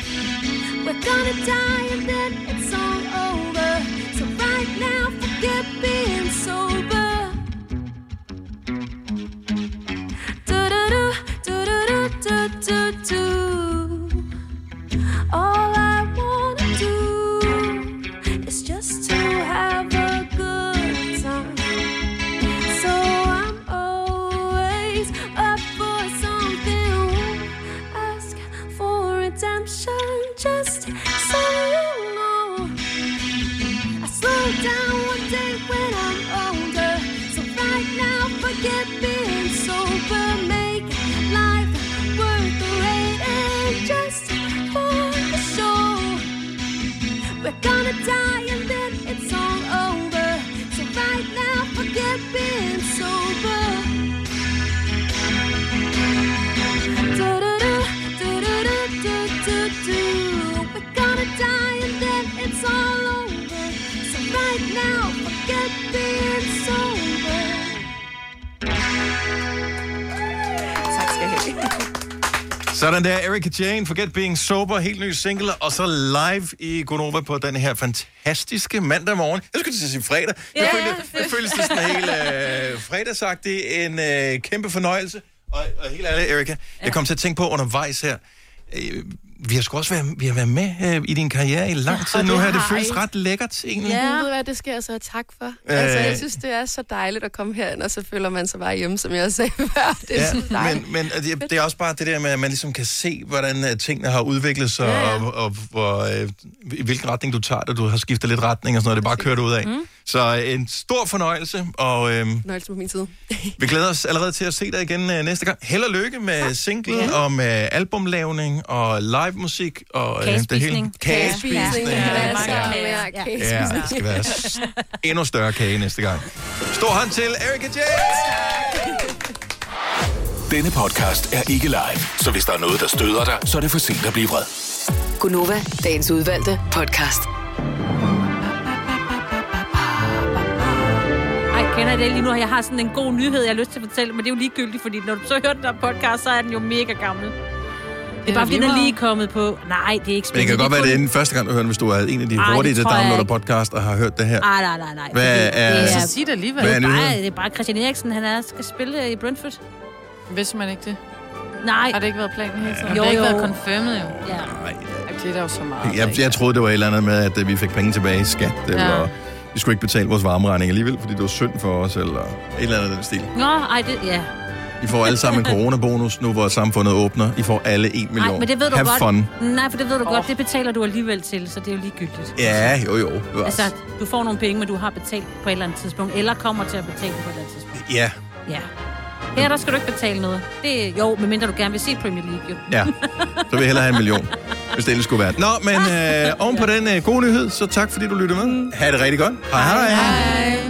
[SPEAKER 6] to die and then it's all over. So right now, forget being sober. Do-do-do, do-do-do-do-do-do. All I wanna do is just to have a good time. So I'm always up for something. Won't ask for redemption, just so you know. I slow down one day when I'm older. So right now, forget being sober. Make life worth the wait and just for the show. We're gonna die and then it's all over. So right now, forget being sober. Do-do-do, do-do-do-do-do. We're gonna die and then it's all over. So right now, forget being sober.
[SPEAKER 4] Tak skal jeg have.
[SPEAKER 1] Sådan der, Erika Jane, Forget Being Sober, helt ny single, og så live i Gonova på den her fantastiske mandag morgen. Jeg skulle til at sige fredag.
[SPEAKER 6] Ja,
[SPEAKER 1] Det føles,
[SPEAKER 6] det
[SPEAKER 1] det føles det sådan helt øh, fredagsagtigt. En øh, kæmpe fornøjelse. Og, og helt ærligt, Erika, jeg kom til at tænke på undervejs her, øh, vi har sgu også været, vi har været med øh, i din karriere i lang tid
[SPEAKER 18] og
[SPEAKER 1] nu
[SPEAKER 18] det
[SPEAKER 1] her. Det
[SPEAKER 18] har
[SPEAKER 1] føles
[SPEAKER 18] I.
[SPEAKER 1] ret lækkert, egentlig.
[SPEAKER 18] Ja. Ved du hvad, det skal jeg så have tak for. Altså,
[SPEAKER 1] Øh.
[SPEAKER 18] jeg synes, det er så dejligt at komme herind, og så føler man sig bare hjemme, som jeg også sagde før. Det er
[SPEAKER 1] Ja,
[SPEAKER 18] ja, så dejligt.
[SPEAKER 1] men, men det, det er også bare det der med, at man ligesom kan se, hvordan øh, tingene har udviklet sig, ja, ja. og, og hvor, øh, i hvilken retning du tager det. Du har skiftet lidt retning og sådan noget, det er bare kørt ud af. Mm. Så øh, en stor fornøjelse, og øh,
[SPEAKER 18] Nøjelse på min side.
[SPEAKER 1] vi glæder os allerede til at se dig igen øh, næste gang. Held og lykke med ja. singlen ja. og med albumlavning og live musik og øh,
[SPEAKER 6] Kagespisning.
[SPEAKER 1] Kagespisning.
[SPEAKER 6] Kagespisning. Ja,
[SPEAKER 1] Ja,
[SPEAKER 6] masser af kager.
[SPEAKER 1] ja. Ja, det skal være s- endnu større kage næste gang. Stor hånd til Erika Jane!
[SPEAKER 7] Denne podcast er ikke live, så hvis der er noget, der støder dig, så er det for sent at blive vred.
[SPEAKER 5] Gunova, dagens udvalgte podcast.
[SPEAKER 3] Ej, kender I det lige nu? Jeg har sådan en god nyhed, jeg har lyst til at fortælle, men det er jo ligegyldigt, fordi når du så hører den der podcast, så er den jo mega gammel. Det er bare, fordi den er lige kommet på. Nej, det er ikke
[SPEAKER 1] Men det kan godt være, det er den første gang, du hører den, hvis du er en af de
[SPEAKER 3] Ej, det
[SPEAKER 1] hurtige, der
[SPEAKER 3] tror jeg
[SPEAKER 1] downloader
[SPEAKER 3] ikke.
[SPEAKER 1] podcast og har hørt det her.
[SPEAKER 3] Ej, nej, nej, nej.
[SPEAKER 1] Hvad
[SPEAKER 3] Fordi
[SPEAKER 1] er-
[SPEAKER 3] det
[SPEAKER 1] Så sig det alligevel.
[SPEAKER 3] Det er,
[SPEAKER 1] Hvad er
[SPEAKER 3] bare,
[SPEAKER 1] nyheden?
[SPEAKER 3] det er bare Christian Eriksen, han er, skal spille i Brentford.
[SPEAKER 4] Vidste man ikke det?
[SPEAKER 3] Nej.
[SPEAKER 4] Har det ikke været planen hele tiden? det
[SPEAKER 3] Jo,
[SPEAKER 4] har ikke
[SPEAKER 3] jo.
[SPEAKER 4] været confirmed, jo.
[SPEAKER 3] Ja.
[SPEAKER 1] Nej.
[SPEAKER 4] Det er der jo så meget.
[SPEAKER 1] Jeg, jeg troede, det var et eller andet med, at øh, vi fik penge tilbage i skat, eller
[SPEAKER 4] Ja.
[SPEAKER 1] vi skulle ikke betale vores varmeregning alligevel, fordi det var synd for os, eller et eller andet af den stil.
[SPEAKER 3] Nå, ej, det, ja.
[SPEAKER 1] I får alle
[SPEAKER 3] [laughs]
[SPEAKER 1] sammen en coronabonus nu, hvor samfundet åbner. I får alle 1 million.
[SPEAKER 3] Nej, men det ved du
[SPEAKER 1] Have
[SPEAKER 3] godt.
[SPEAKER 1] fun.
[SPEAKER 3] Nej, for det ved du oh. godt, det betaler du alligevel til, så det er jo ligegyldigt.
[SPEAKER 1] Ja, jo jo. bevares.
[SPEAKER 3] Altså, du får nogle penge, men du har betalt på et eller andet tidspunkt, eller kommer til at betale på et eller andet tidspunkt.
[SPEAKER 1] Ja,
[SPEAKER 3] Ja. Her der skal du ikke betale noget. Det, jo, medmindre du gerne vil se Premier League, jo.
[SPEAKER 1] ja. Så vil jeg hellere have en million, hvis det ellers skulle være.
[SPEAKER 3] Mm.
[SPEAKER 1] Nå, men øh, oven på den øh, gode nyhed, så tak fordi du lyttede med. Ha' det rigtig godt. Hej hej.
[SPEAKER 3] Hej.